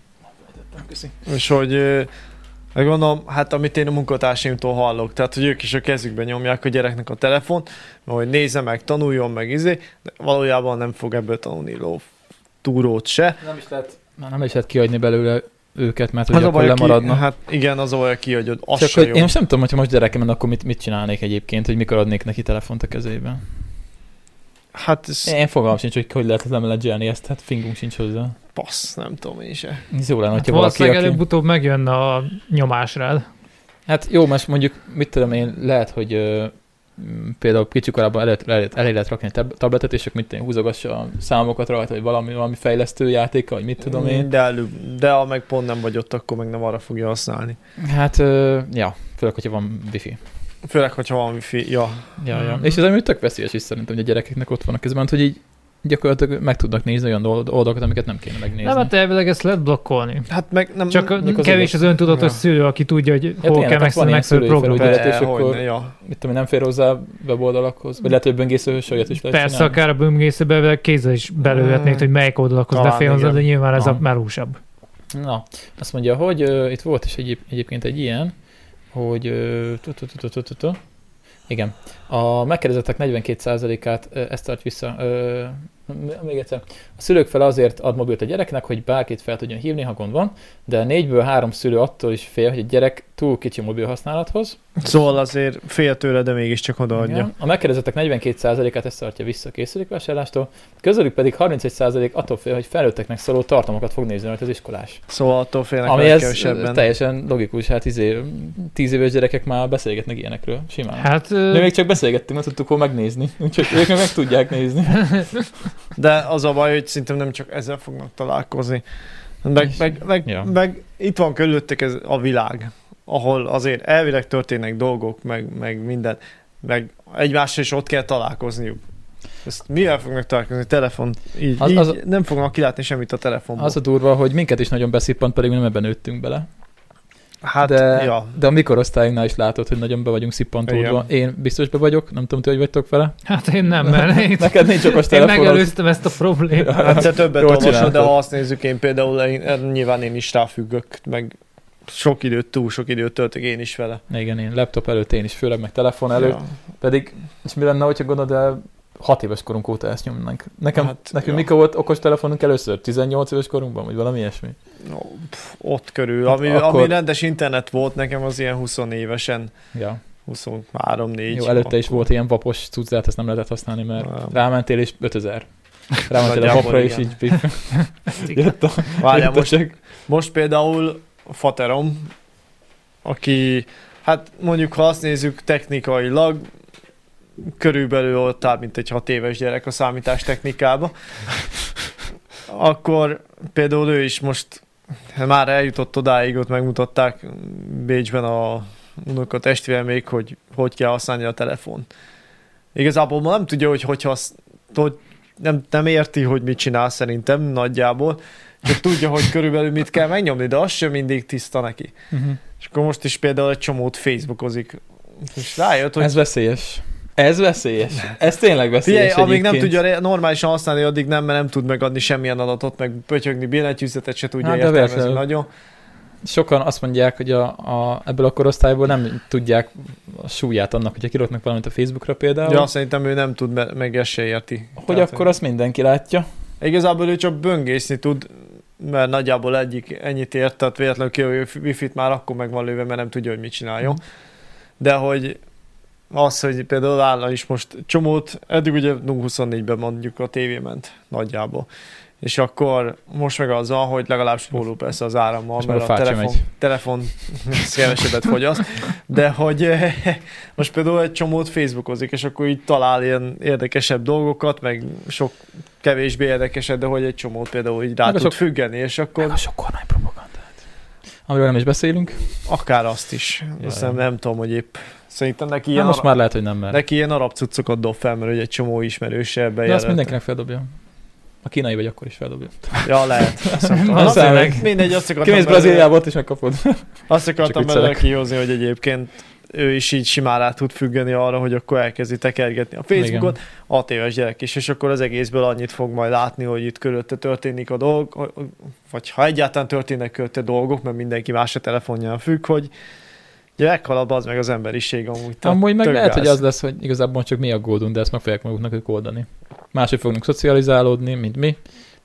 Speaker 2: És hogy ö, Meg gondolom, hát amit én a munkatársaimtól hallok, tehát hogy ők is a kezükbe nyomják a gyereknek a telefon, hogy nézze meg, tanuljon meg, izé, de valójában nem fog ebből tanulni ló túrót se.
Speaker 1: Nem is lehet, már nem is lehet kihagyni belőle őket, mert
Speaker 2: Az
Speaker 1: hogy
Speaker 2: a
Speaker 1: akkor
Speaker 2: baj, ki,
Speaker 1: lemaradnak.
Speaker 2: hát igen, az a baj, ki, hogy az
Speaker 1: Csak
Speaker 2: se
Speaker 1: hogy
Speaker 2: jó.
Speaker 1: én most nem tudom, hogyha most gyerekem lenne, akkor mit, mit csinálnék egyébként, hogy mikor adnék neki telefont a kezébe.
Speaker 2: Hát ez
Speaker 1: Én fogalmam sincs, hogy hogy lehet lemenedzselni ezt, hát fingunk sincs hozzá.
Speaker 2: passz, nem tudom én se.
Speaker 1: Ez jó lenne,
Speaker 3: Hát
Speaker 1: hogyha valaki,
Speaker 3: valószínűleg
Speaker 1: aki...
Speaker 3: előbb-utóbb megjön a nyomás rád.
Speaker 1: Hát jó, most mondjuk, mit tudom én, lehet, hogy ö, m, például kicsi korában elé, elé, elé lehet rakni egy tab- tabletet, és akkor mit tudom, én, húzogassa a számokat rajta, vagy valami, valami fejlesztő játéka, vagy mit tudom én.
Speaker 2: De, előbb, de ha meg pont nem vagy ott, akkor meg nem arra fogja használni.
Speaker 1: Hát, ö, ja, főleg, hogyha van wifi.
Speaker 2: Főleg, hogyha valami fi... Ja,
Speaker 1: Ja, ja.
Speaker 3: Mhm.
Speaker 1: És ez ami tök veszélyes is szerintem, hogy a gyerekeknek ott van a kezben, hogy így gyakorlatilag meg tudnak nézni olyan old- oldalakat, amiket nem kéne megnézni.
Speaker 3: Nem, hát elvileg ezt lehet blokkolni.
Speaker 2: hát meg nem...
Speaker 3: Csak
Speaker 1: mondjuk az
Speaker 3: kevés az öntudatos
Speaker 2: Ja.
Speaker 3: szülő, aki tudja, hogy
Speaker 1: tényleg,
Speaker 3: hol
Speaker 1: hát
Speaker 3: kell
Speaker 1: van
Speaker 3: megszülni
Speaker 1: ilyen
Speaker 3: megfelelő
Speaker 1: szülői
Speaker 3: programot.
Speaker 1: felügyelet,
Speaker 2: Be,
Speaker 1: és akkor-
Speaker 2: hogyne, ja.
Speaker 1: mit tudom, én, nem fér hozzá weboldalakhoz, vagy lehet, hogy böngésző hősöget is lehet
Speaker 3: Persze,
Speaker 1: csinálni.
Speaker 3: akár a böngészőbe elvileg kézzel is belőhetnéd,
Speaker 2: Mm.
Speaker 3: hogy melyik oldalakhoz
Speaker 2: Talán
Speaker 3: befélhozzad, de
Speaker 2: igen.
Speaker 3: nyilván ez a
Speaker 1: Aha.
Speaker 3: melósabb.
Speaker 1: Na, azt mondja, hogy ö, itt volt is egyéb, egyébként egy ilyen, hogy ö, tu- tu- tu- tu- tu- tu- tu. igen, a megkérdezettek 42%-át ö, ezt tart vissza, ö, m- még egyszer, a szülők fele azért ad mobilt a gyereknek, hogy bárkit fel tudjon hívni, ha gond van, de négyből három szülő attól is fél, hogy a gyerek túl kicsi mobil használathoz.
Speaker 2: Szóval azért fél tőle, de mégiscsak odaadja.
Speaker 1: Igen. A megkérdezettek 42%-át ezt tartja vissza a készülékvásárlástól, közülük pedig 31% attól fél, hogy felnőtteknek szóló tartalmakat fog nézni rajta az iskolás.
Speaker 2: Szóval attól félnek
Speaker 1: Ami
Speaker 2: Ami
Speaker 1: ez
Speaker 2: kevesebben.
Speaker 1: teljesen logikus, hát izé, tíz éves gyerekek már beszélgetnek ilyenekről, simán. Hát,
Speaker 3: Hát,
Speaker 1: de
Speaker 3: ö,
Speaker 1: még csak beszélgettünk, nem tudtuk hol megnézni, úgyhogy ők meg, meg tudják nézni.
Speaker 2: De az a baj, hogy szerintem nem csak ezzel fognak találkozni. Meg,
Speaker 1: És-
Speaker 2: meg, meg,
Speaker 1: ja.
Speaker 2: ja. meg itt van körülöttük ez a világ, ahol azért elvileg történnek dolgok, meg, meg minden, meg egymással is ott kell találkozniuk. Ezt mivel fognak találkozni? Telefon. Így,
Speaker 1: Az-
Speaker 2: az,
Speaker 1: az-
Speaker 2: így nem fognak kilátni semmit a telefonból.
Speaker 1: Az a durva, hogy minket is nagyon beszippant, pedig mi nem ebben nőttünk bele.
Speaker 2: hát,
Speaker 1: de-
Speaker 2: de... ja.
Speaker 1: De a mikorosztályunknál is látod, hogy nagyon be vagyunk szippantódva. Én biztos be vagyok, nem tudom, ti hogy vagytok vele.
Speaker 3: hát én nem, mert én,
Speaker 1: Neked nincs okos
Speaker 3: én
Speaker 1: telefonod.
Speaker 3: megelőztem ezt a problémát.
Speaker 2: Hát te többet
Speaker 1: Jól
Speaker 2: olvasod, de
Speaker 1: csináltad.
Speaker 2: ha azt nézzük, én például én, nyilván én is ráfüggök, meg sok időt, túl sok időt töltök én is vele.
Speaker 1: Igen, én laptop előtt én is, főleg meg telefon előtt.
Speaker 2: Ja.
Speaker 1: Pedig, és mi lenne, hogyha gondolod, de hat éves korunk óta ezt nyomnánk. Nekem, hát,
Speaker 2: Hát,
Speaker 1: nekünk
Speaker 2: ja.
Speaker 1: mikor volt okos telefonunk először? 18 éves korunkban, vagy valami ilyesmi?
Speaker 2: No, pff, ott körül.
Speaker 1: Hát
Speaker 2: Ami,
Speaker 1: akkor-
Speaker 2: akkor... ami rendes internet volt nekem, az ilyen 20 évesen,
Speaker 1: Ja.
Speaker 2: 23-4.
Speaker 1: Jó, előtte is volt ilyen vapos cucc, de hát ezt nem lehetett használni, mert
Speaker 2: Nem.
Speaker 1: rámentél és 5000. Rámentél a
Speaker 2: Nagyjából
Speaker 1: vapra és
Speaker 2: igen.
Speaker 1: így pif, jött a...
Speaker 2: Várjál,
Speaker 1: jött a
Speaker 2: most,
Speaker 1: csög.
Speaker 2: most például a Faterom, aki, hát mondjuk ha azt nézzük technikailag, körülbelül ott áll, mint egy 6 éves gyerek a számítás technikába, akkor például ő is most hát már eljutott odáig, ott megmutatták Bécsben a unoka testvéremék, hogy hogy kell használni a telefon. Igazából ma nem tudja, hogy hogy, hasz, hogy nem, nem érti, hogy mit csinál szerintem nagyjából, csak tudja, hogy körülbelül mit kell megnyomni, de az sem mindig tiszta neki.
Speaker 1: Mhm.
Speaker 2: És akkor most is például egy csomót Facebookozik, és rájött, hogy
Speaker 1: Ez veszélyes. Ez veszélyes. Ez tényleg veszélyes
Speaker 2: Figyelj, amíg nem
Speaker 1: egyébként.
Speaker 2: tudja re- normálisan használni, addig nem, mert nem tud megadni semmilyen adatot, meg pötyögni billentyűzetet se tudja
Speaker 1: Hát,
Speaker 2: hát,
Speaker 1: de
Speaker 2: értelmezni
Speaker 1: véletlenül.
Speaker 2: nagyon.
Speaker 1: Sokan azt mondják, hogy a, a, ebből a korosztályból nem tudják a súlyát annak, hogyha kiraknak valamit a Facebookra például,
Speaker 2: Ja, szerintem ő nem tud, mert meg ezt se érti.
Speaker 1: hogy akkor azt mindenki látja.
Speaker 2: Igazából ő csak böngészni tud, mert nagyjából egyik ennyit ért, tehát véletlenül ki, hogy wifi-t már akkor meg van lőve, mert nem tudja, hogy mit
Speaker 1: Mhm.
Speaker 2: csináljon. De hogy az, hogy például állna is most csomót, eddig ugye 24-ben mondjuk a tévé ment nagyjából. És akkor most meg az van, hogy legalább spórol persze az árammal,
Speaker 1: És meg
Speaker 2: mert
Speaker 1: a
Speaker 2: a
Speaker 1: fát sem
Speaker 2: telefon,
Speaker 1: megy.
Speaker 2: telefon ez kevesebbet fogyaszt, de hogy eh, most például egy csomót Facebookozik, és akkor így talál ilyen érdekesebb dolgokat, meg sok kevésbé érdekeset, de hogy egy csomót például így rá
Speaker 1: Meg a
Speaker 2: tud
Speaker 1: sok-
Speaker 2: függeni, és akkor
Speaker 1: Meg a sok kormánypropagandát. Amiről nem is beszélünk.
Speaker 2: akár azt is.
Speaker 1: Ja,
Speaker 2: Azt
Speaker 1: ja.
Speaker 2: nem, nem tudom, hogy épp szerintem neki
Speaker 1: Ja,
Speaker 2: ilyen,
Speaker 1: Hát most
Speaker 2: ara-
Speaker 1: már lehet, hogy nem mer.
Speaker 2: neki ilyen arab cuccokat dob fel, mert hogy egy csomó ismerőse ebbe
Speaker 1: De azt
Speaker 2: jelölte.
Speaker 1: mindenkinek feldobja. A kínai vagy akkor is feldobja.
Speaker 2: Ja, lehet. Azt nem tudom.
Speaker 1: Nem
Speaker 2: Na,
Speaker 1: számít.
Speaker 2: mindegy, azt akartam
Speaker 1: Kimész
Speaker 2: belőle-
Speaker 1: Brazíliába, ott is megkapod.
Speaker 2: Azt akartam
Speaker 1: viccelek.
Speaker 2: belőle kihozni, hogy egyébként ő is így simán rá tud függeni arra, hogy akkor elkezdi tekergetni a Facebookot, hat éves gyerek is, és akkor az egészből annyit fog majd látni, hogy itt körülötte történik a dolg, vagy ha egyáltalán történnek körülötte dolgok, mert mindenki más a telefonján függ, hogy ugye meghalad az meg az emberiség amúgy.
Speaker 1: Tehát Amúgy meg lehet, gáz. hogy az lesz, hogy igazából csak mi aggódunk, de ezt meg fogják maguknak ők oldani. Máshogy fognak szocializálódni, mint mi,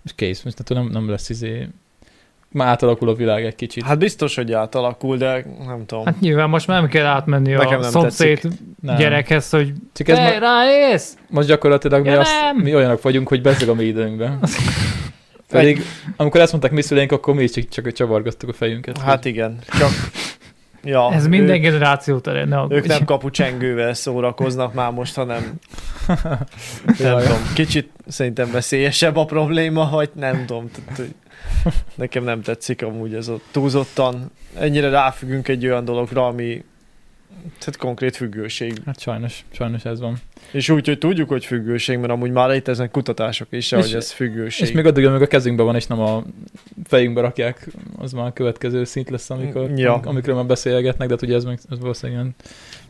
Speaker 1: és kész. Most nem, nem lesz izé már átalakul a világ egy kicsit.
Speaker 2: Hát biztos, hogy átalakul, de nem tudom.
Speaker 3: Hát nyilván most már nem kell átmenni
Speaker 2: Nekem
Speaker 3: a
Speaker 2: nem
Speaker 3: szomszéd
Speaker 1: Nem.
Speaker 3: gyerekhez, hogy
Speaker 1: Csak ez
Speaker 3: te
Speaker 1: ma,
Speaker 3: ráész!
Speaker 1: most gyakorlatilag mi,
Speaker 3: Ja,
Speaker 1: azt,
Speaker 3: nem.
Speaker 1: mi olyanok vagyunk, hogy bezeg a mi időnkbe. Pedig amikor ezt mondták mi szüleink, akkor mi is csak, csak csavargasztuk a fejünket.
Speaker 2: Hát igen, csak...
Speaker 1: Ah,
Speaker 2: Ja,
Speaker 3: Ez
Speaker 2: ő-
Speaker 3: minden generáció terén, ne
Speaker 2: Ők
Speaker 3: aggódj.
Speaker 2: nem kapucsengővel szórakoznak már most, hanem nem
Speaker 1: Jaj.
Speaker 2: tudom, kicsit szerintem veszélyesebb a probléma, vagy nem tudom. tehát, hogy Nekem nem tetszik amúgy ez a túlzottan. Ennyire ráfüggünk egy olyan dologra, ami tehát konkrét függőség.
Speaker 1: hát sajnos, sajnos ez van.
Speaker 2: És úgy, hogy tudjuk, hogy függőség, mert amúgy már léteznek kutatások is,
Speaker 1: És-
Speaker 2: hogy ez függőség.
Speaker 1: És még addig, amíg a kezünkben van, és nem a fejünkbe rakják, az már a következő szint lesz, amikor,
Speaker 2: Ja.
Speaker 1: am- amikről már beszélgetnek, de hát ugye ez, meg, ez valószínűleg ilyen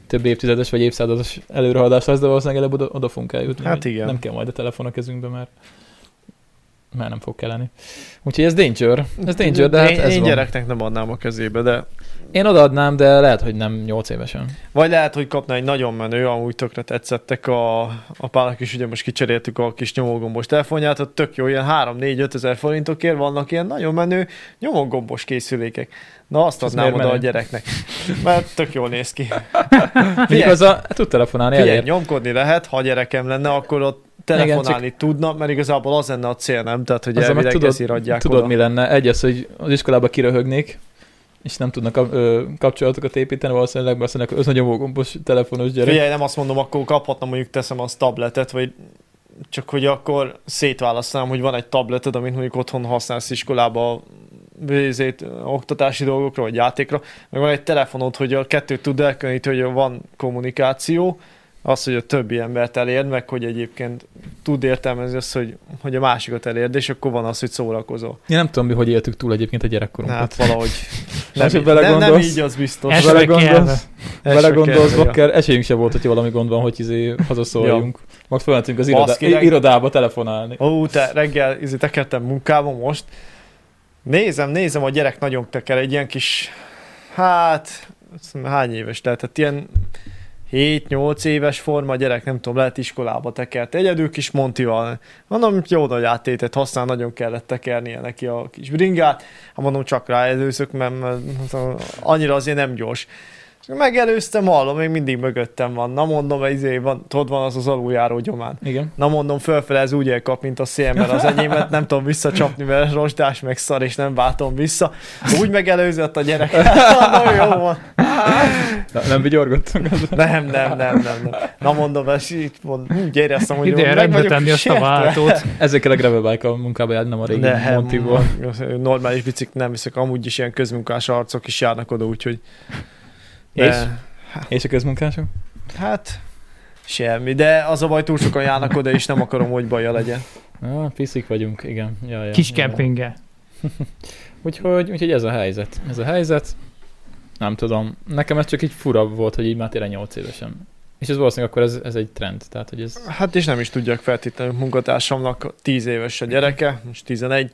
Speaker 1: több évtizedes vagy évszázados előrehaladás lesz, de valószínűleg előbb oda, oda fogunk eljutni.
Speaker 2: Hát
Speaker 1: hogy
Speaker 2: igen.
Speaker 1: Nem kell majd a telefon a kezünkbe, mert már nem fog kelleni. Úgyhogy ez danger. Ez danger, de hát
Speaker 2: én,
Speaker 1: ez
Speaker 2: én
Speaker 1: van.
Speaker 2: gyereknek nem adnám a kezébe, de
Speaker 1: Én odaadnám, de lehet, hogy nem 8 évesen.
Speaker 2: Vagy lehet, hogy kapna egy nagyon menő, amúgy tökre tetszettek a, a pának is, ugye most kicseréltük a kis nyomógombos telefonját, ott tök jó, ilyen 3-4-5 ezer forintokért vannak ilyen nagyon menő nyomógombos készülékek. Na azt
Speaker 1: És ez
Speaker 2: adnám
Speaker 1: miért
Speaker 2: oda a
Speaker 1: menő?
Speaker 2: gyereknek, mert tök jól néz ki.
Speaker 1: Még
Speaker 2: Hát Figyelj,
Speaker 1: az a, tud telefonálni,
Speaker 2: figyelj,
Speaker 1: elér.
Speaker 2: nyomkodni lehet, ha gyerekem lenne, akkor ott telefonálni Igen, tudna, mert igazából az lenne a cél, nem? Tehát, hogy
Speaker 1: Az, amit
Speaker 2: elvileg
Speaker 1: tudod-
Speaker 2: ezért adják
Speaker 1: Tudod,
Speaker 2: oda.
Speaker 1: mi lenne? Egy az, hogy az iskolába kiröhögnék, és nem tudnak kap- ö, kapcsolatokat építeni, valószínűleg valószínűleg az nagyon gombos telefonos gyerek.
Speaker 2: Figyelj, nem azt mondom, akkor kaphatna mondjuk teszem az tabletet, vagy csak hogy akkor szétválasztanám, hogy van egy tableted, amit mondjuk otthon használsz iskolába vizét, oktatási dolgokra, vagy játékra, meg van egy telefonod, hogy a kettőt tud elkülöníteni, hogy van kommunikáció, az, hogy a többi embert elérd, meg hogy egyébként tud értelmezni azt, hogy, hogy a másikat elérd, és akkor van az, hogy szórakozol.
Speaker 1: Én nem tudom, mi hogy éltük túl egyébként a gyerekkorunkat.
Speaker 2: Hát valahogy nem,
Speaker 1: hogy
Speaker 2: így, nem, nem
Speaker 1: belegondolsz.
Speaker 2: így, az biztos.
Speaker 3: Ez-
Speaker 1: Vele
Speaker 3: esve kelve.
Speaker 1: gondolsz,
Speaker 2: Ez
Speaker 1: vele
Speaker 2: se
Speaker 1: gondolsz,
Speaker 2: kell, ja.
Speaker 1: bakker, esélyünk sem volt, hogy valami gond van, hogy izé hazaszóljunk. Majd felmentünk az irodá-
Speaker 2: Baszkileg.
Speaker 1: irodába telefonálni.
Speaker 2: Ó, te reggel izé, tekertem munkába most. Nézem, nézem, a gyerek nagyon teker, egy ilyen kis, hát, azt mondom, hány éves lehetett, ilyen 7-8 éves forma gyerek, nem tudom, lehet iskolába tekert. Egyedül kis Montival. Mondom, jó nagy áttétet használ, nagyon kellett tekernie neki a kis bringát. Hát mondom, csak rá előzök, mert mert annyira azért nem gyors. És Megelőztem, hallom, még mindig mögöttem van. Na mondom, izé, van, tudod, van az az aluljáró gyomán.
Speaker 1: Igen.
Speaker 2: Na mondom, fölfele ez úgy elkap, mint a szél, mert az enyémet nem tudom visszacsapni, mert rozsdás meg szar, és nem váltom vissza. Úgy megelőzött a gyerek. Na jó van.
Speaker 1: Na, nem vigyorgottunk.
Speaker 2: Nem, nem, nem, nem, nem. Na mondom, ez így mond, hm, gyere, azt mondom,
Speaker 3: Ide
Speaker 2: meg
Speaker 3: rendbe
Speaker 2: vagyok
Speaker 3: tenni azt a
Speaker 2: sértve.
Speaker 3: váltót.
Speaker 1: Ezzel kell a gravel bike a munkába járni, nem a régi
Speaker 2: Nem,
Speaker 1: Montiból.
Speaker 2: normális bicik nem viszek, amúgy is ilyen közmunkás arcok is járnak oda, úgyhogy... De-
Speaker 1: És? És a közmunkások?
Speaker 2: Hát, semmi, de az a baj, túl sokan járnak oda, és nem akarom, hogy baja legyen.
Speaker 1: Ah, piszik vagyunk, igen. Ja, ja,
Speaker 3: Kis
Speaker 1: ja.
Speaker 3: kempinge.
Speaker 1: Úgyhogy, úgyhogy ez a helyzet. Ez a helyzet. Nem tudom. Nekem ez csak így fura volt, hogy így már tényleg 8 évesen. És ez valószínűleg akkor ez, ez egy trend. Tehát, hogy ez...
Speaker 2: Hát és nem is tudják feltétlenül munkatársamnak, 10 éves a gyereke, most 11.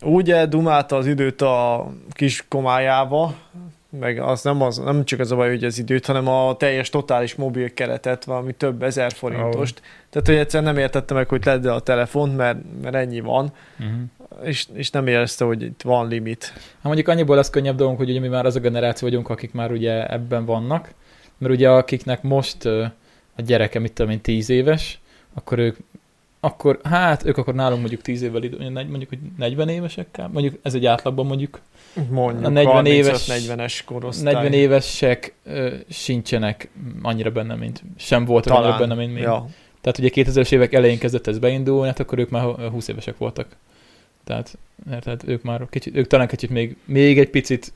Speaker 2: Úgy eldumálta az időt a kis komájába, meg az nem, az, nem csak az a baj, hogy az időt, hanem a teljes totális mobil keretet, valami több ezer forintost. Tehát, hogy egyszerűen nem értette meg, hogy ledd el a telefont, mert, mert ennyi van,
Speaker 1: Uh-huh.
Speaker 2: és, és nem érezte, hogy itt van limit.
Speaker 1: Hát mondjuk annyiból lesz könnyebb dolgunk, hogy ugye mi már az a generáció vagyunk, akik már ugye ebben vannak, mert ugye akiknek most ö, a gyereke, mit tudom én, 10 éves, akkor ők akkor, hát ők akkor nálunk mondjuk 10 évvel, idő- negy- mondjuk, hogy 40 évesek, kell? mondjuk ez egy átlagban mondjuk,
Speaker 2: Mondjuk
Speaker 1: A 40 éves-
Speaker 2: 40-es korosztály.
Speaker 1: 40 évesek ö, sincsenek annyira benne, mint sem voltak annyira benne, mint mi.
Speaker 2: Ja.
Speaker 1: Tehát ugye 2000-es évek elején kezdett ez beindulni, hát akkor ők már ö, 20 évesek voltak. Tehát, tehát ők már kicsit, ők talán kicsit még, még egy picit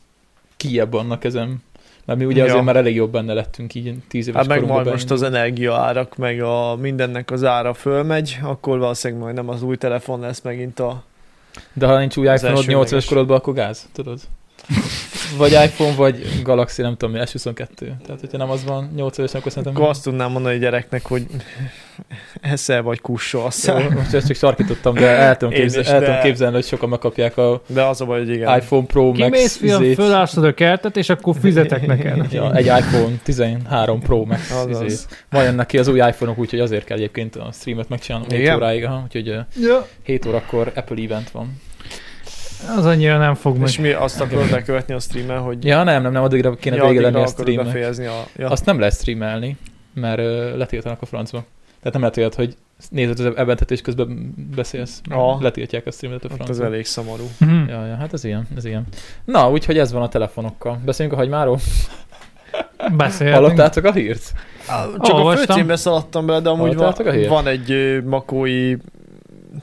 Speaker 1: kijebb vannak ezen. Mert mi ugye
Speaker 2: Ja.
Speaker 1: azért már elég jobb benne lettünk így 10 éves
Speaker 2: Hát meg
Speaker 1: korunkban
Speaker 2: majd most
Speaker 1: beindulni.
Speaker 2: az energiaárak, meg a mindennek az ára fölmegy, akkor valószínűleg majd nem az új telefon lesz megint a...
Speaker 1: De ha nincs új
Speaker 2: az
Speaker 1: iPhone-od 8 éves
Speaker 2: elsődleges.
Speaker 1: korodban, akkor gáz, tudod? vagy iPhone, vagy Galaxy, nem tudom mi, S22. Tehát, hogyha nem az van 8 évesen, akkor szerintem...
Speaker 2: Akkor azt tudnám mondani a gyereknek, hogy eszel vagy kussolsz.
Speaker 1: Jó, most ezt csak sarkítottam, de el tudom,
Speaker 2: Én is,
Speaker 1: képzel, el tudom
Speaker 2: de-
Speaker 1: képzelni, hogy sokan megkapják a
Speaker 2: De az a baj, hogy igen.
Speaker 1: iPhone Pro
Speaker 3: Kimész,
Speaker 1: Max
Speaker 3: fiam,
Speaker 1: izét.
Speaker 3: fölállszod a kertet, és akkor fizetek neked.
Speaker 1: Ja, egy iPhone 13 Pro Max.
Speaker 2: Azaz.
Speaker 1: izét. Majd jönnek ki az új iPhone-ok, úgyhogy azért kell egyébként a streamet megcsinálnom 7
Speaker 2: Igen?
Speaker 1: óráig, aha, úgyhogy ö,
Speaker 3: Ja,
Speaker 1: 7 órakor Apple event van.
Speaker 3: az annyira nem fog
Speaker 2: És
Speaker 3: meg.
Speaker 2: mi azt akarod bekövetni a streamen, hogy
Speaker 1: Ja, nem, nem, nem, addigra kéne vége
Speaker 2: addigra
Speaker 1: lenni a
Speaker 2: akarod
Speaker 1: streamnek.
Speaker 2: befejezni a... Ja.
Speaker 1: Azt nem lehet streamelni, mert ö, letiltanak a francba. Tehát nem lehet olyat, hogy nézed az eventet és közben beszélsz.
Speaker 2: Ja.
Speaker 1: Letiltják a streamet a
Speaker 2: Hát az
Speaker 1: francba.
Speaker 2: elég szomorú.
Speaker 3: Mhm.
Speaker 1: Ja, ja, hát ez ilyen, ez ilyen. Na, úgyhogy ez van a telefonokkal. Beszéljünk a hagymáról.
Speaker 3: Beszélhetünk. Hát
Speaker 1: Hallottátok a hírt?
Speaker 2: Csak a
Speaker 3: Olvastam.
Speaker 2: főcímbe szaladtam bele, de amúgy van,
Speaker 1: Hallottátok a hírt?
Speaker 2: van egy ö, makói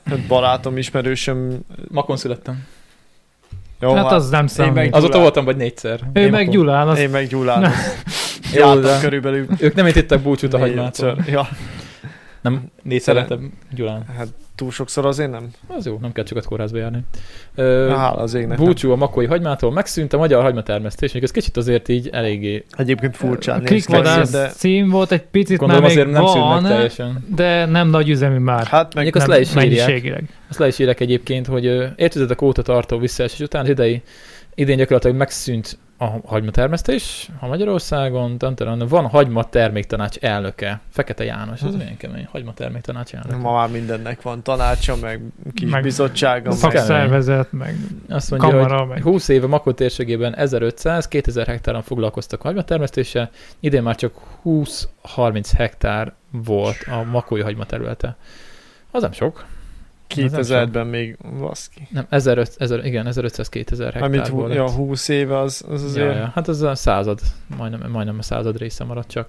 Speaker 2: hát barátom, ismerősöm.
Speaker 1: Makon születtem.
Speaker 2: Jó,
Speaker 3: Hát az nem számít.
Speaker 2: meg-
Speaker 1: Azóta
Speaker 2: Gyulán.
Speaker 1: voltam vagy négyszer.
Speaker 3: Ő
Speaker 1: Én
Speaker 3: meg
Speaker 1: Makon.
Speaker 3: Gyulán, az
Speaker 2: Én meg Gyulán
Speaker 1: Jó,
Speaker 2: jártam
Speaker 1: de
Speaker 2: körülbelül.
Speaker 1: ők nem értettek búcsút a hagymától.
Speaker 2: négyszer. Ja,
Speaker 1: Nem, négyszer lettem Gyulán.
Speaker 2: hát túl sokszor azért nem.
Speaker 1: Az jó, nem kell sokat kórházba járni. Ö,
Speaker 2: Na, Hála az égnek. nem.
Speaker 1: Búcsú a makói hagymától, megszűnt a magyar hagymatermesztés, még ez kicsit azért így eléggé,
Speaker 2: Egyébként
Speaker 3: a
Speaker 2: furcsán néz ki,
Speaker 3: klikvadász
Speaker 2: de
Speaker 3: cím volt, egy picit
Speaker 1: gondolom
Speaker 3: már még
Speaker 1: azért nem szűnnek
Speaker 3: van,
Speaker 1: teljesen.
Speaker 3: de nem nagy üzemű már.
Speaker 2: hát meg
Speaker 1: Mondjuk azt
Speaker 3: nem
Speaker 1: le is írják.
Speaker 3: mennyiségileg.
Speaker 1: Azt le is írek egyébként, hogy ö, évtizedek óta tartó visszaesés után az idei, idén gyakorlatilag megszűnt a hagymatermesztés a Magyarországon. Tan- tan- tan. Van hagymaterméktanács elnöke, Fekete János,
Speaker 3: Hm.
Speaker 1: ez milyen kemény, hagymaterméktanács elnöke.
Speaker 2: ma már mindennek van tanácsa, meg kis
Speaker 3: Meg-
Speaker 2: bizottsága,
Speaker 1: Szak-
Speaker 2: meg
Speaker 3: Szakszervezet, meg
Speaker 1: Azt mondja, hogy
Speaker 3: kamara, meg
Speaker 1: 20 éve Makó térségében 1500-2000 hektáron foglalkoztak hagymatermesztéssel, idén már csak 20-30 hektár volt a makói hagyma területe. Az nem sok.
Speaker 2: 2000-ben még baszki.
Speaker 1: Nem, 1500, 1000, igen, 1500-2000
Speaker 2: Amit
Speaker 1: hektár
Speaker 2: hú,
Speaker 1: volt.
Speaker 2: ja, 20 éve az, az
Speaker 1: Ja,
Speaker 2: azért...
Speaker 1: ja. Hát ez a század, majdnem, majdnem a század része maradt csak.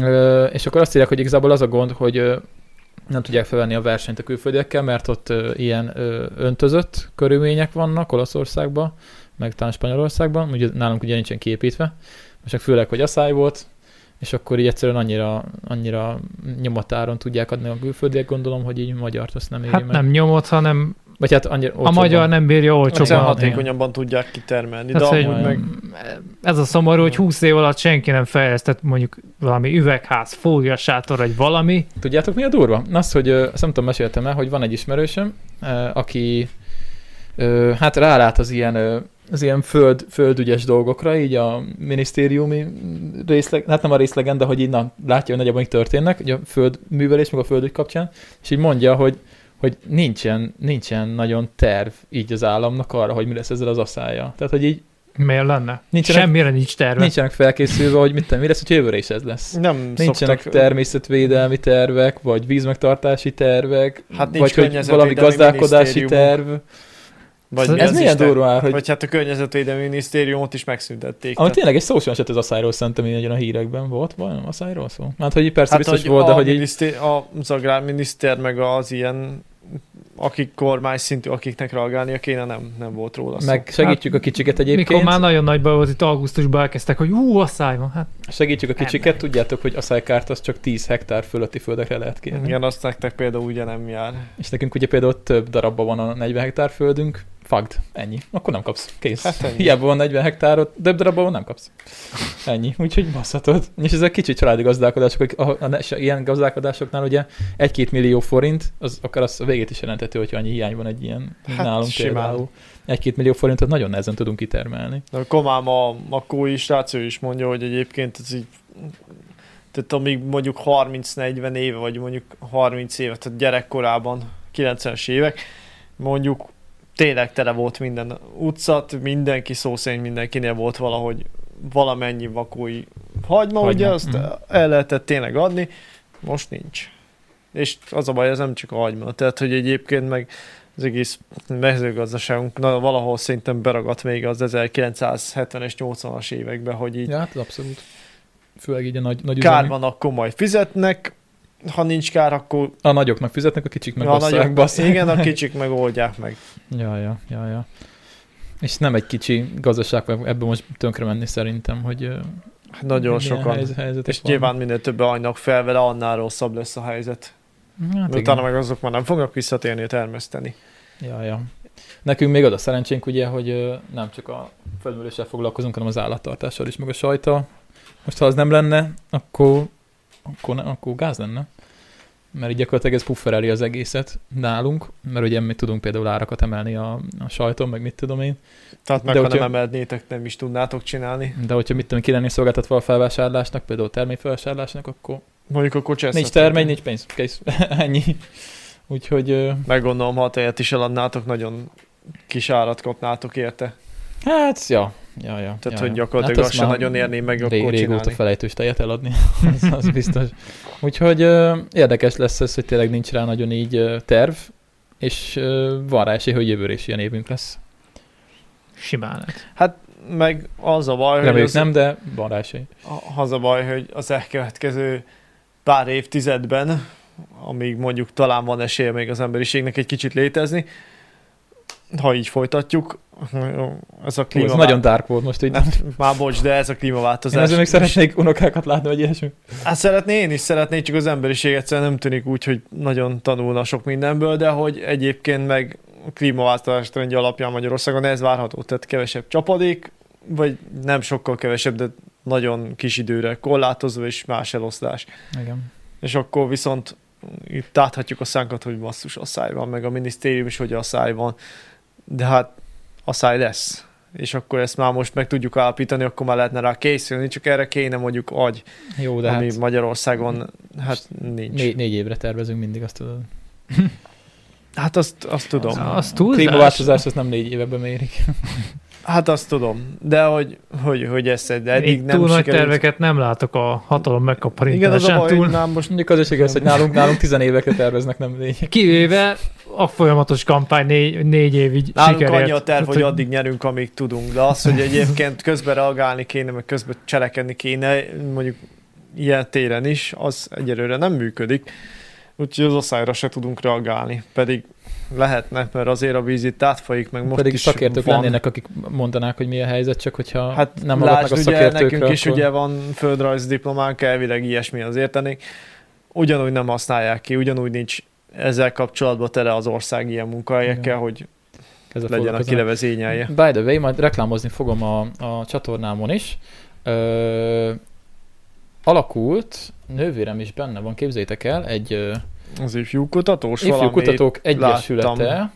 Speaker 1: Ö, és akkor azt írják, hogy igazából az a gond, hogy ö, nem tudják felvenni a versenyt a külföldiekkel, mert ott ö, ilyen ö, öntözött körülmények vannak Olaszországban, meg talán Spanyolországban, ugye nálunk ugye nincsen kiépítve, és csak főleg, hogy asszály volt, és akkor így egyszerűen annyira, annyira nyomatáron tudják adni a külföldiek, gondolom, hogy így magyart azt nem éri
Speaker 3: Hát
Speaker 1: meg.
Speaker 3: nem nyomott, hanem
Speaker 1: Vagy hát annyira
Speaker 3: a magyar nem bírja
Speaker 2: Egyszerűen
Speaker 1: Sokan-
Speaker 3: olcsóban.
Speaker 2: hatékonyabban tudják kitermelni, de
Speaker 3: Hát, hogy-
Speaker 2: amúgy meg...
Speaker 3: Ez a szomorú, hogy 20 év alatt senki nem fejlesztett mondjuk valami üvegház, fólia, sátor, vagy valami.
Speaker 1: Tudjátok, mi a durva? Az, hogy ö, azt nem tudom, meséltem el, hogy van egy ismerősöm, ö, aki ö, hát rálát az ilyen, ö, az ilyen föld, földügyes dolgokra, így a minisztériumi részleg, hát nem a részlegen, de hogy így na, látja, hogy nagyjából mik történnek, ugye a földművelés, meg a földügy kapcsán, és így mondja, hogy hogy nincsen, nincsen nagyon terv így az államnak arra, hogy mi lesz ezzel az asszája. Tehát, hogy így
Speaker 3: Miért lenne?
Speaker 1: Nincsenek-
Speaker 3: Semmire nincs terve.
Speaker 1: nincsenek felkészülve, hogy mit tudom, mi lesz, hogy jövőre is ez lesz.
Speaker 2: Nem
Speaker 1: Nincsenek
Speaker 2: szoktak...
Speaker 1: természetvédelmi tervek, vagy vízmegtartási tervek,
Speaker 2: Hát nincs
Speaker 1: vagy hogy
Speaker 2: környezetvédelmi
Speaker 1: valami gazdálkodási terv.
Speaker 2: minisztérium. Vagy
Speaker 3: Ez
Speaker 2: mi
Speaker 1: ez
Speaker 2: az
Speaker 1: milyen
Speaker 2: Isten?
Speaker 1: durva már, hogy
Speaker 2: Vagy hát a Környezetvédelmi Minisztériumot is megszüntették.
Speaker 1: ami
Speaker 2: tehát-
Speaker 1: tényleg egy szó sem esett az asszályról szerintem így nagyon a hírekben volt, vajon asszályról szó? Hát, hogy így persze
Speaker 2: hát,
Speaker 1: biztos volt, de
Speaker 2: a
Speaker 1: hogy így,
Speaker 2: miniszté- az agrárminiszter meg az ilyen akik kormány szintű, akiknek reagálnia kéne, nem, nem volt róla szó.
Speaker 1: meg segítjük a kicsiket
Speaker 3: Hát, Mikor
Speaker 1: egyébként,
Speaker 3: már nagyon nagy baj volt, itt augusztusban elkezdtek, hogy hú, asszály van. Hát
Speaker 1: segítjük a kicsiket,
Speaker 3: Ember.
Speaker 1: tudjátok, hogy aszálykárt az csak 10 hektár fölötti földekre lehet kérni.
Speaker 2: Igen, azt nektek például ugye nem jár.
Speaker 1: És nekünk ugye például több darabban van a 40 hektár földünk, fagd, ennyi. Akkor nem kapsz, kész.
Speaker 2: Hát ennyi.
Speaker 1: Hiába van 40 hektárod, több darabban van, nem kapsz. Ennyi, úgyhogy basszatod. És ezek kicsi családi gazdálkodások, a, a, a, a, ilyen gazdálkodásoknál ugye 1-2 millió forint, az akár az a végét is jelenthető, hogyha annyi hiány van egy ilyen, mint
Speaker 2: Hát
Speaker 1: nálunk
Speaker 2: simán.
Speaker 1: például. 1-2 millió forintot nagyon nehezen tudunk kitermelni.
Speaker 2: De a komám a makói srác, ő is mondja, hogy egyébként ez így tehát amíg mondjuk 30-40 éve, vagy mondjuk 30 éve, tehát gyerekkorában, 90-es évek, mondjuk tényleg tele volt minden utcat, mindenki szó szerint mindenkinél volt valahogy valamennyi vakói hagyma,
Speaker 1: Hagyma,
Speaker 2: hagyma. ugye azt
Speaker 1: mhm.
Speaker 2: el lehetett tényleg adni, most nincs. És az a baj, ez nem csak a hagyma, tehát hogy egyébként meg az egész mezőgazdaságunk na, valahol szerintem beragadt még az 1970-es, 80-as évekbe, hogy így
Speaker 1: Ja, hát abszolút. Főleg így a nagy, nagy
Speaker 2: kár
Speaker 1: üzemi-
Speaker 2: van, akkor majd fizetnek, ha nincs kár, akkor
Speaker 1: A nagyoknak fizetnek, a kicsik meg
Speaker 2: a nagyok,
Speaker 1: basszák, basszák.
Speaker 2: igen, a kicsik megoldják meg.
Speaker 1: Ja, ja, ja, ja. És nem egy kicsi gazdaság, mert ebből most tönkre menni szerintem, hogy ö,
Speaker 2: Nagyon
Speaker 1: milyen
Speaker 2: sokan.
Speaker 1: helyz- helyzetek
Speaker 2: És
Speaker 1: vannak.
Speaker 2: nyilván minél többen ajnak fel vele, annál rosszabb lesz a helyzet.
Speaker 1: hát
Speaker 2: Hát Utána
Speaker 1: igen.
Speaker 2: meg azok már nem fognak visszatérni termeszteni.
Speaker 1: Ja, ja. Nekünk még az a szerencsénk ugye, hogy ö, nem csak a földműveléssel foglalkozunk, hanem az állattartással is, meg a sajta. Most ha az nem lenne, akkor, akkor, ne, akkor gáz lenne. Mert így gyakorlatilag ez puffereli az egészet nálunk, mert ugye mi tudunk például árakat emelni a, a sajton, meg mit tudom én.
Speaker 2: Tehát meg,
Speaker 1: De
Speaker 2: ha nem
Speaker 1: hogyha-
Speaker 2: emelnétek, nem is tudnátok csinálni.
Speaker 1: De hogyha mit tudom, ki lenni szolgáltatva a felvásárlásnak, például termékfelvásárlásnak, akkor
Speaker 2: Mondjuk a kocsászat.
Speaker 1: nincs termény, nincs pénz. Kész. Ennyi. Úgyhogy ö,
Speaker 2: Meggondolom, ha tejet is eladnátok, nagyon kis árat kapnátok érte.
Speaker 1: hát, ja. Ja, ja,
Speaker 2: Tehát,
Speaker 1: ja,
Speaker 2: hogy
Speaker 1: ja.
Speaker 2: gyakorlatilag
Speaker 1: azt
Speaker 2: azt sem
Speaker 1: már
Speaker 2: nagyon érném meg
Speaker 1: Rég,
Speaker 2: akkor
Speaker 1: régóta
Speaker 2: csinálni.
Speaker 1: felejtős tejet eladni, az, az biztos. Úgyhogy ö, érdekes lesz ez, hogy tényleg nincs rá nagyon így ö, terv, és ö, van rá esély, hogy jövőre is ilyen évünk lesz.
Speaker 3: Simán lehet.
Speaker 2: Hát meg az a baj, hogy
Speaker 1: Reméljük
Speaker 2: az,
Speaker 1: nem, de van rá esély.
Speaker 2: a- az a baj, hogy az elkövetkező pár évtizedben, amíg mondjuk talán van esélye még az emberiségnek egy kicsit létezni, ha így folytatjuk, ez a
Speaker 1: Hú, ez
Speaker 2: klímaváltozás.
Speaker 1: nagyon dark volt most így.
Speaker 2: Nem, már bocs, de ez a
Speaker 1: Én
Speaker 2: klímaváltozás.
Speaker 1: azért még szeretnék unokákat látni, vagy ilyesmi.
Speaker 2: Hát szeretné, én is szeretnék, csak az emberiség egyszerűen nem tűnik úgy, hogy nagyon tanulna sok mindenből, de hogy egyébként meg a klímaváltozás trendje alapján Magyarországon ez várható, tehát kevesebb csapadék, vagy nem sokkal kevesebb, de nagyon kis időre korlátozva és más eloszlás.
Speaker 1: Igen.
Speaker 2: És akkor viszont itt áthatjuk a szánkat, hogy basszus a száj van, meg a minisztérium is, hogy a száj van, de hát a száj lesz. És akkor ezt már most meg tudjuk állapítani, akkor már lehetne rá készülni, csak erre kéne mondjuk agy,
Speaker 1: Jó, de
Speaker 2: de ami
Speaker 1: hát
Speaker 2: hát, Magyarországon hát nincs.
Speaker 1: né- négy évre tervezünk mindig, azt tudod.
Speaker 2: Hát azt, azt tudom.
Speaker 3: Az, az
Speaker 1: A
Speaker 3: túlzás.
Speaker 1: klímaváltozás az nem négy évebe mérik.
Speaker 2: Hát azt tudom, de hogy, hogy, hogy ezt de eddig
Speaker 3: Én
Speaker 2: nem
Speaker 3: túl nagy
Speaker 2: sikerült.
Speaker 3: terveket nem látok a hatalom
Speaker 2: Igen, az a
Speaker 3: megkaparintásán
Speaker 2: baj,
Speaker 3: túl.
Speaker 2: hogy nem most
Speaker 1: Mondjuk az is igaz, hogy nálunk, nálunk tizen évekre terveznek, nem négy.
Speaker 3: Kivéve a folyamatos kampány négy, négy évig
Speaker 2: nálunk
Speaker 3: sikerért.
Speaker 2: annyi a terv,
Speaker 3: Tehát,
Speaker 2: hogy addig nyerünk, amíg tudunk. De az, hogy egyébként közben reagálni kéne, meg közben cselekedni kéne, mondjuk ilyen téren is, az egyelőre nem működik. Úgyhogy az osztályra se tudunk reagálni. Pedig lehetne, mert azért a víz itt átfolyik, meg most
Speaker 1: Pedig
Speaker 2: is
Speaker 1: szakértők
Speaker 2: van.
Speaker 1: lennének, akik mondanák, hogy mi a helyzet, csak hogyha
Speaker 2: Hát
Speaker 1: hát nem hallgatnak
Speaker 2: lásd,
Speaker 1: a
Speaker 2: ugye,
Speaker 1: szakértőkre,
Speaker 2: nekünk is
Speaker 1: akkor...
Speaker 2: ugye van földrajz diplománk, elvileg ilyesmi az értenék. Ugyanúgy nem használják ki, ugyanúgy nincs ezzel kapcsolatban tele az ország ilyen munkahelyekkel,
Speaker 1: Igen.
Speaker 2: hogy
Speaker 1: ez a
Speaker 2: legyen, aki
Speaker 1: foglalkozás.
Speaker 2: levezényelje.
Speaker 1: By the way, majd reklámozni fogom a, a csatornámon is. Ö, alakult, nővérem is benne van, képzétek el, egy ö,
Speaker 2: Az ifjú kutatós
Speaker 1: ifjú
Speaker 2: valami.
Speaker 1: kutatók egyesülete,
Speaker 2: láttam.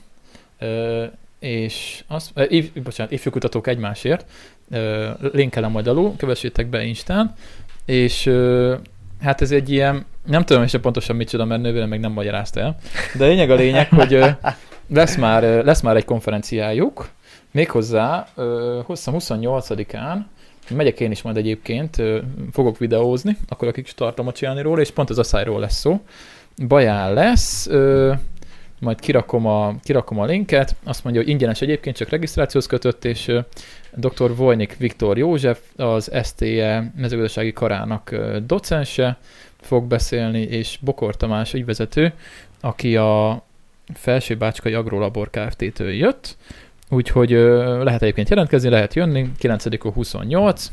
Speaker 1: ö, és azt, ö, if, bocsánat, ifjú kutatók egymásért, ö, linkelem majd alul, kövessétek be Instán, és ö, hát ez egy ilyen, nem tudom is pontosan micsoda, mert nővérem még nem magyarázta el, de lényeg a lényeg, hogy ö, lesz már, ö, lesz már egy konferenciájuk, méghozzá ö, hosszan 28-án, megyek én is majd egyébként, ö, fogok videózni, akkor akik is tartalmat csinálni róla, és pont az asszályról lesz szó. Baján lesz, ö, majd kirakom a, kirakom a linket, azt mondja, hogy ingyenes egyébként, csak regisztrációhoz kötött, és ö, dr. Vojnik Viktor József, az STE mezőgazdasági karának ö, docense fog beszélni, és Bokor Tamás ügyvezető, aki a Felsőbácskai Agrolabor Kft-től jött, úgyhogy ö, lehet egyébként jelentkezni, lehet jönni, 9 28,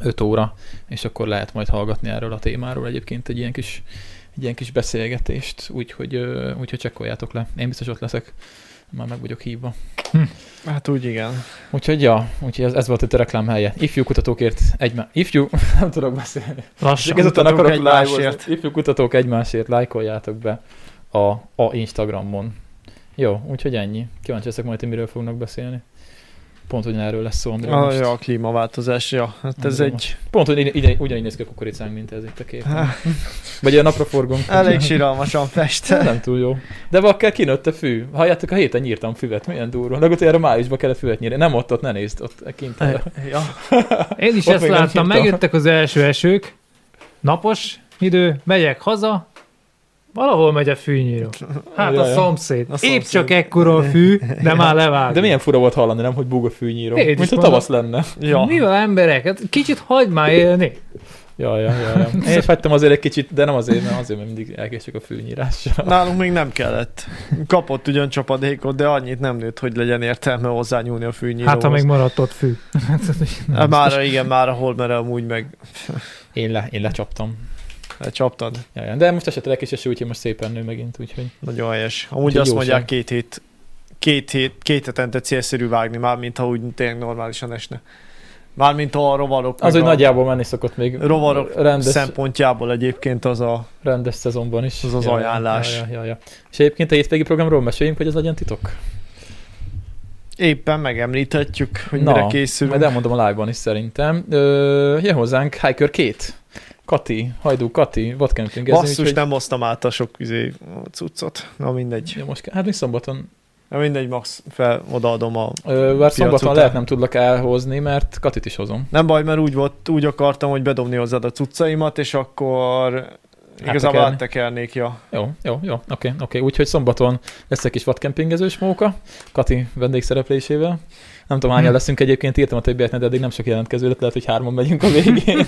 Speaker 1: 5 óra, és akkor lehet majd hallgatni erről a témáról egyébként egy ilyen kis, egy ilyen kis beszélgetést, úgyhogy, ö, úgyhogy csekkoljátok le. Én biztos ott leszek, már meg vagyok hívva.
Speaker 2: Hát úgy igen.
Speaker 1: Úgyhogy ja, úgyhogy ez, ez volt itt a reklám helye. Ifjú kutatókért egymás... Ifjú... Nem tudok beszélni.
Speaker 3: Lassan.
Speaker 1: Csak ezután
Speaker 2: kutatók
Speaker 1: akarok
Speaker 2: egymásért.
Speaker 1: live-ozni. Ifjú kutatók egymásért, lájkoljátok be a, a Instagramon. Jó, úgyhogy ennyi. Kíváncsi leszek majd, hogy miről fognak beszélni. Pont ugyanerről lesz szó, amiről
Speaker 2: A,
Speaker 1: most.
Speaker 2: ja, a klímaváltozás, ja. Hát ez
Speaker 1: Amiről
Speaker 2: egy
Speaker 1: Pont, hogy ide, ide, ugyanígy néz ki a kukoricánk, mint ez itt a kép. Vagy a napra forgunk.
Speaker 2: elég síralmasan festett.
Speaker 1: Nem túl jó. De vakker kinőtt a fű. Halljátok, a héten nyírtam füvet, milyen durva. Legutóbb erre májusban kellett füvet nyírni. Nem ott, ott ne nézd, ott kint.
Speaker 2: Ja.
Speaker 3: Én is
Speaker 1: Ott
Speaker 3: ezt
Speaker 1: még nem
Speaker 3: láttam,
Speaker 1: hívtam.
Speaker 3: megjöttek az első esők, napos idő, megyek haza, valahol megy a fűnyíró. Hát a
Speaker 1: Jaj, jaj.
Speaker 3: szomszéd.
Speaker 2: A
Speaker 3: Épp
Speaker 2: szomszéd.
Speaker 3: csak ekkora a fű, de már levág.
Speaker 1: De milyen fura volt hallani, nem, hogy búg a fűnyíró.
Speaker 3: Én is
Speaker 1: Mint a
Speaker 3: mondom.
Speaker 1: tavasz lenne.
Speaker 2: ja.
Speaker 3: Mi van emberek? Hát Kicsit hagyd már élni.
Speaker 1: Ja, ja, ja, ja. Én fettem azért egy kicsit, de nem azért, mert azért, mert mindig elkések a fűnyírással.
Speaker 2: Nálunk még nem kellett. Kapott ugyan csapadékot, de annyit nem nőtt, hogy legyen értelme hozzányúlni a fűnyíróhoz.
Speaker 3: Hát ha még maradt ott fű.
Speaker 2: Hát Mára igen, mára hol, mert amúgy meg
Speaker 1: Én, le, én lecsaptam.
Speaker 2: csaptad.
Speaker 1: Ja, ja. De most esetre elkéseső, úgyhogy most szépen nő megint, úgyhogy
Speaker 2: Nagyon helyes. Amúgy
Speaker 1: Úgyhogy
Speaker 2: azt
Speaker 1: jó
Speaker 2: mondják
Speaker 1: sem.
Speaker 2: két hét két, hét, két hetente célszerű vágni, már mint ha úgy tényleg normálisan esne. Mármint a rovarok.
Speaker 1: Az,
Speaker 2: meg
Speaker 1: hogy
Speaker 2: a
Speaker 1: nagyjából menni szokott még
Speaker 2: rovarok
Speaker 1: rendes,
Speaker 2: szempontjából egyébként az a
Speaker 1: rendes szezonban is.
Speaker 2: Az az
Speaker 1: Ja, ja,
Speaker 2: ajánlás.
Speaker 1: Ja, ja, ja. És egyébként a hétvégi programról meséljünk, hogy ez legyen titok.
Speaker 2: éppen megemlíthetjük, hogy Na, mire készülünk.
Speaker 1: Majd elmondom a live-ban is szerintem. Ö, jön hozzánk Hiker 2. Kati, Hajdú Kati, vadkempingezni.
Speaker 2: Basszus, nem hoztam át a sok izé, cuccot. Na mindegy.
Speaker 1: Ja, most, ke- hát még szombaton,
Speaker 2: Na mindegy, max fel odaadom a...
Speaker 1: ö, bár szombaton
Speaker 2: után.
Speaker 1: lehet nem tudlak elhozni, mert Katit is hozom.
Speaker 2: Nem baj, mert úgy volt, úgy akartam, hogy bedobni hozzád a cuccaimat, és akkor igazából
Speaker 1: Áttekerni.
Speaker 2: áttekernék, ja.
Speaker 1: Jó, jó, jó, oké, oké. Úgyhogy szombaton lesz egy kis vadkempingezős móka, Kati vendégszereplésével. Nem tudom, hányan
Speaker 3: Hm.
Speaker 1: leszünk egyébként, írtam a többieknek, de eddig nem sok jelentkező lett, lehet, hogy hárman megyünk a végén.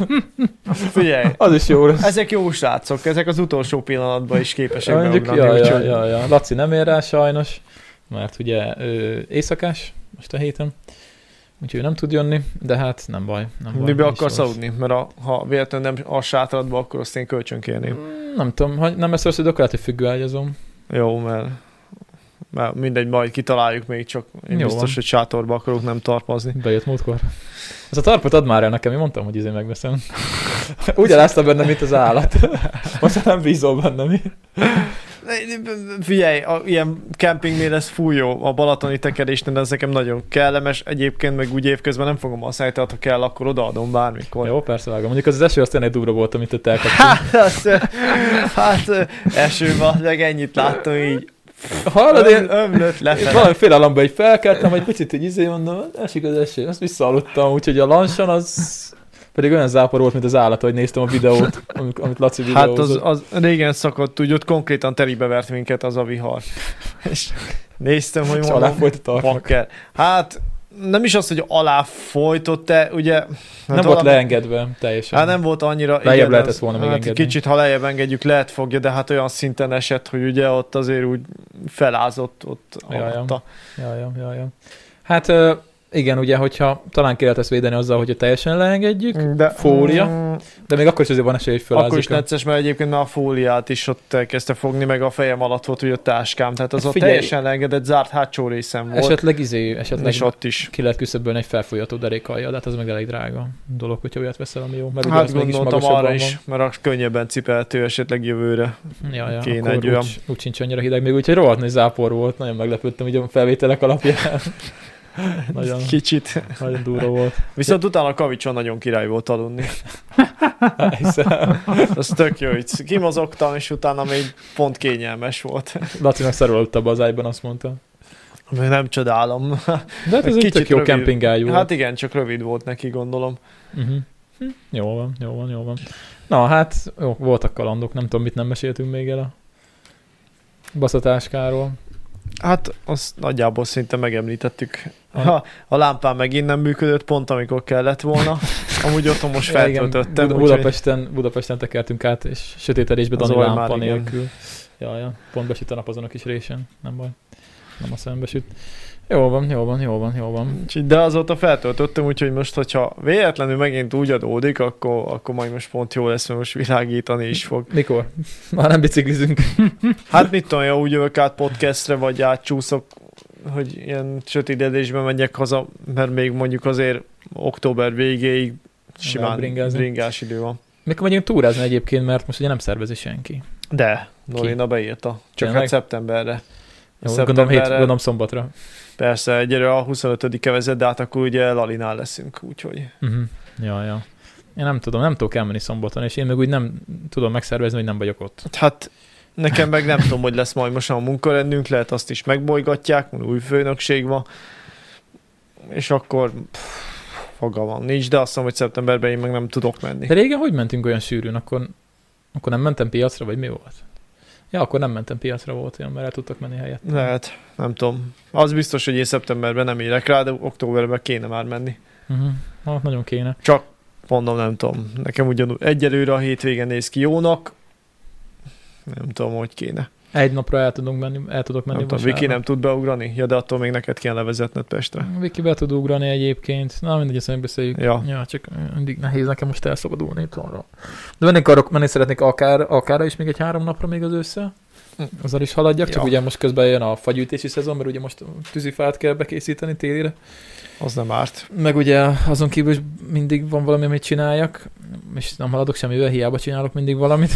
Speaker 2: Figyelj,
Speaker 1: Az is jó lesz.
Speaker 2: ezek jó srácok, ezek az utolsó pillanatban is képesek
Speaker 1: Mondjuk,
Speaker 2: beugrani,
Speaker 1: ja, ja,
Speaker 2: úgyhogy-
Speaker 1: ja, ja. Laci nem ér rá sajnos, mert ugye ő éjszakás most a héten, úgyhogy ő nem tud jönni, de hát nem baj. Nem baj
Speaker 2: Mibe
Speaker 1: így
Speaker 2: akarsz
Speaker 1: lesz.
Speaker 2: aludni? Mert a, ha véletlenül nem a sátradba, akkor azt én kölcsön kérném.
Speaker 1: Nem tudom, ha nem ezt rossz, hogy akkor lehet, hogy függőágyazom.
Speaker 2: Jó, mert, mert mindegy, majd kitaláljuk még csak.
Speaker 1: Jó
Speaker 2: Én Jó biztos,
Speaker 1: van.
Speaker 2: hogy sátorba akarok nem tarpazni.
Speaker 1: Bejött múltkor. Az a tarpot add már el nekem, én mondtam, hogy izé megveszem. Úgy elázta bennem, mint az állat. Most már nem bízol bennem.
Speaker 2: Figyelj, a, ilyen campingnél ez fújó, a balatoni tekerésnél ez nekem nagyon kellemes, egyébként meg úgy évközben nem fogom használni, tehát ha kell, akkor odaadom bármikor.
Speaker 1: Jó, persze vágom. Mondjuk az, az eső az tényleg durva volt, amit ott elkaptunk.
Speaker 2: Hát, az, hát ö, eső van, meg ennyit láttam így.
Speaker 1: Hallod,
Speaker 2: Öm,
Speaker 1: én,
Speaker 2: ömlött
Speaker 1: Én
Speaker 2: lefelé.
Speaker 1: valami félelemben így felkeltem, egy picit így izé mondom, esik az eső, azt visszaaludtam, úgyhogy a lansan az pedig olyan zápor volt, mint az állat, hogy néztem a videót, amit, amit Laci
Speaker 2: Hát az,
Speaker 1: videózott.
Speaker 2: az régen szakadt, úgy ott konkrétan telibe vert minket az a vihar. És néztem, hogy
Speaker 1: És
Speaker 2: mondom,
Speaker 1: alá folyt a tartnak.
Speaker 2: bakker. Hát nem is az, hogy alá folytott -e, ugye... hát
Speaker 1: nem volt
Speaker 2: valami-
Speaker 1: leengedve teljesen.
Speaker 2: Hát nem volt annyira...
Speaker 1: Lejjebb lehetett
Speaker 2: az-
Speaker 1: volna még
Speaker 2: hát
Speaker 1: engedni.
Speaker 2: Kicsit, ha lejjebb engedjük, lehet fogja, de hát olyan szinten esett, hogy ugye ott azért úgy felázott ott
Speaker 1: Ja, ja.
Speaker 2: alatta.
Speaker 1: Ja, ja, ja, ja. Hát ö, igen, ugye, hogyha talán ki lehet ezt védeni azzal, hogyha teljesen leengedjük,
Speaker 2: De,
Speaker 1: Fólia.
Speaker 2: Mm,
Speaker 1: de még akkor is azért van esély, hogy fölázik.
Speaker 2: akkor is necces, mert egyébként már a fóliát is ott elkezdte fogni, meg a fejem alatt volt ugye a táskám, tehát az
Speaker 1: Hát
Speaker 2: ott
Speaker 1: figyelj.
Speaker 2: teljesen leengedett, zárt hátsó részem volt.
Speaker 1: Esetleg izé, esetleg
Speaker 2: És ott is.
Speaker 1: ki lehet küszöbölni egy felfolyató derékajjal, de hát az meg elég drága dolog, hogyha olyat veszel, ami jó. Mert ugye
Speaker 2: Hát
Speaker 1: az mégis
Speaker 2: gondoltam arra
Speaker 1: magasabban
Speaker 2: is,
Speaker 1: van.
Speaker 2: mert az könnyebben cipelhető esetleg jövőre.
Speaker 1: Ja, ja,
Speaker 2: Kéne
Speaker 1: akkor
Speaker 2: egy olyan.
Speaker 1: Úgy, úgy sincs annyira hideg, még úgyhogy rohadt nagy zápor volt, nagyon meglepődtem így a felvételek alapján. nagyon,
Speaker 2: Kicsit.
Speaker 1: nagyon durva volt.
Speaker 2: Viszont utána a kavicson nagyon király volt aludni.
Speaker 1: Hiszem,
Speaker 2: Az tök jó, így kimozogtam, és utána még pont kényelmes volt.
Speaker 1: Lacinak szarolott a bazályban, azt mondta.
Speaker 2: Ami nem csodálom.
Speaker 1: De hát ez egy
Speaker 2: Kicsit
Speaker 1: tök jó
Speaker 2: rövid.
Speaker 1: kempingájú. Hát...
Speaker 2: Hát igen, csak rövid volt neki, gondolom.
Speaker 1: Uh-huh. Hm, Jó van, jó van, jó van. Na hát, jó, voltak kalandok, nem tudom, mit nem meséltünk még el a baszatáskáról.
Speaker 2: Hát azt nagyjából szinte megemlítettük. Ha, a lámpám megint nem működött pont, amikor kellett volna. Amúgy otthon most
Speaker 1: Ja, igen,
Speaker 2: feltöltöttem.
Speaker 1: Buda-
Speaker 2: úgyhogy-
Speaker 1: Budapesten, Budapesten tekertünk át, és sötétedésben
Speaker 2: Az
Speaker 1: Dani
Speaker 2: Olmár,
Speaker 1: lámpa
Speaker 2: igen.
Speaker 1: nélkül. Ja, ja, pont besüt a nap azon a kis résen, nem baj. Nem a szembe süt. Jó van, jó van, jó van, jó van.
Speaker 2: Úgyhogy- De azóta feltöltöttem, úgyhogy most, hogyha véletlenül megint úgy adódik, akkor, akkor majd most pont jó lesz, mert most világítani is fog.
Speaker 1: Mikor? Már nem biciklizünk.
Speaker 2: Hát mit tudom, ja, úgy jövök át podcastre, vagy átcsúszok, hogy ilyen sötétedésben megyek haza, mert még mondjuk azért október végéig simán
Speaker 1: Lehet bringázni.
Speaker 2: bringás idő van.
Speaker 1: Mikor megyünk túrázni egyébként, mert most ugye nem szervezi senki.
Speaker 2: De, Norina beírta. Csak
Speaker 1: Tényleg?
Speaker 2: hát szeptemberre.
Speaker 1: Jó, gondolom, hét, gondolom szombatra.
Speaker 2: Persze, egyre a 25 vezet, de hát akkor ugye Lalinál leszünk, úgyhogy.
Speaker 1: Uh-huh. Ja, ja. Én nem tudom, nem tudok elmenni szombaton, és én meg úgy nem tudom megszervezni, hogy nem vagyok ott.
Speaker 2: Hát nekem meg nem tudom, hogy lesz majd most a munkarendünk, lehet azt is megbolygatják, mert új főnökség van, és akkor pff, fogalmam nincs, de azt mondom, hogy szeptemberben én meg nem tudok menni.
Speaker 1: De régen hogy mentünk olyan sűrűn? Akkor, akkor nem mentem piacra, vagy mi volt? Ja, akkor nem mentem piacra volt olyan, mert el tudtak menni helyett.
Speaker 2: Lehet, nem tudom. Az biztos, hogy én szeptemberben nem érek rá, de októberben kéne már menni.
Speaker 1: Uh-huh. Ah, nagyon kéne.
Speaker 2: Mondom, nem tudom. Nekem ugyanúgy egyelőre a hétvégen néz ki jónak, nem tudom, hogy kéne.
Speaker 1: Egy napra el, tudunk menni, el tudok menni
Speaker 2: nem tudom, Hát Viki nem tud beugrani? Ja, de attól még neked kell levezetned Pestre.
Speaker 1: Viki be tud ugrani egyébként. Na, mindegy, ezt megbeszéljük.
Speaker 2: Ja.
Speaker 1: ja. csak mindig nehéz nekem most elszabadulni itthonról. De mennék arra, menni szeretnék akár, akárra is még egy három napra még az össze. azzal is haladjak, csak
Speaker 2: Hm. Ja.
Speaker 1: ugye most közben jön a fagyűjtési szezon, mert ugye most tűzifát kell bekészíteni télire.
Speaker 2: Az nem árt.
Speaker 1: Meg ugye azon kívül is mindig van valami, amit csináljak, és nem haladok semmivel, hiába csinálok mindig valamit.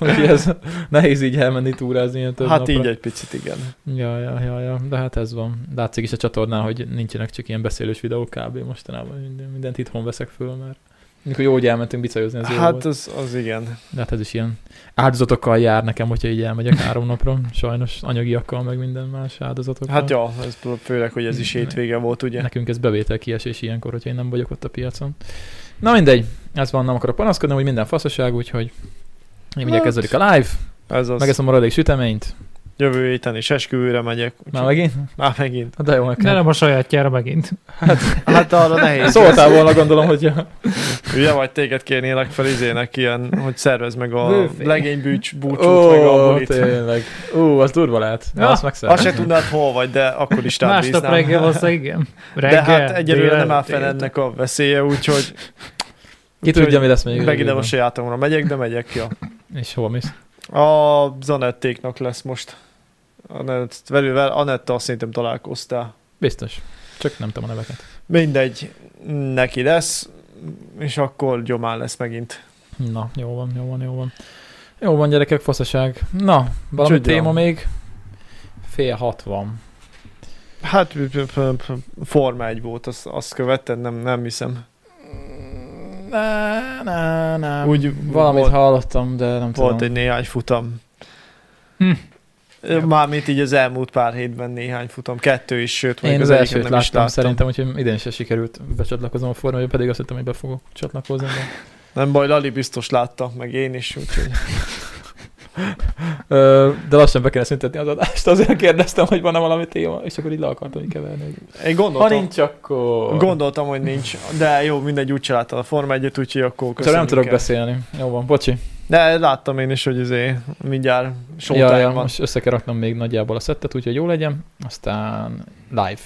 Speaker 1: Úgyhogy ez nehéz így elmenni túrázni ilyen több
Speaker 2: hát
Speaker 1: napra.
Speaker 2: így egy picit, igen.
Speaker 1: Ja, ja, ja, ja, de hát ez van. Látszik is a csatornán, hogy nincsenek csak ilyen beszélős videók kb. mostanában. Minden- Mindent itthon veszek föl, mert mikor jó, hogy elmentünk bicajozni, az jó
Speaker 2: hát
Speaker 1: volt.
Speaker 2: az, az igen.
Speaker 1: De hát ez is ilyen áldozatokkal jár nekem, hogyha így elmegyek három napra. Sajnos anyagiakkal, meg minden más áldozatokkal.
Speaker 2: Hát ja, ez főleg, hogy ez is
Speaker 1: Ne-
Speaker 2: hétvége volt, ugye?
Speaker 1: Nekünk ez bevétel kiesés ilyenkor, hogyha én nem vagyok ott a piacon. Na mindegy, ez van, nem akarok panaszkodni, hogy minden faszaság, úgyhogy én mindjárt
Speaker 2: Hát,
Speaker 1: kezdődik a live,
Speaker 2: Ez az.
Speaker 1: megeszem a maradék süteményt.
Speaker 2: Jövő héten is esküvőre megyek. úgyhogy-
Speaker 1: Már megint?
Speaker 2: Már megint.
Speaker 1: Hát De jó, nekem.
Speaker 3: De nem a sajátjára megint.
Speaker 2: Hát arra nehéz.
Speaker 1: Szóltál volna, gondolom, hogy ja.
Speaker 2: Ugye vagy téged kérnélek fel izének ilyen, hogy szervez meg a
Speaker 1: Bőfé.
Speaker 2: legénybűcs búcsút, meg a
Speaker 1: Ó,
Speaker 2: bulit.
Speaker 1: tényleg. Ó, az durva lehet. Ja,
Speaker 3: Ja,
Speaker 1: azt megszerem.
Speaker 2: Azt se tudnád, hol vagy, de akkor is rád
Speaker 3: Másnap
Speaker 2: bíznám.
Speaker 3: reggel hozzá, igen. Reggel,
Speaker 2: De hát egyelőre nem
Speaker 3: délelőtt,
Speaker 2: áll fel
Speaker 3: délután.
Speaker 2: ennek a veszélye, úgyhogy
Speaker 1: Ki tudja, mi lesz még.
Speaker 2: megint nem a
Speaker 1: jövőben.
Speaker 2: sajátomra megyek, de megyek ki.
Speaker 1: És hova mész?
Speaker 2: A Zanettéknak lesz most. Anett, velővel, Anetta szerintem találkoztál.
Speaker 1: Biztos. Csak nem tudom a neveket.
Speaker 2: Mindegy, neki lesz, és akkor gyomán lesz megint.
Speaker 1: Na, jó van, jó van, jó van. Jó van, gyerekek, faszaság. Na, valami
Speaker 2: Csügyrám.
Speaker 1: téma még. Fél hat van.
Speaker 2: Hát Forma 1 volt, azt, azt követted, nem, nem hiszem.
Speaker 1: Ne, ne, ne.
Speaker 2: Úgy
Speaker 1: Valamit
Speaker 2: volt,
Speaker 1: hallottam, de nem
Speaker 2: volt
Speaker 1: tudom.
Speaker 2: egy néhány futam.
Speaker 3: Hm.
Speaker 2: Ö, Mármint így az elmúlt pár hétben néhány futam, kettő is, sőt, még
Speaker 1: Én az
Speaker 2: egyiket
Speaker 1: elsőt
Speaker 2: nem
Speaker 1: láttam,
Speaker 2: is láttam.
Speaker 1: szerintem, úgyhogy idén se sikerült becsatlakozom a formába, pedig azt hittem, hogy be fogok csatlakozni. De...
Speaker 2: Nem baj, Lali biztos látta, meg én is, úgyhogy
Speaker 1: Ö, de lassan be kellene szüntetni az adást, azért kérdeztem, hogy van-e valami téma, és akkor így le akartam így keverni. hogy
Speaker 2: én
Speaker 1: Ha
Speaker 2: gondoltam,
Speaker 1: nincs, akkor...
Speaker 2: gondoltam, hogy nincs, de jó, mindegy, úgy csináltad a Forma 1 úgyhogy akkor
Speaker 1: Szóval
Speaker 2: köszönjük
Speaker 1: nem tudok
Speaker 2: el.
Speaker 1: beszélni. Jó van, bocsi.
Speaker 2: De láttam én is, hogy izé, mindjárt showtime
Speaker 1: Ja, ja,
Speaker 2: van.
Speaker 1: most össze kell raknom még nagyjából a szettet, úgyhogy jó legyen. Aztán live,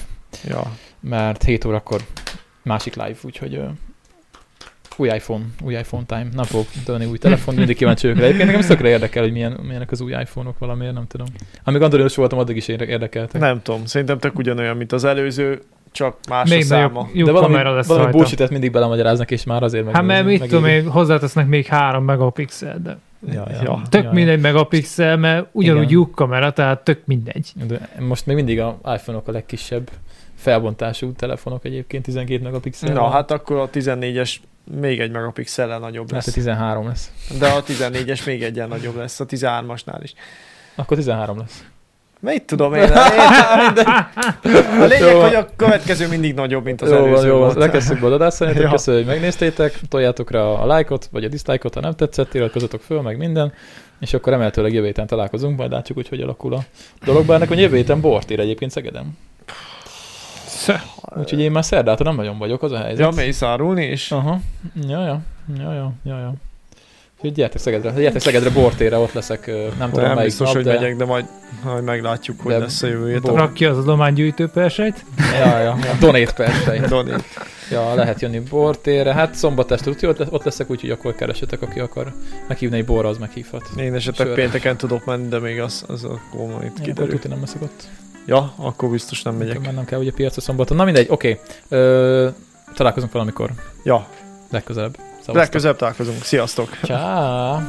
Speaker 2: Ja.
Speaker 1: mert 7 órakor másik live, úgyhogy ö, új iPhone, új iPhone time. Nem fogok dönni új telefon, mindig kíváncsi vagyok rá. Egyébként nekem szokra érdekel, hogy milyen, milyenek az új iPhone-ok valamiért, nem tudom. Amíg androidos voltam, addig is érde- érdekeltek.
Speaker 2: Nem tudom, szerintem tök ugyanolyan, mint az előző, csak más
Speaker 3: Még
Speaker 2: a
Speaker 3: nagyobb
Speaker 2: száma.
Speaker 3: jó
Speaker 1: De valami,
Speaker 3: kamera lesz
Speaker 1: valami
Speaker 3: rajta.
Speaker 1: bullshit mindig belemagyaráznak, és már azért meg...
Speaker 3: Hát mert mit
Speaker 1: meg-
Speaker 3: tudom én, hozzátesznek még 3 megapixel, de
Speaker 1: Ja, ja.
Speaker 2: Ja.
Speaker 3: tök
Speaker 1: Ja, ja.
Speaker 3: mindegy megapixel, mert ugyanúgy
Speaker 1: Igen.
Speaker 3: lyuk kamera, tehát tök mindegy.
Speaker 1: De most még mindig a iPhone-ok a legkisebb felbontású telefonok egyébként, 12 megapixel.
Speaker 2: Na, hát akkor a 14-es még egy megapixellel nagyobb
Speaker 1: Hát a
Speaker 2: lesz.
Speaker 1: 13 lesz.
Speaker 2: De a 14-es még egyen nagyobb lesz, a 13-asnál is.
Speaker 1: Akkor 13 lesz.
Speaker 2: Mit tudom én? én a lényeg, hogy a következő mindig nagyobb, mint az
Speaker 1: jó
Speaker 2: előző
Speaker 1: van, jó van.
Speaker 2: volt.
Speaker 1: Lekezdtük be a adást, szerintem
Speaker 2: Ja.
Speaker 1: köszönjük, hogy megnéztétek. Toljátok rá a lájkot, vagy a diszlájkot, ha nem tetszett, iratkozzatok föl, meg minden. És akkor emeltőleg jövő héten találkozunk, majd látjuk, hogy hogy alakul a dolog. Bár nekem jövő héten bort ír egyébként Szegeden. Úgyhogy én már szerdáta nem nagyon vagyok, az a helyzet.
Speaker 2: Ja, mész árulni is?
Speaker 1: Aha. Ja, ja. Ja, ja, ja, ja. Úgyhogy gyertek Szegedre, gyertek Szegedre bortére, ott leszek, ö, nem tudom
Speaker 2: Nem
Speaker 1: melyik
Speaker 2: biztos,
Speaker 1: nap,
Speaker 2: hogy
Speaker 1: de...
Speaker 2: megyek, de majd, majd meglátjuk, hogy
Speaker 1: De-
Speaker 2: lesz a jövő
Speaker 1: Bo-
Speaker 2: héten.
Speaker 3: Rak ki az adománygyűjtő persejt.
Speaker 1: Ja, ja, ja. Donét persze.
Speaker 2: Doni.
Speaker 1: Ja, lehet jönni bortére. Hát szombat este tudja, ott lesz- ott leszek, úgyhogy akkor keresetek, aki akar meghívni egy borra, az meghívhat.
Speaker 2: Én esetleg
Speaker 1: Sör.
Speaker 2: pénteken tudok menni, de még az, az akkor majd
Speaker 1: Én akkor
Speaker 2: kiderül.
Speaker 1: tudja, nem leszek ott.
Speaker 2: Ja, akkor biztos nem megyek.
Speaker 1: Akkor Mennem kell ugye piacra szombaton. Na mindegy, oké. Ö, Találkozunk valamikor
Speaker 2: Ja,
Speaker 1: legközelebb. Szevasztok.
Speaker 2: legközelebb találkozunk. Sziasztok!
Speaker 1: Csá!